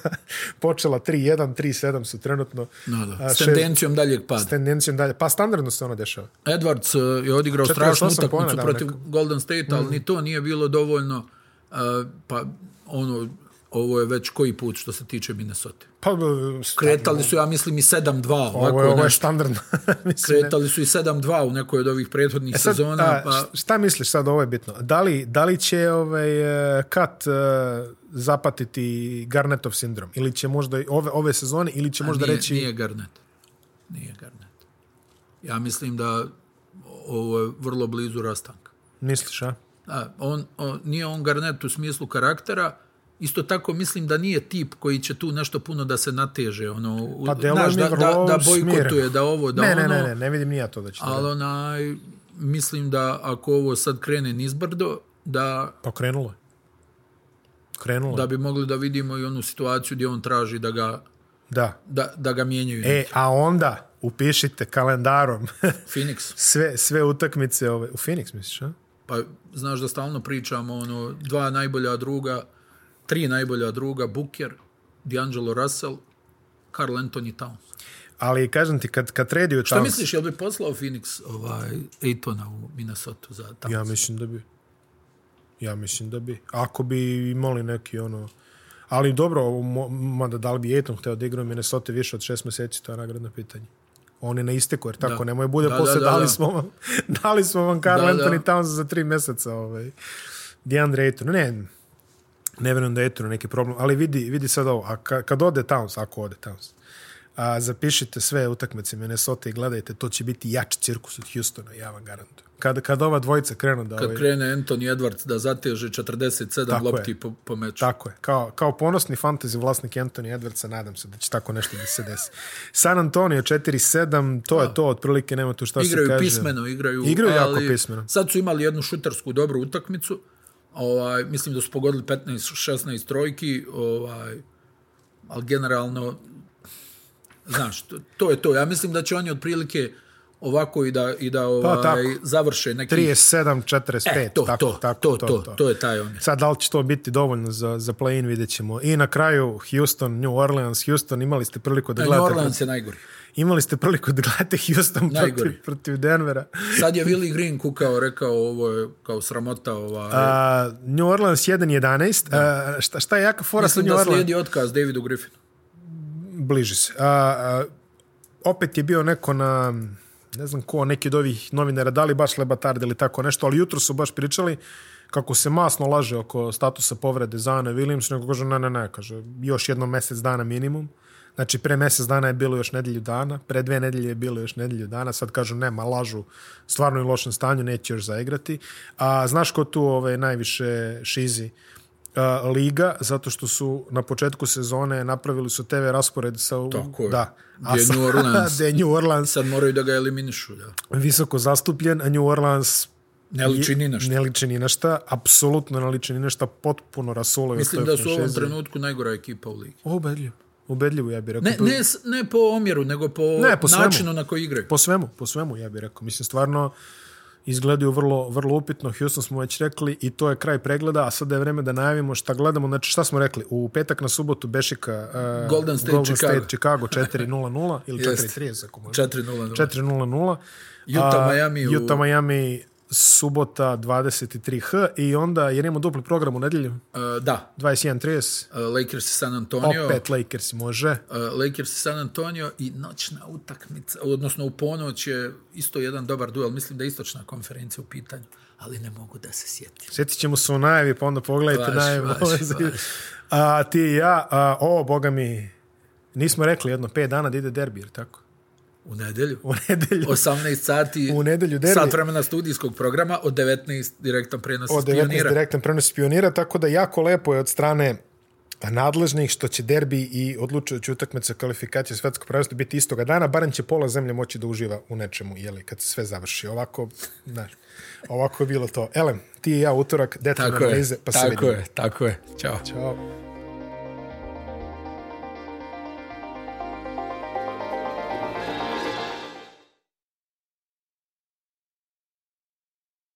počela 3-1, 3-7 su trenutno.
Da, da.
A,
S
še-
tendencijom daljeg pada.
S tendencijom dalje. Pa standardno se ono dešava.
Edwards e, je odigrao
48
strašnu
poena
utakmicu
dao Mm.
protiv
neko.
Golden State, ali ni to nije bilo dovoljno. E, pa ono, ovo je već koji put što se tiče Minnesota.
Pa,
Kretali su, ja mislim, i 7-2.
Ovo je,
ovako
ovo je
nešto.
standardno. Mislim, ne-
Kretali su i 7-2 u nekoj od ovih prethodnih
E sad,
sezona.
a,
pa...
š- Šta misliš sad, ovo je bitno. Da li, da li će ovaj, e, Kat e, zapatiti Garnetov sindrom? Ili će možda i ove, ove sezone, ili će možda
nije,
reći...
Nije Garnet. Nije Garnet. Ja mislim da ovo je vrlo blizu rastanka.
Misliš, a?
Da, on, on, nije on Garnet u smislu karaktera, Isto tako mislim da nije tip koji će tu nešto puno da se nateže, ono, u-
Pa delo
znaš,
mi
da, da, da bojkotuje,
smiren.
da ovo, da
ne,
ono,
ne, ne, ne, ne vidim ni ja to da će. Ali...
ali onaj, mislim da ako ovo sad krene nizbrdo, da,
Pa krenulo je. Krenulo je.
da bi mogli da vidimo i onu situaciju gdje on traži da ga,
Da.
da, da ga mijenjaju.
E, a onda upišite kalendarom
Phoenix.
sve, sve utakmice ove. U Phoenix, misliš, a?
Pa znaš da stalno pričamo ono dva najbolja druga, tri najbolja druga, Booker, D'Angelo Russell, Carl Anthony Towns.
Ali kažem ti, kad, kad tradio
Šta
Towns-
misliš, jel bi poslao Phoenix ovaj Ejtona u Minnesota za Towns?
Ja mislim da bi. Ja mislim da bi. Ako bi imali neki ono... Ali dobro, ovo mo- mada da li bi Ejton hteo da igra u Minnesota više od šest meseci, to je nagradno pitanje. On je na isteku, jer tako, da. nemoj bude
Da,
da, posle
da,
da,
da,
da, dali,
da.
smo vam, dali smo vam Carl da,
Da, da.
Anthony Towns za tri meseca. Ovaj. DeAndre Ayton, ne, ne verujem da je Aytonu neki problem, ali vidi, vidi sad ovo, a ka, kad ode Towns, ako ode Towns, a zapišite sve utakmice Minnesota i gledajte, to će biti jači cirkus od Houstona, ja vam garantujem. Kada, kada ova dvojica krenu da...
Kad
ovaj,
krene Anthony Edwards da zateže 47
Tako
lopti
je.
po, po meču.
Tako je. Kao, kao ponosni fantasy vlasnik Anthony Edwardsa, nadam se da će tako nešto da se desi. San Antonio 4-7, to je to, otprilike nema tu šta
Igraju
se kaže.
pismeno, igraju,
Igraju jako
ali
pismeno.
Sad su imali jednu šutarsku dobru utakmicu. Ovaj, mislim da su pogodili 15-16 trojki, ovaj, ali generalno, znaš, to, to je to. Ja mislim da će oni otprilike ovako i da, i da ovaj,
Pa tako.
završe neki...
37, 45,
e, to,
tako,
to,
tako,
to, to, to, to je taj omjer.
Sad, da li će to biti dovoljno za, za play-in, vidjet ćemo. I na kraju, Houston, New Orleans, Houston, imali ste priliku da
E, New
gledate...
Orleans je najgori.
Imali ste priliku da gledate Houston
Najgori.
protiv, protiv Denvera.
Sad je Willi Green kukao, rekao ovo je kao sramota, ovaj,
A, New Orleans 1-11. A, šta, šta je jaka fora sa
mislim
New
da
Orleans?
slijedi otkaz Davidu Griffinu.
bliži se. A, a, opet je bio neko na ne znam ko, neki od ovih novinara, da li baš Lebatard ili tako nešto, ali jutro su baš pričali kako se masno laže oko statusa povrede Zane Williams, nego kaže ne, ne, ne, kaže još jedno mesec dana minimum. Znači, pre mjesec dana je bilo još nedelju dana, pre dve nedelje je bilo još nedelju dana, sad kažu nema, lažu, stvarno je u lošem stanju, neće još zaigrati. A znaš ko tu ove, najviše šizi? A, Liga, zato što su na početku sezone napravili su TV raspored sa...
Tako je.
Da.
Gdje je
sa-
New Orleans.
gdje je New Orleans
Sad moraju da ga eliminišu, da.
visoko zastupljen, a New Orleans
Ne liči ni na šta.
Ne liči ni na šta, apsolutno ne liči ni na šta, potpuno rasulovi.
Mislim da su u ovom trenutku najgora ekipa u ligi.
Ubedljivo. Ubedljivo, ja bih rekao.
Ne, ne, s- ne po omjeru, nego po,
Pa- Ne, po svemu.
načinu na koji igraju.
Po svemu, po svemu, ja bih rekao. Mislim, stvarno izgledaju vrlo, vrlo upitno. Houston smo već rekli i to je kraj pregleda, a sada je vreme da najavimo šta gledamo. Znači, šta smo rekli? U petak na subotu Bešika uh,
Golden State,
Golden
Chicago.
State Chicago 4-0-0 ili
Jeste.
4-3 ako može.
4-0.
4-0-0.
Utah,
A,
Miami u-
Utah, Miami subota 23h i onda jer imamo dupli program u nedelju
Uh, da,
21.30
uh, Lakers i San Antonio.
opet Lakers može
Uh, Lakers i San Antonio i noćna utakmica, odnosno u ponoć je isto jedan dobar duel, mislim da je istočna konferencija u pitanju, ali ne mogu da se sjetim.
Sjetit ćemo se u najavi, pa onda pogledajte
Baš,
najavu.
baš, baš.
A ti i ja, a, o, boga mi, nismo rekli jedno, pet dana da ide derbi, jer tako?
U nedelju?
U nedelju.
18 sati
U nedelju derbi.
sat vremena studijskog programa, od 19 direktan prenos
Od
od
19
pionira.
direktan prenos pionira, tako da jako lepo je od strane nadležnih što će derbi i odlučujući utakmice kvalifikacije svetskog prvenstva biti istoga dana, barem će pola zemlje moći da uživa u nečemu, jeli, kad se sve završi. Ovako, znaš, ovako je bilo to. Elem, ti i ja utorak, detaljne
Tako je,
analize, pa se
tako
vidimo.
je, tako je. Ćao.
Ćao.